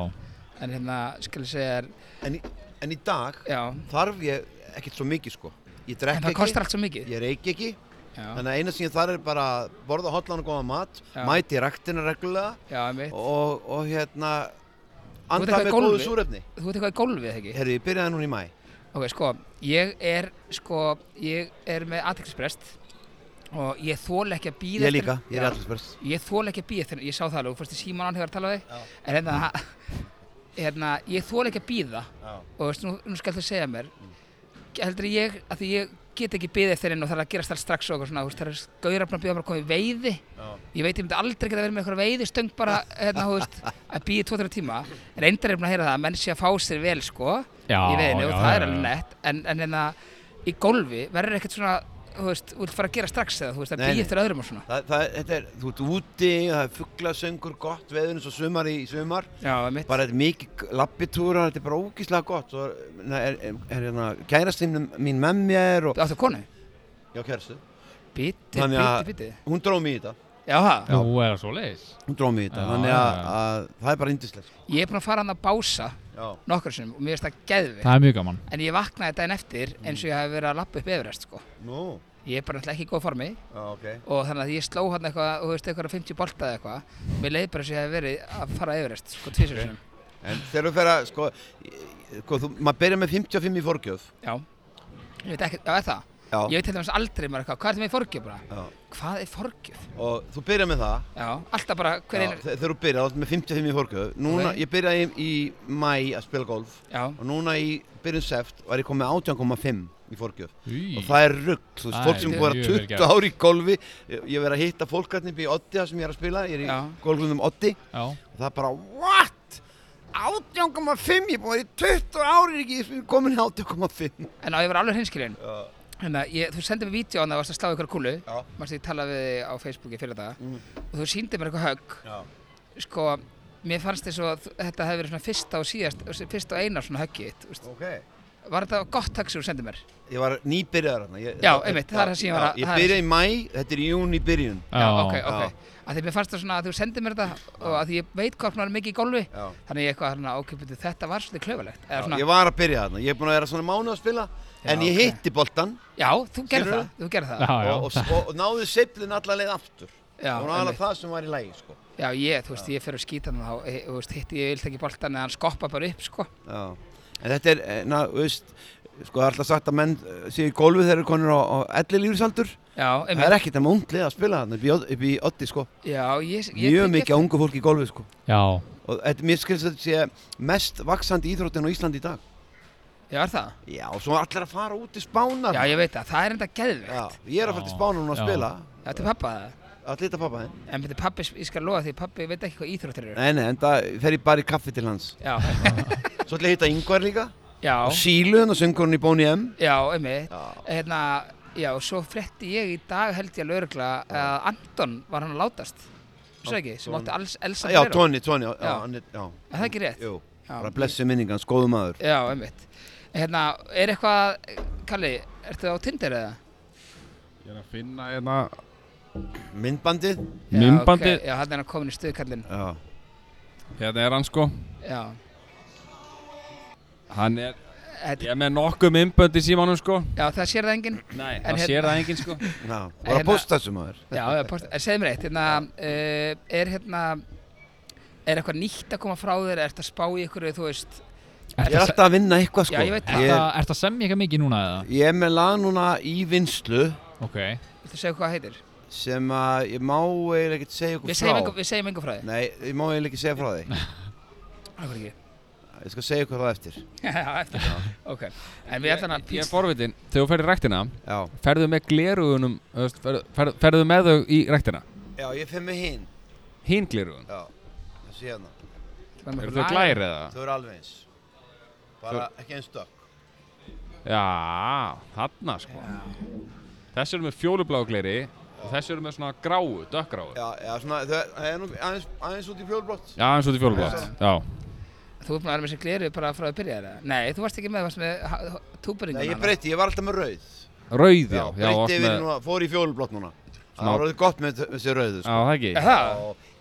Speaker 2: En hérna, skal ég segja þér,
Speaker 1: En, í- en í dag
Speaker 2: já,
Speaker 1: þarf ég ekkert svo mikið sko Ég
Speaker 2: en
Speaker 1: drekk
Speaker 2: það
Speaker 1: ekki,
Speaker 2: kostar allt svo mikið.
Speaker 1: ég reik ekki
Speaker 2: Já,
Speaker 1: Þannig að eina sem ég þar er bara að borða hotlan og góða mat
Speaker 2: Já.
Speaker 1: Mæti í ræktina reglulega
Speaker 2: já, einmitt.
Speaker 1: og, og hérna
Speaker 2: ert
Speaker 1: Anda
Speaker 2: eitthvað í
Speaker 1: með
Speaker 2: golfi?
Speaker 1: góðu súrefni
Speaker 2: Þú veit eitthvað í gólfið, eða ekki?
Speaker 1: Herri, ég byrjaði núna í mæ
Speaker 2: Ok, sko, ég er, sko, ég er með aðtækksprest og ég þól ekki að býða
Speaker 1: Ég líka, ég er allir spurs
Speaker 2: Ég þól ekki að býða eftir, ég sá það alveg, þú fórst í síman hann hefur að tala við,
Speaker 1: Já.
Speaker 2: en hérna, hérna, ég þól ekki að býða
Speaker 1: Já,
Speaker 2: og veist, nú, nú skal þú segja mér, heldur ég, að því ég get ekki býða eftir henn og það er að gerast það strax og eitthvað svona, þú veist, það er gauðra búin að býða mér um að koma í veiði,
Speaker 1: já,
Speaker 2: ég veit ég myndi aldrei geta verið með eitthvað veiðistöng bara, hérna, þú veist, að býja tvo-þrjá tíma, reyndar er ég búin að heyra það að menn sé að fá sér vel, sko,
Speaker 3: Já,
Speaker 2: í veiðinu
Speaker 3: já,
Speaker 2: og það
Speaker 3: já,
Speaker 2: er alveg
Speaker 3: já.
Speaker 2: nett, en, en hérna, í gólfi verður ekkert svona, þú veist, þú vilt fara að gera strax eða, þú veist, að
Speaker 1: Nei, nei.
Speaker 2: býja eftir öðrum og svona.
Speaker 1: Það, það, þetta er, þú ert úti, það er fugglasöngur, gott veður eins og sumar í í sumar
Speaker 2: Já, einmitt.
Speaker 1: bara þetta er mikið lappitúra, þetta er bara ógíslega gott og er, er, er, er hérna kærastinn mín með mér og
Speaker 2: Áttu konu?
Speaker 1: já, kærastu,
Speaker 2: Bíti,
Speaker 1: Þannig
Speaker 2: bíti,
Speaker 1: að-
Speaker 2: bíti.
Speaker 1: hún dróð mig í þetta
Speaker 2: Já, það.
Speaker 3: Nú er það svo leis
Speaker 1: hún dróð mig í þetta,
Speaker 3: Já,
Speaker 1: þannig að,
Speaker 3: já, já.
Speaker 1: að það er bara indislegt sko.
Speaker 2: Ég er búinn að fara hann að bása
Speaker 1: já,
Speaker 2: nokkur sinnum og mér finnst það geðvig.
Speaker 3: Það er mjög gaman
Speaker 2: En ég vaknaði daginn eftir eins og ég hafi verið að lappa upp Everest, sko.
Speaker 1: nú,
Speaker 2: Ég er bara náttúrulega ekki í góð formi
Speaker 1: já, ok
Speaker 2: og þannig að ég sló hann eitthvað, þú veist, eitthvað 50 bolta eða eitthvað. Mér leiði bara eins og ég hafi verið að fara Everest, sko, tvisur sinnum.
Speaker 1: en þegar þú fer að, sko, í- sko þú, maður byrjar með 55 í forgjöf
Speaker 2: Já. Ég veit ekki, já, er það?
Speaker 1: já,
Speaker 2: Ég veit til dæmis aldrei maður eitthvað, hvað er þetta með forgjöf bara?
Speaker 1: já,
Speaker 2: Hvað er forgjöf?
Speaker 1: og þú byrjar með það
Speaker 2: Já, alltaf bara
Speaker 1: Já,
Speaker 2: hver einar,
Speaker 1: þe- þegar þú byrjar, þá ertu með 55 í forgjöf núna,
Speaker 2: Ok.
Speaker 1: ég byrjaði í, í mæ að spila golf
Speaker 2: já,
Speaker 1: og núna í byrjun seft var ég komið 18,5 í forgjöf
Speaker 3: Í.
Speaker 1: og það er rugg, þú veist,
Speaker 3: Það
Speaker 1: fólk
Speaker 3: er
Speaker 1: sem
Speaker 2: mjög
Speaker 1: búið að
Speaker 3: vel
Speaker 1: 20
Speaker 3: gert.
Speaker 1: ári í golfi ég ég verið að hitta fólk hérna upp í Oddi þar sem ég er að spila, ég er í
Speaker 2: Já.
Speaker 1: golflunum Oddi
Speaker 3: Já,
Speaker 1: og það er bara, what? 18,5, ég er búin að vera í 20 ári ekki, ég er komin í 18,5
Speaker 2: en á ég var alveg hinskilin.
Speaker 1: Já,
Speaker 2: Hérna, ég, þú sendið mér vídeo á það varst að slá ykkur kúlu
Speaker 1: Já.
Speaker 2: Mást ég tala við þig á Facebooki fyrir það
Speaker 1: Mm.
Speaker 2: Og þú síndið mér eitthvað högg
Speaker 1: já,
Speaker 2: Sko, mér fannst eins og þ- þetta hefði verið svona fyrsta og síðast Fyrsta og eina svona höggið þitt veist.
Speaker 1: ok
Speaker 2: Var þetta gott högg sem þú sendið mér?
Speaker 1: Ég var nýbyrjaðar hérna ég,
Speaker 2: Já,
Speaker 1: það-
Speaker 2: einmitt, það er það sem ég var að-
Speaker 1: Ég
Speaker 2: það er-
Speaker 1: byrjaði í mæ, þetta er í jún í byrjun
Speaker 3: já,
Speaker 2: ok,
Speaker 1: já.
Speaker 2: ok Af því mér fannst það svona að þú sendið mér þetta Og að því ég veit hvað hann er mikið í gólfi
Speaker 1: Já.
Speaker 2: Þannig ég eitthvað, hérna, ok, beti, þetta var svolítið klauvalegt Eða
Speaker 1: Já,
Speaker 2: svona,
Speaker 1: Ég var að byrja þarna, ég er búin að vera svona mánu að spila En
Speaker 2: Já,
Speaker 1: ég
Speaker 2: ok.
Speaker 1: hitti boltan
Speaker 2: já, þú gerð
Speaker 1: Skilurðu?
Speaker 2: það, þú gerð það
Speaker 3: já, já.
Speaker 1: og, og, og, og náði seiflin alla leið aftur
Speaker 2: Já,
Speaker 1: Það var alveg
Speaker 2: einmitt.
Speaker 1: það sem var í lægi, sko
Speaker 2: já, ég, þú veist, ég fer að skýta hann þá, eh, þú veist, hitti ég vilt ekki boltan eða hann skoppa bara upp, sko.
Speaker 1: Já, en þetta er, eh, na, þú veist, sko það er alltaf sagt að menn eh, séu í gólfið þegar þeir eru konur á, á elli lífrisaldur.
Speaker 2: Já,
Speaker 1: Það er ekkert að unglið að spila þarna upp í Odd- upp í oddi, sko.
Speaker 2: Já, ég... ég
Speaker 1: Mjög
Speaker 2: tek
Speaker 1: mikið ungu fólk í gólfið, sko.
Speaker 3: já.
Speaker 1: Og þetta, mér skilst að þetta sé mest vaksandi íþróttin á Íslandi í dag.
Speaker 2: eftir- Já, er það?
Speaker 1: Já, og svo er allir að fara út í spánar.
Speaker 2: Já, ég veit það. Það er enda geðvegt.
Speaker 1: Já, ég er að fara til spánar núna að
Speaker 3: Já.
Speaker 1: spila,
Speaker 2: Já, til pappa það.
Speaker 1: að lita pappa þinn.
Speaker 2: En betur pappi, ég skal lofa því, pappi veit ekki hvað íþróttir eru.
Speaker 1: Nei, nei, en það fer ég bara í kaffi til hans.
Speaker 2: Já,
Speaker 1: Svo ætla ég að hitta Ingvar líka.
Speaker 2: já,
Speaker 1: Og Sílu, hennar söngurinn í Bóni M.
Speaker 2: já, einmitt.
Speaker 1: Já.
Speaker 2: Hérna, já, svo frétti ég í dag held ég alveg örugla að Anton var hann að látast. Þú sagði ekki, sem átti alls Elsa
Speaker 1: Já,
Speaker 2: Ferrero.
Speaker 1: Tony, Tony, já, já,
Speaker 2: Já.
Speaker 1: hann er, já.
Speaker 2: Er það ekki rétt?
Speaker 1: Jú,
Speaker 2: Já.
Speaker 1: bara blessu minningans, góðu maður.
Speaker 2: Já, einmitt. Hérna, er eitthvað, Kalli, ertu á Tinder eða?
Speaker 5: Ég er að finna hérna
Speaker 1: Myndbandið,
Speaker 2: Já,
Speaker 5: Myndbandið.
Speaker 2: ok, Já, hann er hann komin í stuðkallin.
Speaker 1: já.
Speaker 5: Hérna er hann sko
Speaker 2: Já,
Speaker 5: Hann er
Speaker 2: þetta,
Speaker 5: Ég er með nokkuð myndbönd í símanum sko
Speaker 2: já, það sér það enginn.
Speaker 5: Nei
Speaker 2: En
Speaker 5: Það
Speaker 2: hérna-
Speaker 5: sér það enginn sko
Speaker 1: Já, og
Speaker 2: hérna-
Speaker 1: að posta þessu maður
Speaker 2: Já, já, post, en segðu mér eitt, hérna, uh, er hérna, er eitthvað nýtt að koma frá þér, ert að spá í ykkur, þú veist,
Speaker 1: Ég er alltaf að vinna eitthvað sko
Speaker 2: Já, ég veit
Speaker 3: Er
Speaker 1: ég,
Speaker 3: það ert að semja eitthvað mikið núna eða?
Speaker 1: ég er með lag núna í vinslu
Speaker 3: Ok,
Speaker 2: Viltu segja hvað það heitir?
Speaker 1: sem að ég má eiginlega ekki segja ykkur
Speaker 2: Við segjum,
Speaker 1: frá
Speaker 2: engu, við segjum engu frá því.
Speaker 1: Nei, ég má eiginlega ekki segja frá því
Speaker 2: Akkur ekki.
Speaker 1: Ég skal segja ykkur það eftir
Speaker 2: Já, eftir. Ok. En við ætlum að
Speaker 4: Ég er
Speaker 2: pís...
Speaker 4: forvitin, þegar þú ferð í ræktina
Speaker 1: Já,
Speaker 4: ferðu með glerugunum ferðu, ferðu, ferðu með þau í ræktina
Speaker 1: já ég fyrir mig hinn
Speaker 4: hinn glerugun
Speaker 1: Já, þessi hérna
Speaker 4: eru þau glær eða?
Speaker 1: Þau eru alveg eins Bara ekki eins stökk sko.
Speaker 4: já, þarna sko þessi eru með fjólublá gleri og þessi eru með svona gráu, dökkgráu já,
Speaker 1: Já, já, svona, þau það er nú aðeins, aðeins út í fjólblott
Speaker 4: eins og þetta fjólublátt já,
Speaker 2: Þú ert búin að vera með sér gleru bara frá að byrja það? Nei, þú varst ekki með, þú varst með túberingun.
Speaker 1: Nei, ég breyti, ég var alltaf með rauð
Speaker 4: rauð já, já,
Speaker 1: breytti
Speaker 4: oft
Speaker 1: yfir
Speaker 4: með, já,
Speaker 1: núna, fór í fjólblott núna Það
Speaker 4: Smá-
Speaker 1: var orðið gott með þessi rauðu sko.
Speaker 4: það ekki
Speaker 2: Það?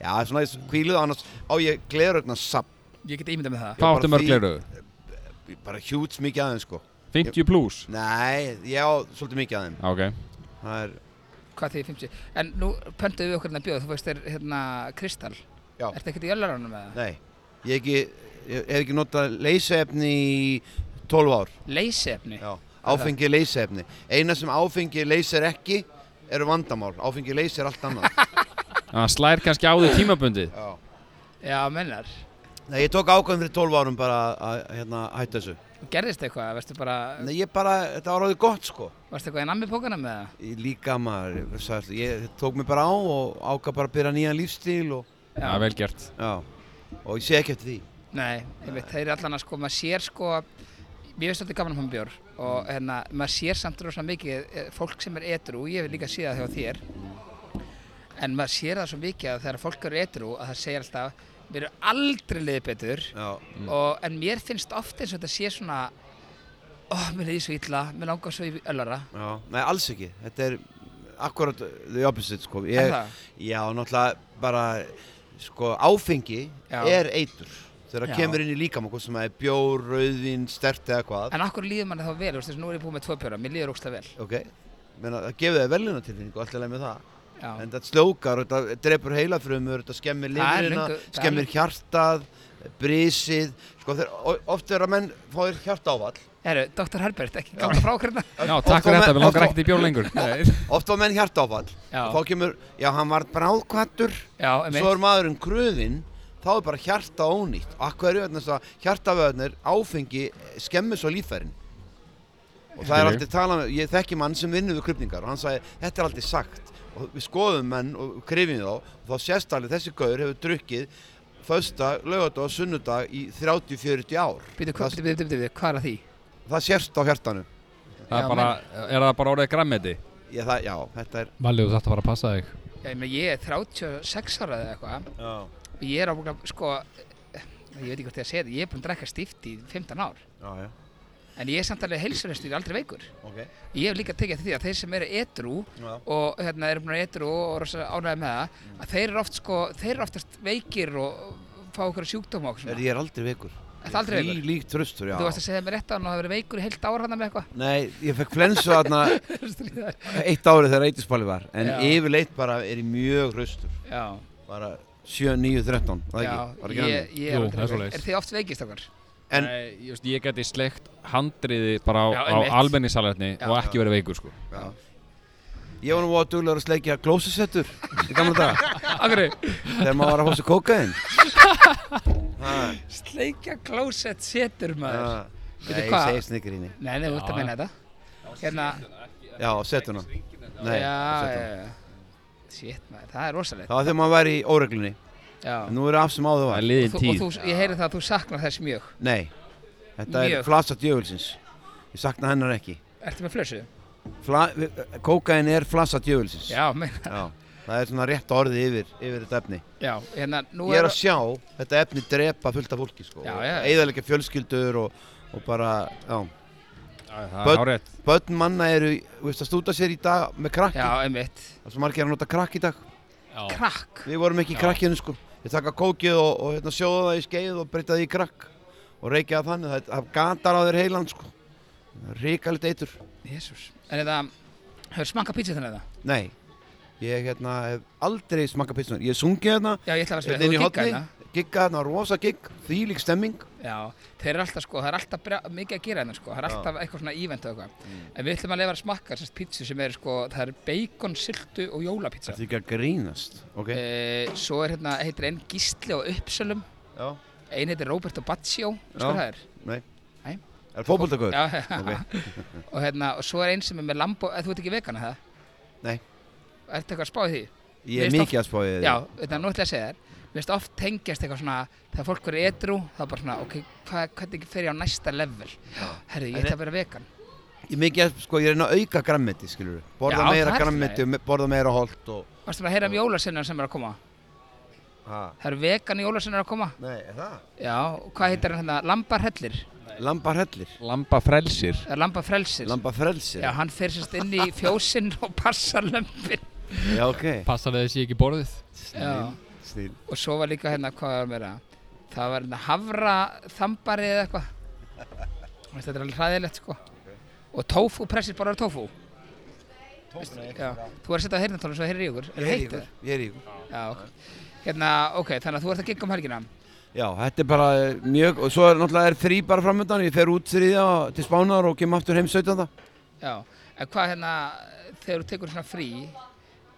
Speaker 1: Já, svona ég kvíluð annars á ég glerugna sapp
Speaker 2: Ég get ímyndað með það.
Speaker 4: hvað
Speaker 1: bara
Speaker 4: áttu mörg
Speaker 1: því-
Speaker 4: glerugur?
Speaker 1: bara hjúts mikið aðeins sko
Speaker 4: 50 pluss?
Speaker 1: Nei, ég á svolítið mikið aðeins
Speaker 4: ok,
Speaker 1: Það er,
Speaker 2: Hvað þið 50? En nú pöntuðu við okkur hérna bjóð, þú veist þér hérna kristall.
Speaker 1: Já.
Speaker 2: Ertu ekkert í öllaránum með það?
Speaker 1: nei Ég, ekki, ég hef ekki notað leyseefni í 12 ár
Speaker 2: Leysefni?
Speaker 1: Já. Áfengi er leyseefni Eina sem áfengi leysir ekki eru vandamál Áfengi leysir allt annað
Speaker 4: það slær kannski á því tímabundið
Speaker 1: Já.
Speaker 2: Já, mennar.
Speaker 1: Nei, ég tók ákvæðum fyrir 12 árum bara að hérna, hætta þessu
Speaker 2: Gerðist eitthvað, varstu bara,
Speaker 1: Nei, ég bara, þetta var orðið gott sko
Speaker 2: varstu eitthvað í nammi pókana með það?
Speaker 1: Ég Líka maður, sagði, ég tók mig bara á og ákvað bara að byrja nýjan lífstíl og,
Speaker 4: já, vel gert
Speaker 1: já. og ég sé ekki eftir því
Speaker 2: Nei, einmitt, þeir eru allan að sko, maður sér sko, mér finnst alltaf gaman að fá mér bjór og hérna, maður sér samt rosa mikið eh, fólk sem er edru, ég hef líka séð það hjá þér en maður sér það svo mikið að þegar fólk eru edru að það segir alltaf, mér eru aldrei liðið betur
Speaker 1: Já,
Speaker 2: og, en mér finnst oft eins og þetta sé svona ó, mér liði svo illa, mér langar svo í öllara
Speaker 1: já. Nei, alls ekki Þetta er akkurat the opposite sko
Speaker 2: Er
Speaker 1: ég,
Speaker 2: það?
Speaker 1: Já, náttúrulega bara sko áfengi
Speaker 2: Já.
Speaker 1: er eitur þegar
Speaker 2: Já.
Speaker 1: það kemur inn í líkam okkur sem er bjór, rauðin, stert eða hvað
Speaker 2: en akkur líður manni þá vel, þú veist, þess að nú er ég búið með tvo bjóra mér líður ógstlega vel
Speaker 1: Ok, Meina, það gefur það velunartilfinningu alltaf leið með það
Speaker 2: já,
Speaker 1: en þetta sljókar, þetta drepur heilafrumur þetta skemmir
Speaker 2: Það er
Speaker 1: lifrina,
Speaker 2: löngu- það er
Speaker 1: skemmir hjartað brísið sko, þeir, oft er að menn fáir hjartáfall
Speaker 2: Herru, Dr. Herbert, ekki ganga frá okkur hérna
Speaker 4: já,
Speaker 1: Og
Speaker 4: takk
Speaker 1: þó
Speaker 4: fyrir þetta,
Speaker 1: með-
Speaker 4: við langar
Speaker 1: og þó-
Speaker 4: ekkert í bjór lengur já,
Speaker 1: oft fá menn hjartáfall
Speaker 2: Já.
Speaker 1: þá kemur, já hann var bráðkvættur
Speaker 2: já,
Speaker 1: svo
Speaker 2: einmitt,
Speaker 1: er maðurinn kröfinn þá er bara hjarta ónýtt akkur er þetta að hjartavöðnir áfengi skemmir svo líffærin og það er
Speaker 4: Skilju.
Speaker 1: aldrei talað með, ég þekki mann sem vinnur við krupningar og hann sagði, þetta er aldrei sagt og við skoðum menn og krifjum þá og þá sést alveg þessi gaur hefur drukkið fösta, laugardag og sunnudag í 30-40 ár
Speaker 2: býtu,
Speaker 1: það,
Speaker 2: hvað býtu, býtu, býtu, hvað er að því?
Speaker 1: það sést á hjartanu
Speaker 4: það
Speaker 2: Já,
Speaker 4: er bara, er það bara orðið grammeti?
Speaker 1: ég, það, já, þetta er
Speaker 3: Valli, þú þarft að fara að passa þig
Speaker 2: Já, ég, meina, ég er 36 ára eða eitthvað
Speaker 1: já,
Speaker 2: og ég er ábúinlega, sko, ég veit ekki hvort ég að segja þetta, ég er búinn að drekka stíft í 15 ár.
Speaker 1: já, já,
Speaker 2: En ég er samt alveg heilsurhestur, ég er aldrei veikur.
Speaker 1: ok
Speaker 2: Ég hef líka tekið eftir því að þeir sem eru edru
Speaker 1: já,
Speaker 2: og hérna eru búin að vera edru og rosa ánægði með það, að þeir eru oft, sko, þeir eru oftast veikir og fá okkur sjúkdóma og okkur
Speaker 1: er,
Speaker 2: svona.
Speaker 1: ég er aldrei veikur
Speaker 2: Ertu aldrei veikur?
Speaker 1: Því líkt tröstur, já
Speaker 2: Þú varst að segja mér rétt á hann og það verið veikur í heilt ára hann með eitthvað.
Speaker 1: Nei, ég fekk flensu þarna
Speaker 2: Stríðar.
Speaker 1: eitt árið þegar eitthysbali var en
Speaker 2: Já.
Speaker 1: yfirleitt bara er ég mjög hraustur
Speaker 2: Já,
Speaker 1: bara 7, 9, 13 var það
Speaker 2: já,
Speaker 1: ekki, var ekki
Speaker 2: ég, ég er aldrei
Speaker 3: Jú, það er
Speaker 2: veikur.
Speaker 3: svoleiðis.
Speaker 2: Er þið oft veikist okkar?
Speaker 1: En-
Speaker 4: Nei, ég, veist, ég geti slegt handriði bara á,
Speaker 2: Já,
Speaker 4: á
Speaker 2: einmitt.
Speaker 4: almenningssalerni
Speaker 2: Já.
Speaker 4: og ekki verið veikur sko.
Speaker 1: þannig ég var nú að duglegur að sleikja glósusettur í gamla daga
Speaker 2: Akkur,
Speaker 1: þegar maður var að hósa kókaðinn
Speaker 2: sleikja klósett setur maður.
Speaker 1: Nei,
Speaker 2: Veitu
Speaker 1: ég
Speaker 2: hvað?
Speaker 1: segi sniggrinni
Speaker 2: Nei, nei, þú ert að meina þetta. Hérna,
Speaker 1: Já, setuna Nei,
Speaker 2: já, já,
Speaker 1: setuna
Speaker 2: já. Shit, maður, það er rosalegt.
Speaker 1: um. Það var þegar maður var í óreglunni
Speaker 2: Já.
Speaker 1: en Nú er af sem áður
Speaker 4: Það er
Speaker 1: var
Speaker 2: Og
Speaker 4: liðin
Speaker 2: þú, og
Speaker 4: tíð
Speaker 2: þú, ég heyri það að þú saknar þess mjög.
Speaker 1: Nei, þetta
Speaker 2: Mjög.
Speaker 1: er flasa djöfulsins Ég sakna hennar ekki
Speaker 2: Ertu með flössu?
Speaker 1: Fla, Kókaðinn er flasa djöfulsins
Speaker 2: Já, meina,
Speaker 1: Já, það er svona rétt orðið yfir, yfir þetta efni
Speaker 2: já, hérna, nú
Speaker 1: Ég er að sjá þetta efni drepa fullt af fólki sko,
Speaker 2: Já,
Speaker 1: og
Speaker 2: já, já.
Speaker 1: eyðileggja fjölskyldur og, og bara, já,
Speaker 4: Það
Speaker 1: Börn-
Speaker 4: er hárétt
Speaker 1: börn manna eru, þú veist, að stúta sér í dag með krakki,
Speaker 2: Já, einmitt.
Speaker 1: það er svo margir að nota krakk í dag,
Speaker 3: Já,
Speaker 2: Krakk.
Speaker 1: við vorum ekki í krakkinu sko, ég taka kókið og, og hérna, sjóða það í skeið og breyta því í krakk og reykja það þannig, það, það gatar á þér heilan sko, ríkalegt eitur,
Speaker 2: Jésús. En þetta, hefur smakað pítsu þannig það?
Speaker 1: nei, ég hérna hef aldrei smakað pítsunar, ég hef sungið hérna,
Speaker 2: Já, ég ætla að vera að
Speaker 1: Hérna inn í
Speaker 2: spila,
Speaker 1: horni?
Speaker 2: þú kikkaði það.
Speaker 1: gigga þarna, rosa gigg, þýlík stemming
Speaker 2: Já, þeir eru alltaf sko, það er alltaf brjá, mikið að gera hérna sko, það er
Speaker 1: Já.
Speaker 2: alltaf eitthvað svona ívent og eitthvað.
Speaker 1: Mm.
Speaker 2: En við ætlum að lefa að smakka sérst pítsu sem er sko, það er bacon, syltu og jólapítsa.
Speaker 1: Þetta er ekki að grínast, ok?
Speaker 2: E, svo er hérna, heitir einn Gísli og Uppsölum,
Speaker 1: Já,
Speaker 2: einn heitir Roberto Baccio, sko
Speaker 1: Já.
Speaker 2: það er.
Speaker 1: nei
Speaker 2: Nei.
Speaker 1: Er fótboltagöður?
Speaker 2: Já,
Speaker 1: Ok,
Speaker 2: og hérna, og svo er einn sem er með lambo, eða þú ert ekki vegana það?
Speaker 1: Nei.
Speaker 2: Ertu eitthvað að spá í því?
Speaker 1: ég er
Speaker 2: Mér
Speaker 1: mikið að spá í því
Speaker 2: Já, hérna, þetta er náttúrulega að segja þér. Mér finnst oft tengjast eitthvað svona, þegar fólk verður edru, þá bara svona, ok, hva, hvernig fer ég á næsta level? Herri, ég
Speaker 1: En
Speaker 2: ætla að vera vegan.
Speaker 1: Ég er mikið að, sko, ég er enn að auka grammeti, skilur Borða
Speaker 2: Já,
Speaker 1: meira
Speaker 2: það er
Speaker 1: grammeti og me- borða meira holt og
Speaker 2: Varstu bara að heyra um jólasinnar sem er að koma?
Speaker 1: ha.
Speaker 2: Það eru vegan jólasinnar að koma?
Speaker 1: Nei, er það?
Speaker 2: Já, og hvað heitir hann hérna? Lambarhellir?
Speaker 1: Lambarhellir
Speaker 5: Lamba frelsir
Speaker 2: Það er lambarfrelsir.
Speaker 1: Lambarfrelsir
Speaker 2: Já, hann fer sérst inn í fjósinn og passar lömpin.
Speaker 1: Já, ok
Speaker 3: Passa við þessi ekki borðið
Speaker 2: Já,
Speaker 1: Snill, snill
Speaker 2: og svo var líka hérna, hvað var meira? Það var hérna havra þambari eða eitthvað. Þú veist, Þetta er alveg hræðilegt, sko. Og tofu, pressir bara á tofu. Tofu, nei. Já, þú er að setja á heyrnartólu svo heyrir í ykkur. Er
Speaker 1: Ég er í
Speaker 2: heitt
Speaker 1: ykkur,
Speaker 2: eða?
Speaker 1: ég er í ykkur
Speaker 2: Já, ok. Hérna, ok, þannig að þú ert að gigga um helgina.
Speaker 1: Já, þetta er bara eh, mjög, og svo er náttúrulega er þrý bara framöndan, ég fer út þriðja til Spánar og kem aftur heim 17.
Speaker 2: Já, en hvað hérna, þegar þú tekur svona frí,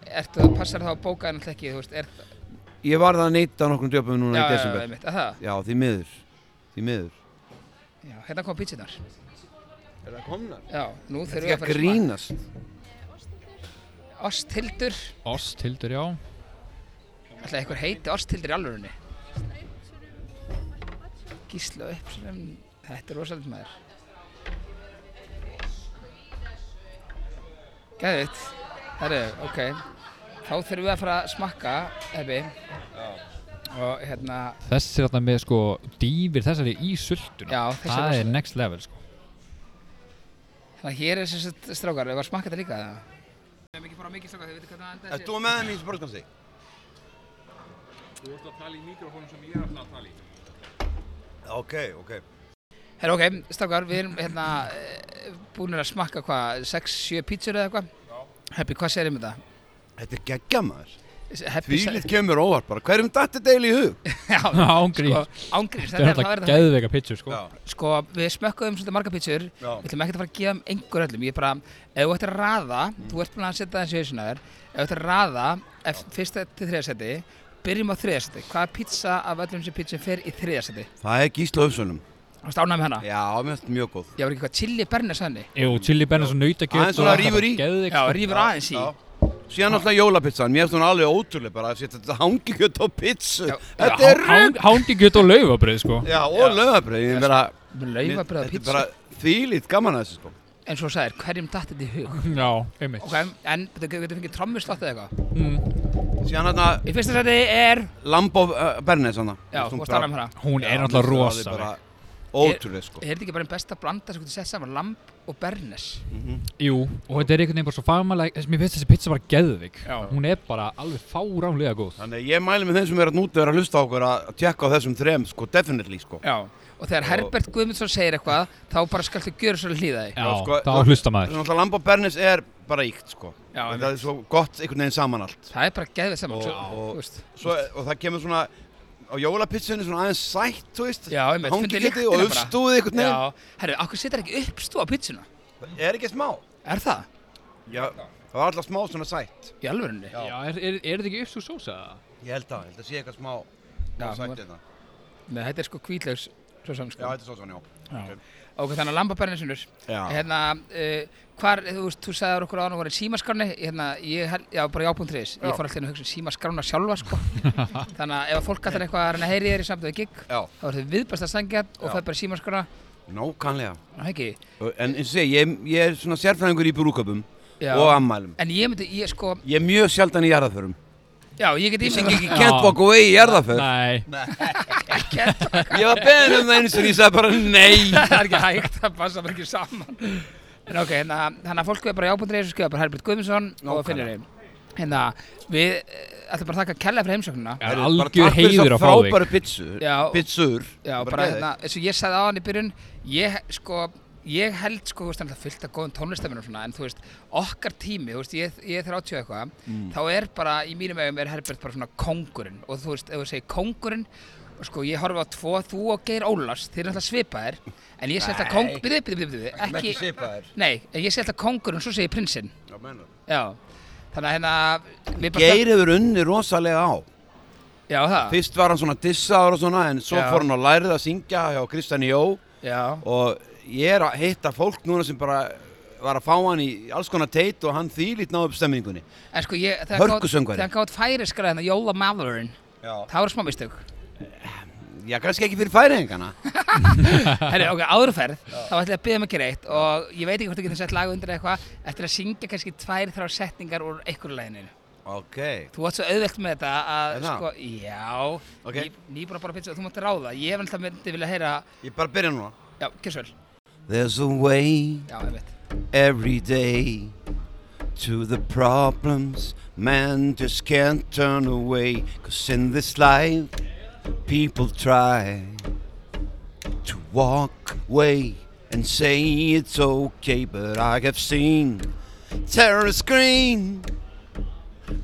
Speaker 2: ertu að passar þá að bóka en alltaf ekki, þú veist, er,
Speaker 1: Ég var það að neyta nokkrum djöpum núna í
Speaker 2: já,
Speaker 1: desember.
Speaker 2: einmitt, að það,
Speaker 1: Já, því miður, því miður.
Speaker 2: já, hérna kom pítsunar,
Speaker 1: Er það komnar?
Speaker 2: já, nú þurfum
Speaker 1: Ekki
Speaker 2: við
Speaker 1: að
Speaker 2: að fara í
Speaker 1: grínast.
Speaker 2: smak. Osthildur,
Speaker 3: Ost, Hildur, já
Speaker 2: alltaf einhver heiti Osthildur í alvörunni. Gísla upp, þetta er rosalega maður. Gæðið, herru, ok, þá þurfum við að fara að smakka, Ebbi, og hérna,
Speaker 3: Þessi er alltaf með sko dýfir þessari í sultuna
Speaker 2: Já, þessi er
Speaker 3: Það er
Speaker 2: rosaleg.
Speaker 3: next level sko
Speaker 2: Þannig að hérna, hér er sem sagt strákar, við varum smakkað þetta líka það. Við erum ekki bara mikið strákar, þið veitir hvernig það
Speaker 1: Er þú með henni í sportkansi?
Speaker 4: Þú ert að tala í mikrofónum sem ég er alltaf að tala í
Speaker 1: Ok, ok.
Speaker 2: Herra ok, strákar, við erum hérna búinir að smakka hvað, 6-7 pítsur eða eitthvað? Já. Heppi, hvað segir um þetta?
Speaker 1: Þetta er geggja maður.
Speaker 2: Heppi,
Speaker 1: Þvílið kemur óvart bara. Hverjum datt þetta eiginlega í hug?
Speaker 2: Já,
Speaker 3: Ángríns
Speaker 2: sko, ángríns,
Speaker 3: Þetta er
Speaker 2: það
Speaker 3: alltaf
Speaker 2: verður það.
Speaker 3: geðveika pitchur sko
Speaker 2: Sko, við smökkuðum svolítið marga pítsur,
Speaker 1: Já.
Speaker 2: við ætlum ekkert að fara að gefa um einhver öllum, ég er bara, ef þú ættir að raða, þú ert búin að setja þessi hausinn að þér, ef þú ættir að raða, ef, fyrsta til þriðarsæti, byrjum á þriðarsæti, hvaða pizza af öllum sem pítsum fer í þriðarsæti?
Speaker 1: Það er Gísla Hufsunum.
Speaker 2: Þú veist ánægð með hana?
Speaker 1: Já, mér finnst þetta mjög góð.
Speaker 2: Ég var ekki eitthvað chili bernes henni.
Speaker 3: Jú, chili bernes og sko. nautakjöt
Speaker 1: Aðeins svona rífur í.
Speaker 2: Já, rýfur aðeins í.
Speaker 1: Síðan náttúrulega jólapizzan. Mér finnst hún alveg ótrúlega bara að setja þetta hangi kjött á pizzu.
Speaker 2: Já.
Speaker 1: Þetta er rögg.
Speaker 3: Hángikjöt og laufabröð sko
Speaker 1: Já, og lögabrið. Ég meina, þetta
Speaker 2: Laufabröða
Speaker 1: er
Speaker 2: pizza.
Speaker 1: bara þvílið gaman að þessu sko.
Speaker 2: En svo sagðir, hverjum datt þetta í hug?
Speaker 3: Já, einmitt
Speaker 2: Ok, en betur getur fengið trommuslátt eða eitthvað?
Speaker 1: Síðan þarna
Speaker 2: Í fyrsta seti er...
Speaker 1: Lambo uh, Bernes hana. Þú
Speaker 2: Já,
Speaker 1: veist,
Speaker 2: þú varst alveg með hana.
Speaker 3: Hún er
Speaker 1: Já,
Speaker 3: náttúrulega
Speaker 1: hún
Speaker 3: rosa
Speaker 1: alveg bara Ótrúlega sko.
Speaker 2: Er þetta ekki bara einn besta blanda sem getur sett saman lamb og bernes?
Speaker 3: Jú, og þetta er einhvern veginn bara svo fagmælega Mér finnst þessi pizza bara geðveik
Speaker 2: Já.
Speaker 3: Hún er bara alveg fáránlega góð
Speaker 1: Þannig að ég mæli með þeim sem er að núti að vera að hlusta á okkur að tjekka á þessum þrem, sko, definitely, sko.
Speaker 2: Já. Og þegar Herbert Guðmundsson segir eitthvað, þá bara skaltu gjöra svo hlýða þig.
Speaker 3: Já,
Speaker 1: sko,
Speaker 3: það var hlusta maður
Speaker 1: Þannig að Lambo Bernis er bara íkt, sko.
Speaker 2: Já,
Speaker 1: En
Speaker 2: einmitt.
Speaker 1: það er svo gott einhvern veginn saman allt.
Speaker 2: Það er bara geðvið saman,
Speaker 1: Og-
Speaker 2: svo,
Speaker 1: og-
Speaker 2: þú veist.
Speaker 1: Svo, og það kemur svona á jólapitsunni svona aðeins sætt, þú veist.
Speaker 2: Já, einmitt,
Speaker 1: Hangi
Speaker 2: fundið
Speaker 1: geti
Speaker 2: lyktina
Speaker 1: og
Speaker 2: bara.
Speaker 1: uppstúði einhvern
Speaker 2: Já,
Speaker 1: veginn.
Speaker 2: herru, okkur setur ekki uppstú á pizzuna?
Speaker 1: Er ekki smá?
Speaker 2: Er það?
Speaker 1: Já, það var alltaf smá svona sætt.
Speaker 2: Í alvörunni?
Speaker 1: Já.
Speaker 3: Já, er, er, er þetta ekki uppsúr sósa?
Speaker 1: Ég held að, ég held að sé eitthvað smá
Speaker 2: Já,
Speaker 1: sætt
Speaker 2: var-
Speaker 1: þetta.
Speaker 2: Nei, þetta er sko kvítlaus, svo saman
Speaker 1: Já,
Speaker 2: sko.
Speaker 1: þetta er svo svona, já.
Speaker 2: Ok, þannig að lambabernin sinnur.
Speaker 1: Já.
Speaker 2: Hérna, uh, hvar, þú veist, þú sagðið okkur áðan okkur en símaskránni, hérna, ég, hel- já, bara já.is,
Speaker 1: Já.
Speaker 2: ég fór alltaf inn að hugsa um símaskrána sjálfa, sko. þannig að ef að fólk allir eitthvað að reyna að heyri þér í samt og við gig,
Speaker 1: Já,
Speaker 2: þá er þau viðbæsta sangja og
Speaker 1: Já.
Speaker 2: það er bara í símaskrána,
Speaker 1: nákvæmlega.
Speaker 2: er það ekki?
Speaker 1: En eins og segi, ég, ég er svona sérfræðingur í brúköpum
Speaker 2: Já.
Speaker 1: og ammælum.
Speaker 2: En ég myndi, ég sko,
Speaker 1: Ég er mjög sjaldan í jarðarförum.
Speaker 2: já, ég get
Speaker 1: Ég
Speaker 2: ímynd
Speaker 1: syngi ekki Can't Walk Away í jarðarför.
Speaker 3: Nei,
Speaker 1: Ég var beðin um það eins og ég sagði bara nei.
Speaker 2: það er ekki hægt, það passa bara ekki saman. En ok, hérna, þannig að fólk er bara já.is og skrifa bara Herbert Guðmundsson og
Speaker 1: Nákvæmlega.
Speaker 2: finnir þeim. Hérna, við eh, ætlum bara að þakka kella fyrir heimsóknuna.
Speaker 3: er algjör heiður að fá
Speaker 1: Bara takk fyrir þessar
Speaker 3: þig
Speaker 1: frábæru pitsur.
Speaker 2: Já.
Speaker 1: Pitsur.
Speaker 2: Já, bara, hérna, eins og ég sagði á hann í byrjun, ég, sko, ég held, sko, þú veist, hann er fullt af góðum tónlistamennum svona, en þú veist, okkar tími, þú veist, ég, ég er 30 og
Speaker 1: Mm.
Speaker 2: eitthvað, þá er bara, í mínum augum er Herbert bara svona kóngurinn, og þú veist, ef þú segir kóngurinn, Sko, ég horfa á tvo, þú og Geir Ólars, þeir eru alltaf svipaðir, en ég sé alltaf kong...
Speaker 1: Nei.
Speaker 2: Byrðu, byrðu, byrðu, byrðu,
Speaker 1: Ekki
Speaker 2: ekki...
Speaker 1: svipaðir.
Speaker 2: Nei, en ég sé alltaf kongurinn, svo segir prinsinn.
Speaker 1: Já, meinar.
Speaker 2: Já. Þannig að hérna... mér bara-
Speaker 1: Geir hefur unni rosalega á.
Speaker 2: Já, það.
Speaker 1: Fyrst var hann svona dissaður og svona en svo
Speaker 2: Já.
Speaker 1: fór hann að lærið að syngja hjá Kristján Jó
Speaker 2: Já.
Speaker 1: og ég er að hitta fólk núna sem bara var að fá hann í alls konar teit og hann þýlít náðu upp stemningunni.
Speaker 2: En sko, ég... þegar
Speaker 1: Hörkusöngvari.
Speaker 2: gátt- Þegar hann gátt færiskara hérna, Jóla Maðurinn,
Speaker 1: Já.
Speaker 2: það voru smá mistök.
Speaker 1: Já, kannski ekki fyrir færiðingana.
Speaker 2: Herri, ok, áðurferð, þá ætla ég að byrja mig ekki reitt og ég veit ekki hvort þú getur sett lag undir eitthvað eftir að syngja kannski tvær þrjá setningar úr einhverju læginu.
Speaker 1: ok.
Speaker 2: Þú átt svo auðvelt með þetta að,
Speaker 1: Er það?
Speaker 2: sko, já,
Speaker 1: Ok.
Speaker 2: ný, nýbúin að bara pizza og þú mátt ráða. Ég hef alltaf myndi vilja heyra,
Speaker 1: Ég bara byrja núna.
Speaker 2: já, kjörsvel,
Speaker 1: There's a way
Speaker 2: já, ég veit.
Speaker 1: every day to the problems man just can't turn away cause in this life people try to walk away and say it's okay but i have seen terrorist green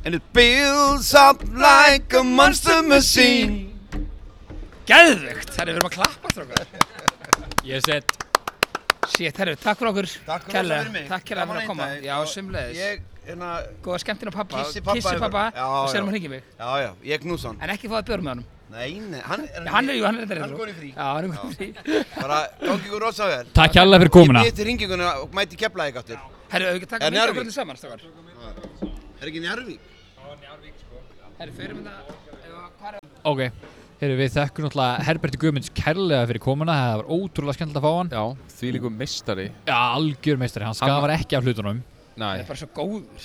Speaker 1: and it builds up like a monster machine
Speaker 2: Gæðvögt, herri, við erum að klappa strókar.
Speaker 3: Ég set
Speaker 2: Shit, herri, takk fyrir okkur. Kærlega. Takk kærlega fyrir að koma. Já, sumleðis.
Speaker 1: ég, er hérna,
Speaker 2: Góða skemmtina pappa,
Speaker 1: Kissi pabba
Speaker 2: kissi
Speaker 1: yfir.
Speaker 2: pappa
Speaker 1: Já,
Speaker 2: og
Speaker 1: já.
Speaker 2: sérum hann hringi mig.
Speaker 1: já, já, ég er knús hann
Speaker 2: En ekki fáið björn með honum.
Speaker 1: Nei, nei, hann,
Speaker 2: Já, hann er, jú, hann er þetta
Speaker 1: Hann er kominn í frí.
Speaker 2: Já, hann er kominn í frí.
Speaker 1: Bara, gangi ykkur rosa vel
Speaker 3: Takk hérlega fyrir komuna
Speaker 1: Ég býði til ringinguna og mæti kepla ekki áttur
Speaker 2: Herri, auðvitað taka
Speaker 1: Er
Speaker 2: mynda
Speaker 1: Njarðvík?
Speaker 2: okkur til saman, strókar.
Speaker 1: Er ekki Njarvík?
Speaker 2: Herri, förum þetta, ef að- hvar er-
Speaker 3: Ok Heyrðu, við þekkum náttúrulega Herberti Guðmunds kærlega fyrir komuna Það var ótrúlega skemmtilegt að fá hann
Speaker 4: Já, því líku mistari
Speaker 3: Já, algjör meistari, hann skafar ekki af hlutunum
Speaker 2: Hann
Speaker 4: Næ,
Speaker 2: er bara svo góður.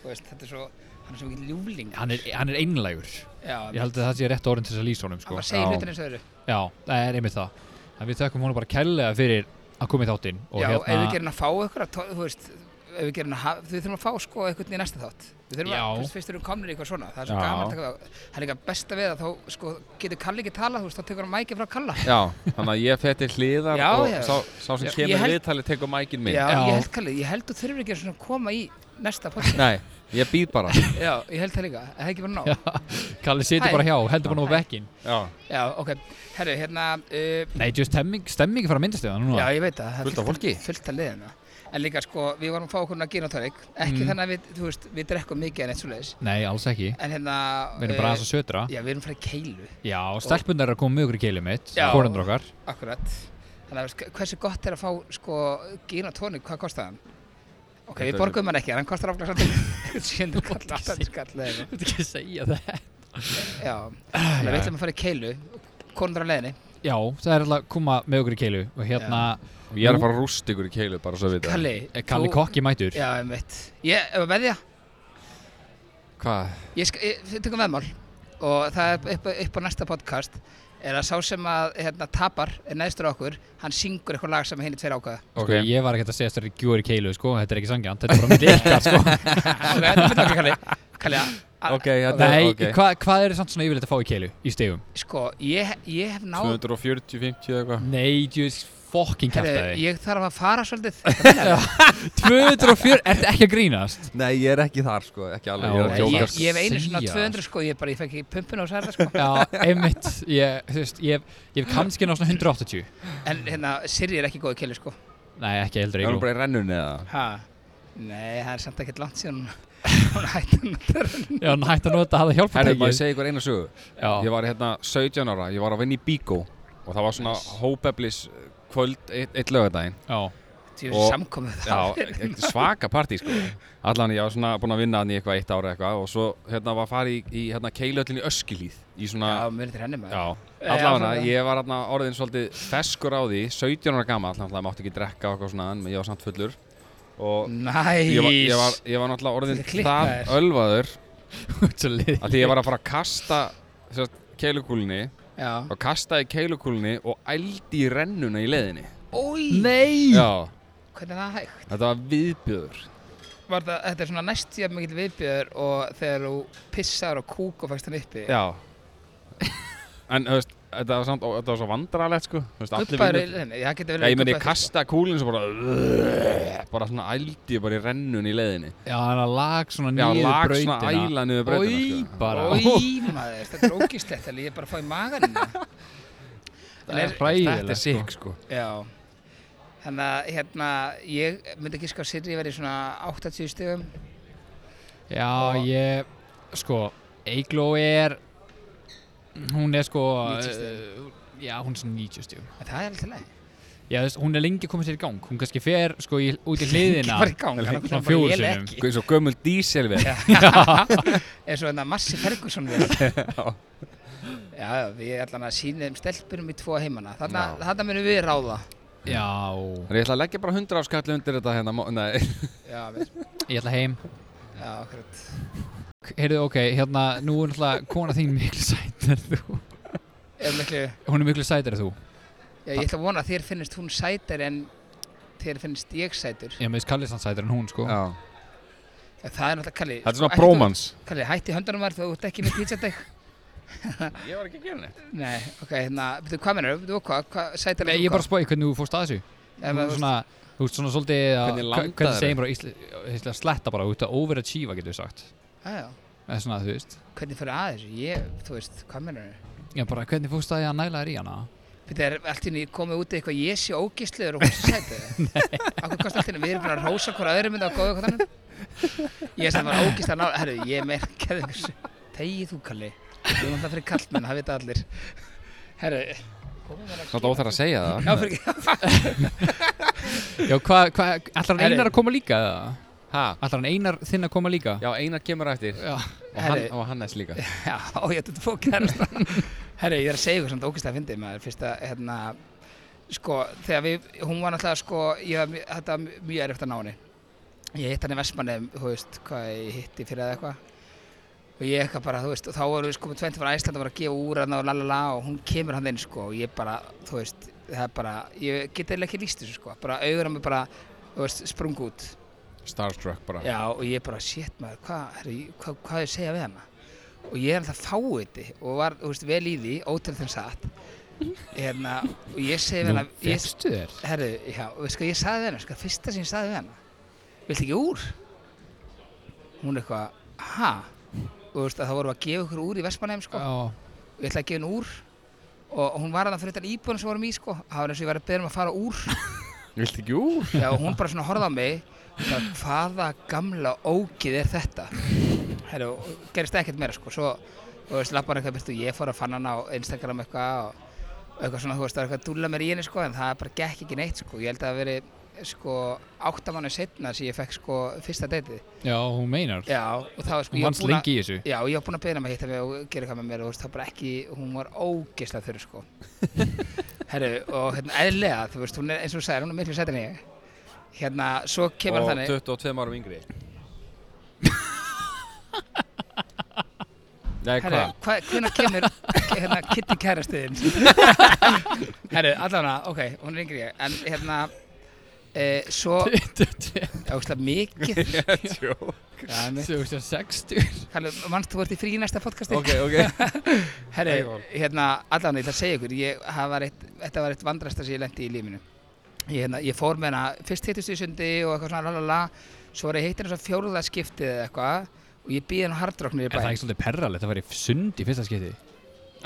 Speaker 2: Þú veist, þetta er svo, hann er svo mikið ljúfling.
Speaker 3: Hann er, hann er einlægur
Speaker 2: Já,
Speaker 3: Ég held að það sé rétt orðin til þess að lýsa honum
Speaker 2: hann
Speaker 3: sko.
Speaker 2: bara segir
Speaker 4: já.
Speaker 2: hlutin eins og öðru.
Speaker 3: Já, það er einmitt það En við þekkum honum bara kærlega fyrir að koma í þáttinn og
Speaker 2: Já, ef við
Speaker 3: hérna,
Speaker 2: gerum að fá ykkur að, to- þú veist, ef við gerum að, ha- við þurfum að fá sko eitthvað í næsta þátt. Við þurfum
Speaker 3: Já.
Speaker 2: að, fyrst, fyrst erum við komnir í eitthvað svona, það er svo
Speaker 4: Já.
Speaker 2: gaman að taka það. Það er líka besta við að þá, sko, getur Kalli ekki talað, þú veist, þá tekur hann mækið frá Kalla.
Speaker 4: já, þannig að ég fætti hliðar
Speaker 2: Já,
Speaker 4: og
Speaker 2: já.
Speaker 4: Sá, sá sem
Speaker 2: Já, ég
Speaker 4: kemur
Speaker 2: held-
Speaker 4: viðtali tekur mækin minn
Speaker 2: Já,
Speaker 3: Já.
Speaker 2: ég held Kalli, ég held þú þurfur ekki svona að koma í næsta podcast.
Speaker 4: Nei, ég býð bara
Speaker 2: Já, ég held það líka, er það ekki bara nóg.
Speaker 3: Já. Kalli situr
Speaker 2: Hæ.
Speaker 3: bara hjá, heldur bara nú á
Speaker 2: Hæ.
Speaker 3: vekkin
Speaker 4: Já,
Speaker 2: Já, ok, herru, hérna, uh,
Speaker 3: Nei, just stemming, stemming fara að myndast eða núna
Speaker 2: já, ég veit það, það er
Speaker 4: Fullt af fólki.
Speaker 2: fullt af liðina. En líka, sko, við varum að fá okkur að gera tónik, ekki
Speaker 3: Mm.
Speaker 2: þannig að við, þú veist, við drekkum mikið en eitt svo
Speaker 3: Nei, alls ekki
Speaker 2: En hérna,
Speaker 3: Við erum
Speaker 2: eh,
Speaker 3: bara aðeins að södra
Speaker 2: Já, við erum frá keilu.
Speaker 3: Já, stelpunar er að koma með okkur í keilum mitt
Speaker 2: Já.
Speaker 3: Hvorendur okkar
Speaker 2: Akkurat. Þannig að veist, hversu gott er að fá sko gin og tónik, hvað kostar hann? Ok,
Speaker 4: Þetta
Speaker 2: við
Speaker 4: er-
Speaker 2: borgum hann ekki, en hann kostar áflag svolítið 700 kall, 800 kall eða eitthvað.
Speaker 3: Þú veit ekki að segja það
Speaker 2: Já, þannig að við ætlum að fara í keilu, konur á leiðinni.
Speaker 3: Já, það er alltaf að koma með okkur í keilu Og hérna,
Speaker 4: og ég er að fara að rústa ykkur í keilu bara svo við það
Speaker 2: Kalli,
Speaker 3: eh, Kalli
Speaker 2: þú-
Speaker 3: kokki mætur
Speaker 2: Já, ég veit. Ég, ef að veðja,
Speaker 4: Hvað?
Speaker 2: ég, sk- ég við tökum veðmál og það er upp, upp á næsta podcast er að sá sem að hérna, tapar er neðstur á okkur, hann syngur eitthvað lag sem hinn er tveir ákvæða.
Speaker 3: Sko, ég var ekkert að segja stærri gjúar í keilu, sko Þetta er ekki sangjant, þetta er bara mitt ykkar, sko
Speaker 2: ok, þetta er fyrir okkur, Kalli. Kalli, a-
Speaker 4: Ok, þetta er
Speaker 3: Nei,
Speaker 4: ok
Speaker 3: hva, hvað er samt svona yfirleitt að fá í keilu í stegum?
Speaker 2: sko, ég, ég hef náð
Speaker 4: 240, 50 eitthvað
Speaker 3: Nei, just fucking
Speaker 2: Herru,
Speaker 3: kæftæði
Speaker 2: ég þarf að fara svolítið
Speaker 3: 204, ertu ekki að grínast?
Speaker 4: Nei, ég er ekki þar sko, ekki
Speaker 3: Já,
Speaker 4: alveg, ég
Speaker 2: Nei,
Speaker 4: er að
Speaker 3: ok.
Speaker 2: ég,
Speaker 4: djóka
Speaker 2: ég hef einu svona
Speaker 3: Segja.
Speaker 2: 200 sko, ég bara, ég fekk í pumpun og særa sko
Speaker 3: Já, einmitt, ég, þú veist, ég, hef- ég hef kannski náð svona 180
Speaker 2: En hérna, Siri er ekki góð í keilu sko
Speaker 3: Nei, ekki heldur
Speaker 4: Er hún
Speaker 3: Egil
Speaker 4: bara í rennunni eða?
Speaker 2: Ha? Nei, það er samt ekkert langt síðan hún- hún hætti hann að törn
Speaker 3: Já, hann hætti að nota það hjálpa
Speaker 4: Herri, maður segja ykkur eina sögu Ég
Speaker 3: Já,
Speaker 4: var hérna 17 ára, ég var að vinna í Bíkó og það var svona hópeflis kvöld eitt, eitt lögadaginn
Speaker 3: já,
Speaker 2: Því
Speaker 4: Og-
Speaker 2: við samkomið
Speaker 4: Já,
Speaker 2: það
Speaker 4: e- e- svaka partí sko Allan ég var svona búin að vinna hann í eitthvað eitt ára eitthvað og svo hérna var farið í, í hérna keilöllin í Öskilíð í svona
Speaker 2: Já, mjög til henni maður
Speaker 4: Já,
Speaker 2: Já,
Speaker 4: allavega,
Speaker 2: svona.
Speaker 4: ég var hérna orðin svolítið feskur á því, 17 ára gammal, náttúrulega mátti ekki drekka og eitthvað svona, en ég var samt fullur og
Speaker 2: Næs
Speaker 4: ég var, ég var, ég var náttúrulega orðin
Speaker 2: Þetta er
Speaker 4: það
Speaker 2: klippaður.
Speaker 4: ölvaður
Speaker 3: svo lið
Speaker 4: að því ég var að fara að kasta sem sagt, keilukúlunni
Speaker 2: Já
Speaker 4: og kastaði keilukúlunni og ældi í rennuna í leiðinni.
Speaker 2: Ói,
Speaker 3: Nei
Speaker 4: Já,
Speaker 2: hvernig er það hægt?
Speaker 4: þetta var viðbjöður.
Speaker 2: Var það, þetta er svona næstu jafn mikill viðbjöður og þegar þú pissar og kúk og fækst hann uppi
Speaker 4: Já. En, þú veist,
Speaker 5: þetta var, samt, ó, þetta var svo vandrarlegt sko Þú veist, allir
Speaker 2: Gubbaður,
Speaker 5: vinnur
Speaker 2: nei, það getur
Speaker 5: Já,
Speaker 2: verið
Speaker 5: ég meni, ég
Speaker 2: gubbaður, sko.
Speaker 5: kasta kúlinn svo bara bara svona ældi ég bara í rennun í leiðinni
Speaker 3: Já, hann að lag svona
Speaker 5: Já,
Speaker 3: niður
Speaker 5: lag
Speaker 3: brautina
Speaker 5: svona æla niður brautina
Speaker 3: Í
Speaker 5: sko.
Speaker 3: bara
Speaker 2: Ói, maður, þetta er ógislegt Ég er bara að fá í hérna. maganina
Speaker 3: Það er hræðilegt
Speaker 5: Þetta er sikk sko
Speaker 2: Já Þannig að hérna, ég myndi ekki sko að Sirri verið svona 80 stegum
Speaker 3: Já, ég, sko, Eigló er, hún er sko,
Speaker 2: 90
Speaker 3: uh, já, hún er svona 90 stífum.
Speaker 2: en það er alltaf leið
Speaker 3: Já, þú veist, hún er lengi komið sér í gang, hún kannski fer, sko, í, út í hliðina,
Speaker 2: bara í gang, hann er
Speaker 3: svona
Speaker 2: bara
Speaker 3: fjóru
Speaker 2: ég
Speaker 3: sinum.
Speaker 2: legg
Speaker 5: Sko, Eins og gömul dísel við
Speaker 2: eins og hérna Massi Ferguson vel Já, já, við allan að sína um stelpunum í tvo heimana Þarna,
Speaker 5: Já.
Speaker 2: þarna munum við ráða
Speaker 3: Já,
Speaker 5: Ég ætla að leggja bara 100 áskall undir þetta hérna mó- Nei,
Speaker 2: Já, við,
Speaker 3: ég ætla heim.
Speaker 2: já, akkurat
Speaker 3: Heyrðu, ok, hérna, nú er náttúrulega kona þín miklu sætar en þú.
Speaker 2: Ef miklu, já,
Speaker 3: Hún er miklu sætar en þú.
Speaker 2: ég ætla að vona að þér finnist hún sætar en þér finnst ég sætur
Speaker 3: Já, með skallis hann sætar en hún, sko.
Speaker 5: já
Speaker 2: Já, Það er náttúrulega, Kalli
Speaker 5: Þetta er
Speaker 2: sko,
Speaker 5: svona
Speaker 2: hættu-
Speaker 5: brómans
Speaker 2: Kalli, hætti höndanum var þú ert ekki með pítsatæk
Speaker 5: Ég var ekki að gera neitt
Speaker 2: Nei, ok, hérna, veitu hvað mennur, veitu hvað, hvað sætar
Speaker 3: Nei, ég er bara að spá í hvernig þú fórst að þessu.
Speaker 2: Já,
Speaker 3: Þú
Speaker 2: maður-
Speaker 3: ert svona, þú ert svona svolítið að,
Speaker 5: Hvernig landaðir
Speaker 3: hvernig segir maður á íslenska sletta bara, þú ert að overachieva, getur við sagt.
Speaker 2: Já, já,
Speaker 3: eða svona þú veist
Speaker 2: hvernig fyrir að þessu, ég, þú veist, hvað mennur
Speaker 3: já bara hvernig fórst það í að næla þér í hana
Speaker 2: Þetta er allt í henni komið út eitthvað ég sé ógistlegur og hún sé sætið Akkur kosti allt í henni, við erum búin að rósa hvora öðrum mynda á góðu hvað þannig Ég sem var ógist að ná, herru, ég merkaði þessu Þegi þú Kalli, þú erum alltaf fyrir kallmenn, það vita allir Herru,
Speaker 5: Svona óþar að segja það
Speaker 2: já fyrir ekki,
Speaker 3: já hvað hva, ætlar hann
Speaker 2: Herri.
Speaker 3: einar að koma líka eða
Speaker 5: Ha?
Speaker 3: ætlar hann einar þinn að koma líka
Speaker 5: Já, Einar kemur á eftir
Speaker 3: já,
Speaker 5: Og, hann,
Speaker 2: Herri.
Speaker 5: og Hannes líka
Speaker 2: já, ó, ég þetta fók kærast Herru, ég er að segja ykkur samt ógist að fyndi maður, fyrst að, hérna Sko, þegar við, hún var náttúrulega, sko, ég var, mj- þetta var mjög erfitt að ná henni Ég hitt hann í Vestmanneum, þú veist, hvað ég hitti fyrir eða eitthvað og ég eitthvað bara, þú veist, og þá voru við sko með 20 frá Æsland að vera að gefa úr hann og lalala og hún kemur hann inn sko og ég bara, þú veist, það er bara, ég get eða ekki líst þessu sko, bara augur hann mig bara, þú veist, sprung út
Speaker 5: Starstruck bara
Speaker 2: Já, og ég bara, shit maður, hvað hva, hva, hva ég að segja við hana? Og ég er alltaf fáiði og var, þú veist, vel í því, ótil þeim satt hérna, og ég segi við
Speaker 3: nú
Speaker 2: hana ég,
Speaker 3: fyrstu þér
Speaker 2: Herru, já, og sko, ég saði við hana, sko, fyrsta sem ég saði við hana, viltu ekki úr? Hún eitthvað, ha? Og þú veist, að það voru að gefa ykkur úr í Vestmanheim, sko,
Speaker 3: já
Speaker 2: og ég ætlaði að gefa henni úr og hún var að það fyrir þetta íbúðan sem við vorum í, sko, það var eins og ég var að beða um að fara úr,
Speaker 5: Viltu ekki úr?
Speaker 2: já, og hún bara svona horfði á mig, það, hvaða gamla ógið er þetta? Herru, og gerist ekkert meira, sko, svo, og þú veist, lappar eitthvað, byrtu, ég fór að fann hana á Instagram eitthvað og og eitthvað svona, þú veist, það var eitthvað að dúlla mér í henni, sko, en það bara gekk ekki neitt, sko, ég held að það hafi verið sko, áttamannu setna sem ég fekk sko fyrsta deytið.
Speaker 3: já hún meinar
Speaker 2: Já, og það var sko,
Speaker 3: hún
Speaker 2: ég var
Speaker 3: vannst
Speaker 2: búin að,
Speaker 3: lengi í þessu
Speaker 2: já, ég var búin að beina mig að hitta mig og gera eitthvað með mér og þú veist, það bara ekki, hún var ógeðslega þurr, sko. Herru, og hérna, eðlega, þú veist, hún er, eins og þú sagðir, hún er miklu sættir en ég. Hérna, svo kemur
Speaker 5: Og
Speaker 2: þannig,
Speaker 5: 22 árum yngri Nei,
Speaker 2: herru,
Speaker 5: hvað?
Speaker 2: hva, hvernig kemur, hérna, Kitty kærastuðin? herru, allavega, ok, hún er yngri en ég, en hérna, e, svo, já, ógeðslega mikið, já, mér,
Speaker 3: 2060
Speaker 2: Kallu, mannst þú ert í frí í næsta podcasti?
Speaker 5: Ok, ok
Speaker 2: Herri, hérna, allan ég ætla að segja ykkur, ég, það var eitt, þetta var eitt vandrasta sem ég lendi í lífinu. Ég, hérna, ég fór með hana, fyrst hittist við í sundi og eitthvað svona lalala, svo var ég hittin þess að fjóruða skiptið eða eitthvað og ég býði hann hardrocknir í
Speaker 3: er það
Speaker 2: bæ.
Speaker 3: ekki svolítið perralegt að fara í sund í fyrsta skipti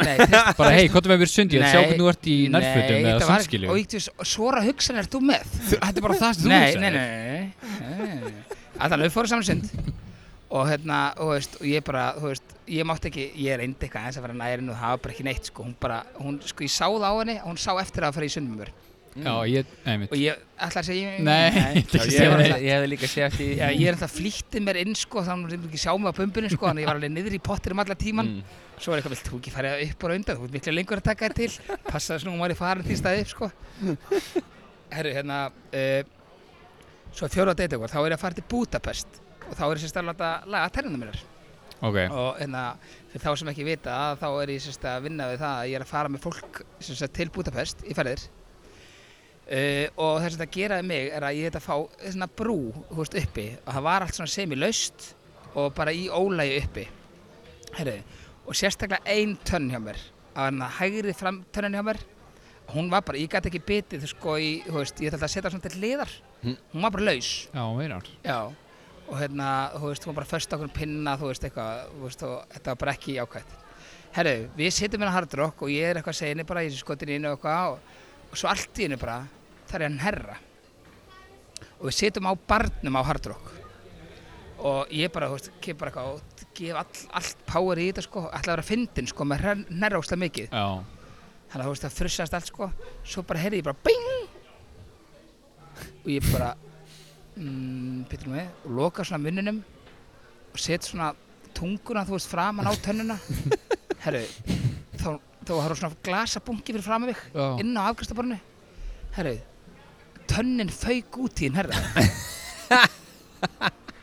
Speaker 2: Nei, fyrst,
Speaker 3: bara hei hvað þú með mér í sund ég er að sjá
Speaker 2: Nei,
Speaker 3: hvernig þú ert í nærfötum
Speaker 2: þetta
Speaker 3: eða
Speaker 2: var-
Speaker 3: sundskilju
Speaker 2: Og ég veist, svora hugsan er þú með?
Speaker 3: þetta er bara það sem þú
Speaker 2: Nei,
Speaker 3: sagðir.
Speaker 2: nei, nei, nei, nei, nei, nei. Allan, við fórum saman í sund og hérna, þú veist, og ég bara, þú veist, ég mátti ekki, ég reyndi eitthvað eins að fara nærin og það var bara ekki neitt, sko, hún bara, hún, sko, ég sáð á henni, hún sá eftir að fara í sund með mér
Speaker 3: já Mm. ég
Speaker 2: og
Speaker 3: nei
Speaker 2: ég ætla að segja,
Speaker 3: Nei, þetta er ekki
Speaker 2: ég,
Speaker 3: segja
Speaker 2: var
Speaker 3: neitt.
Speaker 2: alltaf-
Speaker 5: Ég hefði líka séð eftir
Speaker 2: já, ég er alltaf flýttið mér inn, sko, þá hún er ekki sjá mig á bumbunni, sko, þannig að ég var alveg niður í pottir um alla
Speaker 5: Mm.
Speaker 2: tíman, svo er eitthvað, vilt þú ekki fara upp og undan, þú ert miklu lengur að taka þetta til, passa þess nú, hún var í farin því staði, sko. Herru, hérna, uh, svo fjóra date eitthvað, þá er ég að fara til Budapest og þá er ég sérst að láta laga tærnum mér
Speaker 3: ok
Speaker 2: og hérna, fyrir þá sem ekki vita þá er ég sérst að vinna við það að ég er að fara með fólk sérst til Budapest í ferðir uh, og það sem það geraði mig er að ég þetta fá svona brú, þú veist, uppi og það var allt svona semi-laust og bara í ólægi uppi herru, og sérstaklega ein tönn hjá mér að hann hægri framtönnin hjá mér hún var bara, ég gæti ekki bitið sko í, þú veist, ég ætla að setja svona til hliðar hún var bara laus
Speaker 3: Já, meinar
Speaker 2: já, og hérna, þú veist, hún var bara föst okkur pinna, þú veist, eitthvað þú veist, og þetta var bara ekki jákvæmt herru, við sitjum hérna hardrock og ég er eitthvað að segja henni bara, ég sé skotin inn og eitthvað og, og svo allt í henni bara, það er hann herra og við sitjum á barnum á hardrock og ég bara, þú veist, kem bara eitthvað og gef all, allt power í þetta sko, ætla að vera fyndin sko, með herra óslega mikið
Speaker 3: Já,
Speaker 2: þannig að þú veist það frussast allt sko svo bara heyrði ég bara bing og ég bara mm, pittur mig og loka svona munninum og set svona tunguna þú veist framan á tönnuna herru þá, þá har þú svona glasabungi fyrir framan mig
Speaker 3: Já.
Speaker 2: inn á afkristaborinu herru tönnin fauk út í hinn herra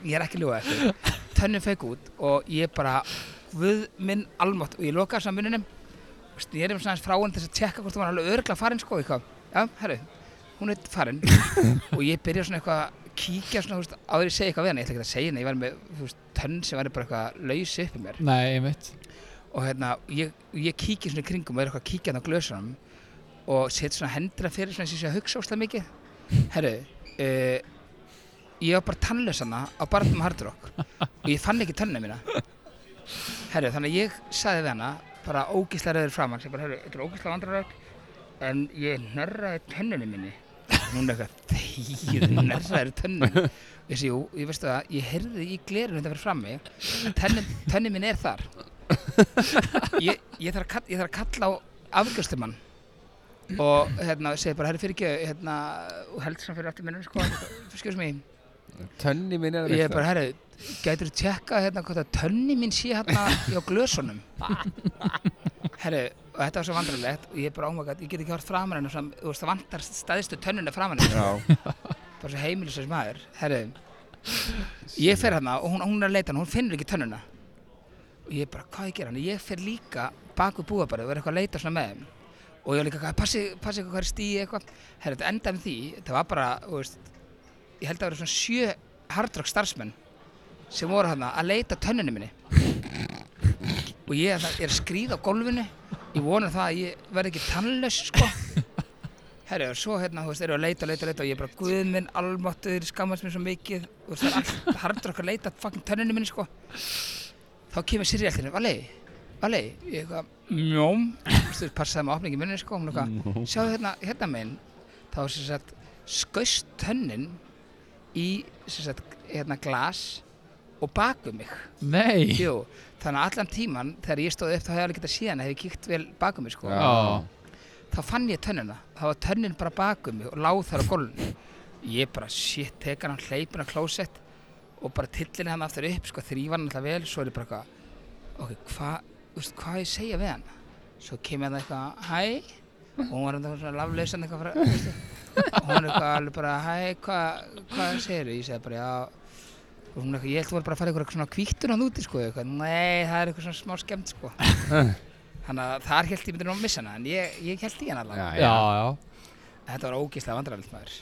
Speaker 2: ég er ekki ljúið eftir tönnin fauk út og ég bara við minn almátt og ég loka svona munninum snýrum svona aðeins frá henni til þess að tjekka hvort hún var alveg örgla farin sko eitthvað já, herru, hún er farin og ég byrja svona eitthvað að kíkja svona, þú veist, áður en ég segi eitthvað við henni, ég ætla ekki að segja henni ég var með, þú veist, tönn sem var bara eitthvað laus uppi mér
Speaker 3: nei, einmitt
Speaker 2: og hérna, ég, ég kíkja svona í kringum og er eitthvað að kíkja hann á glösunum og set svona hendra fyrir svona sem ég sé að hugsa óslega mikið herru, uh, ég var bara tannlaus hana á barnum hardrock og ég fann ekki tönnum mína herru, þannig að ég saði við hana bara ógislega rauður framann sem bara, herru, þetta er ógislega vandrarögg en ég nörraði tönnunum minni hún er eitthvað, þegið nörraði tönnunum ég sé, jú, ég veistu það, ég heyrði í glerun þetta fyrir frammi tönnin, tönnin minn er þar ég, ég, þarf að kalla, ég þarf að kalla á afgjörslumann og hérna segi bara, herri fyrir ekki hérna, og held sem fyrir aftur minnum sko, skjóðs mig,
Speaker 4: Tönni minn er
Speaker 2: ég er bara, herri gætur þú tjekka hérna hvort að tönni mín sé hérna hjá glösunum herri, og þetta var svo vandrarlegt og ég er bara ámagað, ég get ekki hort framan hennar fram, þú veist, það vantar staðistu tönnuna framan hennar
Speaker 4: Já,
Speaker 2: bara svo heimilisins maður herri, ég fer hérna og hún, hún er að leita hann, hún finnur ekki tönnuna og ég bara, hvað ég gera hann ég fer líka bak við búa bara og er eitthvað að leita svona með þeim og ég var líka, eitthvað, passi, passi eitthvað hvað er stíi eitthvað herri, þetta endaði með því, þetta var bara þú veist, ég held að það vera svona sjö hardrock starfsmenn sem voru hérna að leita tönnunni minni og ég er að- er að skríða á gólfinu ég vona það að ég verði ekki tannlaus sko Herru, og svo hérna, þú veist, erum við að leita, leita, leita og ég bara, guð minn, almáttuður, skammast mér svo mikið og þú veist, það er allt hardur okkar að leita fucking tönninu minni, sko þá kemur Sirri allir, vali, vali ég eitthvað, mjóm þú veist, þú passaði með opningi minni, sko, hún eitthvað sjáðu hérna, hérna minn þá er sem sagt, skaust tönnin í, sem sagt, hérna glas og baku mig
Speaker 3: Nei
Speaker 2: jú, þannig að allan tíman þegar ég stóð upp, þá hefði alveg getað síðan hefði kíkt vel baku mig, sko
Speaker 4: Já.
Speaker 3: Já,
Speaker 2: þá fann ég tönnina þá var tönnin bara bak um mig og láð þar á gólun ég bara shit, teka hann hleypin á klósett og bara tillin hann aftur upp sko, þrýfa hann alltaf vel svo er ég bara eitthvað ok, hvað, þú veist, hvað á ég að segja við hann svo kemur það eitthvað, hæ og hún var eitthvað svona laflausan eitthvað frá, þú veist, og hún er eitthvað alveg bara, hæ, hvað, hvað segir ég segi bara, já og hún er eitthvað, ég held þú var bara að fara í eitthvað svona kvítun hann úti sko, Ég eitthvað, nei, það er eitthvað svona smá skemmt sko Þannig að þar held ég myndi nú að missa hana, en ég, ég held í hana allavega.
Speaker 3: já, já
Speaker 2: Þetta var ógeðslega vandrarlegt maður.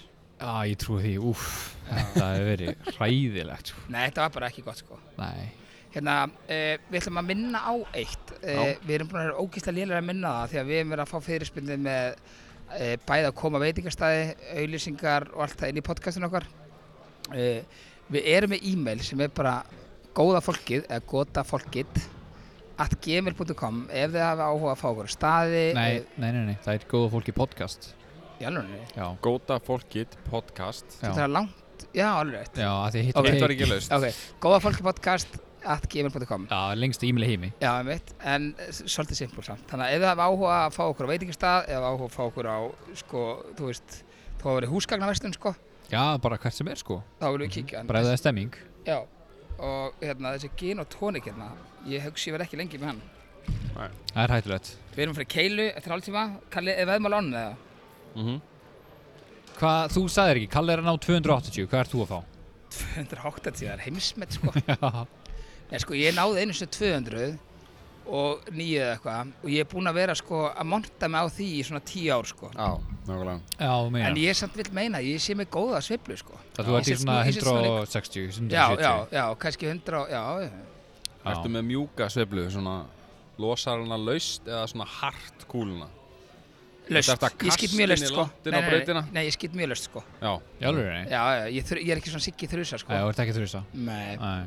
Speaker 3: Já, ég trúi því, úff Þetta hefur verið hræðilegt sko.
Speaker 2: Nei, þetta var bara ekki gott sko.
Speaker 3: Nei
Speaker 2: Hérna, uh, við ætlum að minna á eitt. Uh, við erum búin að vera ógeðslega lélega að minna það því að við erum verið að fá fyrirspilnið með uh, bæði að koma veitingastæði, auðlýsingar og allt það inn í podcastinu okkar. Uh, við erum með e-mail sem er bara góða fólkið, eða gota fólkið, at gmail.com ef þið hafa áhuga að fá okkur á staði.
Speaker 3: Nei, nei, nei, nei, Eh, það er góða fólki podcast
Speaker 2: eh, Í alveg,
Speaker 3: Já,
Speaker 5: Góta fólkið podcast
Speaker 3: já,
Speaker 2: þetta
Speaker 3: já,
Speaker 2: er langt, já alveg rétt.
Speaker 3: að því hitt
Speaker 2: Ok.
Speaker 5: Þetta var ekki laust
Speaker 2: Ok, góða fólki podcast at gmail.com
Speaker 3: Já, lengst ímili heimi
Speaker 2: Já, ég veit, en eh, s- svolítið simpul samt Þannig að ef þið hafa áhuga að fá okkur á veitingastað eða áhuga að fá okkur á, sko, þú veist þú hafa verið húsgagnaverslun, sko
Speaker 3: Já, bara hvert sem er sko
Speaker 2: þá viljum við kíkja en-
Speaker 3: Bara ef það er stemming
Speaker 2: Já, og hérna, þessi gin og tónik hérna ég hugsi ég verð ekki lengi með hann
Speaker 3: Það er hættulegt
Speaker 2: Við erum fyrir keilu eftir hálftíma Kalli, er veðmál ánum eða?
Speaker 3: Hvað, þú sagðir ekki, Kalle er að ná 280, hvað ert þú að fá?
Speaker 2: 280, það er heimsmet, sko
Speaker 3: Já,
Speaker 2: Nei, sko, ég náði einu sem 200 og nýju eða eitthvað og ég er búinn að vera, sko, að monta mig á því í svona 10 ár, sko
Speaker 5: Já, nákvæmlega
Speaker 3: já, þú meina
Speaker 2: En ég samt vill meina, að ég sé með góða sveiflu sko.
Speaker 3: Það þú ert í
Speaker 2: Ég sé
Speaker 3: svona
Speaker 2: smá- ég sé smá líka-
Speaker 3: 160, 170
Speaker 2: Já, já, já, kannski 100 og, já, já.
Speaker 5: Ertu með mjúka sveiflu svona
Speaker 4: losar hana laust eða svona hart kúluna
Speaker 2: Laust,
Speaker 4: Þetta eftir að
Speaker 2: ég skýt mjög
Speaker 4: kasta
Speaker 2: laust
Speaker 4: inn í
Speaker 2: sko
Speaker 4: lottinn á brautina?
Speaker 2: nei, ég skýt mjög laust sko
Speaker 4: já,
Speaker 3: Í alveg, nei?
Speaker 2: Já, já, ég, þur, ég er ekki svona siggi þrjusa sko
Speaker 3: Já, þú ert ekki þrjus á.
Speaker 2: Nei,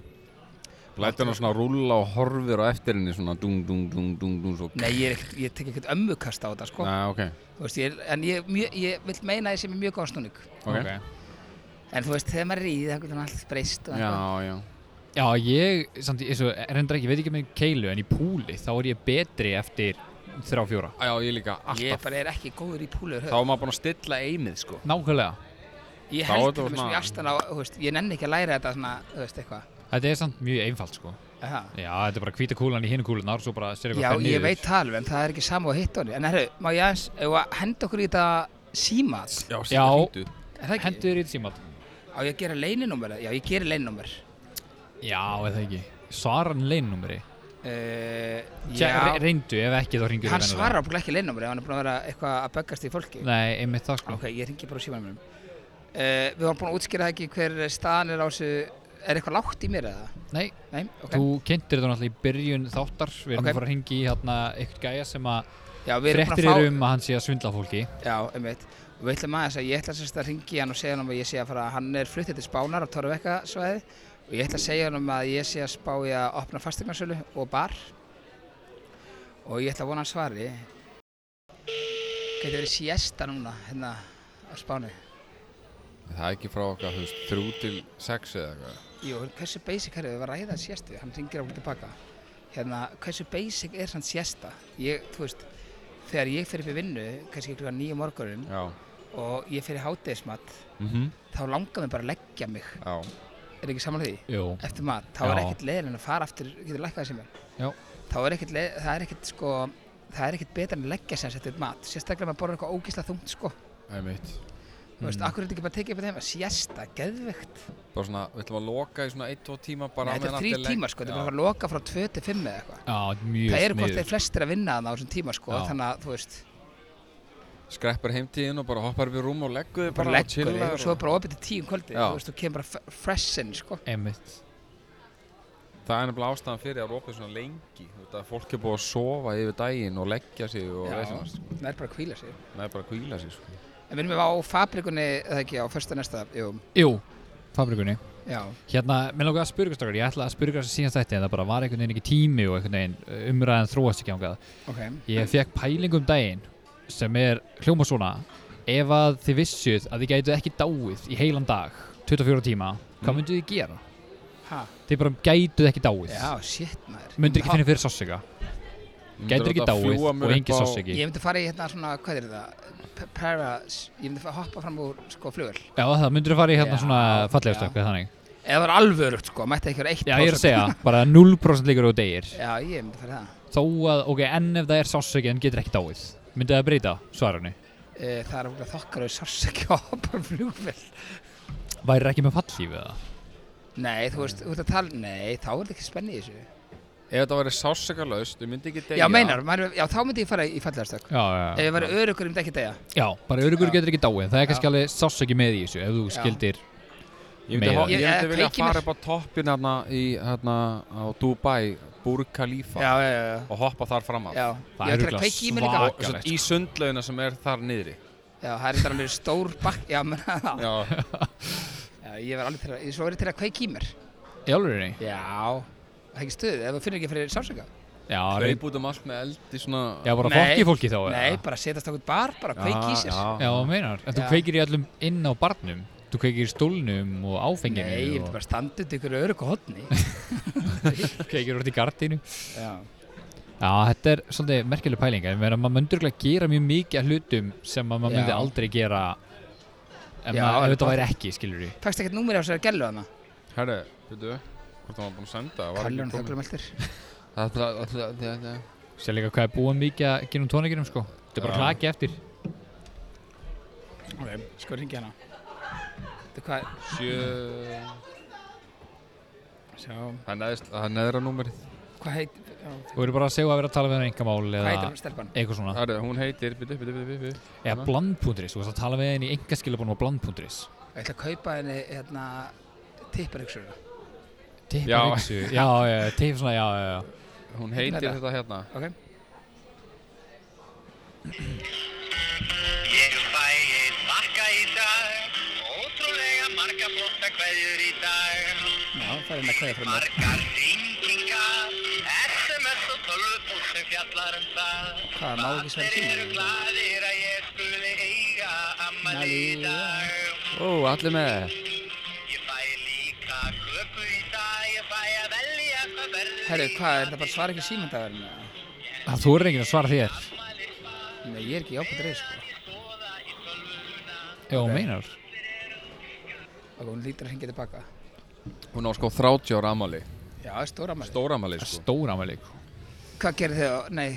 Speaker 4: lætur hana svona rúlla og horfir á eftir henni svona dung, dung, dung, dung, dung svo
Speaker 2: nei, ég, er ekkert, ég tek ekkert ömmukast á þetta sko
Speaker 4: Nei, ok,
Speaker 2: Þú veist, ég, er- En ég, er mjög, ég vil meina þessi með mjög góðan snúning
Speaker 4: ok,
Speaker 2: En þú veist, þegar maður er í það getur hann allt breyst og
Speaker 4: Já,
Speaker 2: eitthvað.
Speaker 4: já
Speaker 3: Já, ég, samt, eins og, reyndar ekki, ég veit ekki með keilu, en í púli, þá er ég betri eftir þrjá, fjóra.
Speaker 4: Já, ég líka,
Speaker 2: Ég
Speaker 4: alltaf
Speaker 2: bara er ekki góður í púlur
Speaker 4: Þá er maður búin að stilla einið, sko
Speaker 3: Nákvæmlega.
Speaker 2: Ég
Speaker 4: þá er
Speaker 2: held þetta
Speaker 4: þetta
Speaker 2: með
Speaker 4: svona-
Speaker 2: svona í astan á þú veist, Ég nenni ekki að læra þetta svona, þú veist, eitthvað
Speaker 3: Þetta er samt mjög einfalt, sko.
Speaker 2: Aha.
Speaker 3: Já, þetta er bara hvíta kúlan í hinu kúlunar, svo bara sér
Speaker 2: Já,
Speaker 3: eitthvað
Speaker 2: ég veit það alveg, en það er ekki sama að hitta honum En herru, má ég aðeins, ef að henda okkur í þetta símað
Speaker 4: Já,
Speaker 3: Já.
Speaker 4: hringdu.
Speaker 2: Er það ekki?
Speaker 3: Hendur í símat.
Speaker 2: Á ég að gera leininúmer? Já, ég gerir leininúmer
Speaker 3: Já, eða ekki. Svarar hann leinnúmeri?
Speaker 2: uh,
Speaker 3: Tjá,
Speaker 2: Já,
Speaker 3: re- reyndu, ef ekki, þá ringur
Speaker 2: hann svarar okkur ekki leininúmer ef hann er búin að vera eitthvað að böggast í fólki
Speaker 3: Nei, einmitt það, sko.
Speaker 2: Ok, ég ringi bara á símanum mínum uh, Við vorum búin að útskýra það ekki hver staðan er á þessu Er eitthvað lágt í mér eða?
Speaker 3: Nei,
Speaker 2: Nei, ok
Speaker 3: Þú kynntir þetta náttúrulega í byrjun þáttar Við erum
Speaker 2: Ok.
Speaker 3: að fara að hringi í hérna eitthvað gæja sem að
Speaker 2: Já, við erum
Speaker 3: fréttir
Speaker 2: búin að
Speaker 3: eru
Speaker 2: fá
Speaker 3: um að hann sé að svindla fólki
Speaker 2: Já, einmitt Og við ætlum aðeins að ég ætla sérst að ringi hann og segja hann að ég sé að fara Hann er fluttið til Spánar á Torvekka svæði Og ég ætla að segja hann að ég sé að spá í að opna fastegnarsölu og bar Og ég ætla að vona að hann svari Gæti verið siesta núna hérna á Spáni
Speaker 4: Það er ekki frá okkar, þú veist, þrjú til sex eða eitthvað
Speaker 2: Jú, hversu basic er það? Við varum að ræða sérstu, hann ringir á okkur tilbaka. Hérna, hversu basic er hann sérsta? Ég, þú veist, þegar ég fer upp í vinnu, kannski klukkan nýju morgunin
Speaker 4: Já,
Speaker 2: og ég fer í hátegismat,
Speaker 4: mm -hmm.
Speaker 2: þá langar mér bara að leggja mig.
Speaker 4: já
Speaker 2: Er ekki saman því?
Speaker 3: Jú,
Speaker 2: Eftir mat, þá er
Speaker 3: Já.
Speaker 2: ekkert leiðin en að fara aftur, getur lækkað sem ég.
Speaker 3: Já.
Speaker 2: Þá er ekkert leið, það er ekkert sko, það er ekkert betra en að leggja sem setja upp mat. Sérstaklega maður borður eitthvað ógísla þungt sko.
Speaker 4: Einmitt.
Speaker 2: Þú veist, akkur er þetta ekki bara tekið upp þeim að siesta, geðveikt.
Speaker 4: Bara svona, við ætlum að loka í svona 1-2 tíma bara
Speaker 2: Nei,
Speaker 4: á
Speaker 2: Þetta
Speaker 4: meðan
Speaker 2: er þrý
Speaker 4: allir legg-
Speaker 2: tímar sko, þetta er
Speaker 4: Já.
Speaker 2: bara að loka frá 2 til 5 eða eitthvað.
Speaker 3: á, mjög
Speaker 2: það eru hvort
Speaker 3: sniðugt.
Speaker 2: þeir flestir að vinna þannig á þessum tíma sko,
Speaker 3: Já.
Speaker 2: þannig að þú veist
Speaker 4: skreppar heimtíðin og bara hoppar upp í rúm og leggur þig
Speaker 2: bara
Speaker 4: bara og
Speaker 2: leggur þig
Speaker 4: chillar
Speaker 2: og svo er bara opið til tíum kvöldi
Speaker 4: Já.
Speaker 2: þú veist, þú kemur bara f- fresh in sko.
Speaker 3: Einmitt
Speaker 4: það er nefnilega ástæðan fyrir að ropa svona lengi þú veit að fólk er búið að sofa yfir daginn og leggja sig og
Speaker 2: Já.
Speaker 4: veist sko.
Speaker 2: það er bara að hvíla sig
Speaker 4: það er bara að kvíla sig sko.
Speaker 2: en við erum á fabrikunni, eða ekki á fyrsta næsta jú,
Speaker 3: Jú, fabrikunni
Speaker 2: já,
Speaker 3: Hérna, mér langar að spyrja ykkur strákar Ég ætla að spyrja ykkur þessi síðan þetta En það bara var einhvern veginn ekki tími og einhvern veginn uh, Umræðan þróast ekki ángað
Speaker 2: ok
Speaker 3: Ég fekk pæling um daginn Sem er hljóma svona Ef að þið vissuð að þið gætuð ekki dáið í heilan dag 24 tíma
Speaker 2: Mhm.
Speaker 3: Hvað mynduð þið gera?
Speaker 2: ha,
Speaker 3: Þið bara gætuð ekki dáið
Speaker 2: já, shit maður
Speaker 3: Mynduð ekki
Speaker 2: Ha,
Speaker 3: finna fyrir sássika Gætur ekki
Speaker 4: Myndirðu láta
Speaker 3: dáið
Speaker 4: fljúga mér
Speaker 3: og engin
Speaker 4: upp á-
Speaker 3: sássiki
Speaker 2: ég myndi fara í hérna svona, hvað er það P- para, ég myndi fara- hoppa fram úr sko flugvel
Speaker 3: Já, það myndur að fara í hérna
Speaker 2: Já,
Speaker 3: svona fallega
Speaker 2: já.
Speaker 3: stökk þannig.
Speaker 2: eða það var alvörugt sko, mætti ekki vera eitt
Speaker 3: Já, ég er að segja, bara 0% líkur og degir.
Speaker 2: já, ég myndi fara í það
Speaker 3: Þó að, ok, en ef það er sásöki en getur ekki dáið, myndi það breyta svaranu?
Speaker 2: Eh, það er okkur þokkar og sársöki að hoppa um flugvel
Speaker 3: Væri ekki með fallífið það?
Speaker 2: Nei, þú veist, þú ert að tala, nei, þá er þetta ekki spenni í þessu.
Speaker 4: ef þetta væri sásakalöst, þú myndir ekki
Speaker 2: Já,
Speaker 4: degja
Speaker 2: meinar, maður, já, þá myndi ég fara í fallegarstök.
Speaker 3: Já,
Speaker 2: Ef
Speaker 3: já, já.
Speaker 2: ég væri örugur um þetta ekki degja.
Speaker 3: Já, bara örugur
Speaker 2: Já.
Speaker 3: getur ekki dáið, það er kannski
Speaker 2: Já.
Speaker 3: alveg sásöki með í þessu, ef þú
Speaker 2: Já.
Speaker 3: skildir.
Speaker 4: ég myndi,
Speaker 3: Meira.
Speaker 4: ho- ég
Speaker 2: Ég-
Speaker 4: myndi
Speaker 2: eh,
Speaker 4: vilja
Speaker 2: kveiki
Speaker 4: fara
Speaker 2: mér.
Speaker 4: upp á toppin hérna í hérna á Dubai Burj Khalifa
Speaker 2: Já, já, já.
Speaker 4: og hoppa þar fram af
Speaker 2: Já,
Speaker 3: Það
Speaker 2: ég ætla að
Speaker 3: er örugglega
Speaker 2: kveiki í mig líka.
Speaker 3: svak-
Speaker 4: og svo
Speaker 3: Svakalegt,
Speaker 4: í sundlauna sem er þar niðri
Speaker 2: Já, það er þetta alveg stór bakk, já, menn, já.
Speaker 4: já,
Speaker 2: já, ég var alveg til að, ég svo er ég til að kveiki í mér.
Speaker 3: Í alvegurinni?
Speaker 2: Já. Það er ekki stuð, ef þú finnir ekki fyrir sársöka.
Speaker 3: Já, reynd.
Speaker 4: hlaup út um allt með eldi svona
Speaker 3: Já, bara
Speaker 2: Nei.
Speaker 3: fokki fólki þá,
Speaker 2: Nei, bara setjast okkur bar, bara kveiki í sér.
Speaker 3: Já, þú meinar. En þú
Speaker 2: Já.
Speaker 3: kveikir í allum inn á barnum, þú kveikir í stólnum og áfenginu
Speaker 2: Nei, ég myndi
Speaker 3: og
Speaker 2: bara standa undir ykkur örugur hotni.
Speaker 3: kveikir úr í gardinu.
Speaker 2: já.
Speaker 3: Já, þetta er svolítið merkileg pæling en meðan maður myndur ekki að gera mjög mikið af hlutum sem að maður myndi
Speaker 2: Já.
Speaker 3: aldrei gera ef,
Speaker 2: Já,
Speaker 3: maður, ef
Speaker 2: en
Speaker 3: þetta
Speaker 2: bara-
Speaker 3: væri ekki, skilur við
Speaker 2: Fækst ekkert númur á sér að gellu hana.
Speaker 4: herru, veitu hvort það var búin að senda það var ekki
Speaker 2: Kallun
Speaker 4: komið.
Speaker 2: þögglumeltir.
Speaker 4: Það- það- það- það- það- það-
Speaker 3: Sér líka hvað er búið mikið að gera um tónleikinum sko Þetta er bara
Speaker 4: Já.
Speaker 3: klaki eftir
Speaker 2: Ok, sko ringi hana. Þetta er hvað,
Speaker 4: Sjö...
Speaker 2: sjá,
Speaker 4: Það er neðst- það er neðra númerið.
Speaker 2: hvað heit, já,
Speaker 3: Þú eru bara að segja að vera að tala við henni engamál
Speaker 2: hvað
Speaker 3: eða
Speaker 2: heitir hann stelpan?
Speaker 3: eitthvað svona
Speaker 4: Herru, hún heitir, bitu, bitu, bitu, bitu.
Speaker 3: Eða blandpundris, þú veist að tala við henni í engaskilabunum og blandpundris
Speaker 2: Ég ætla að kaupa henni hérna tipparöksur
Speaker 3: Tippa
Speaker 4: Já.
Speaker 3: riksu, já, já, tippa svona, já, já, já
Speaker 4: Hún heitir
Speaker 2: Hérna.
Speaker 4: þetta hérna
Speaker 2: ok
Speaker 6: Ég fæ eitt bakka í dag, ótrúlega marga flotta hverjur í dag.
Speaker 2: Já, það er hérna kveðið frá mér
Speaker 6: Margar hringingar, SMS og tölvupúst sem fjallar um það.
Speaker 2: Hvað, má ekki svara í símann?
Speaker 6: Allir eru glaðir að ég skuli eiga ammali í
Speaker 2: Ammali,
Speaker 6: dag.
Speaker 4: Ó, allir með
Speaker 6: Ég fæ líka köku í dag, ég fæ að velja hvað verður
Speaker 2: Herru, hvað, er þetta bara svara ekki símandagverðinu?
Speaker 3: Það þú er enginn að svara þér.
Speaker 2: Nei, ég er ekki jákvæmt reyð, sko
Speaker 3: Já, meinar.
Speaker 2: Ok, hún lítur að hengja tilbaka
Speaker 4: Hún á sko 30 ára amali
Speaker 2: Já, það er stóra maður
Speaker 4: Stóramali sko
Speaker 3: Stóra með lík.
Speaker 2: Hvað gerir þið á, nei,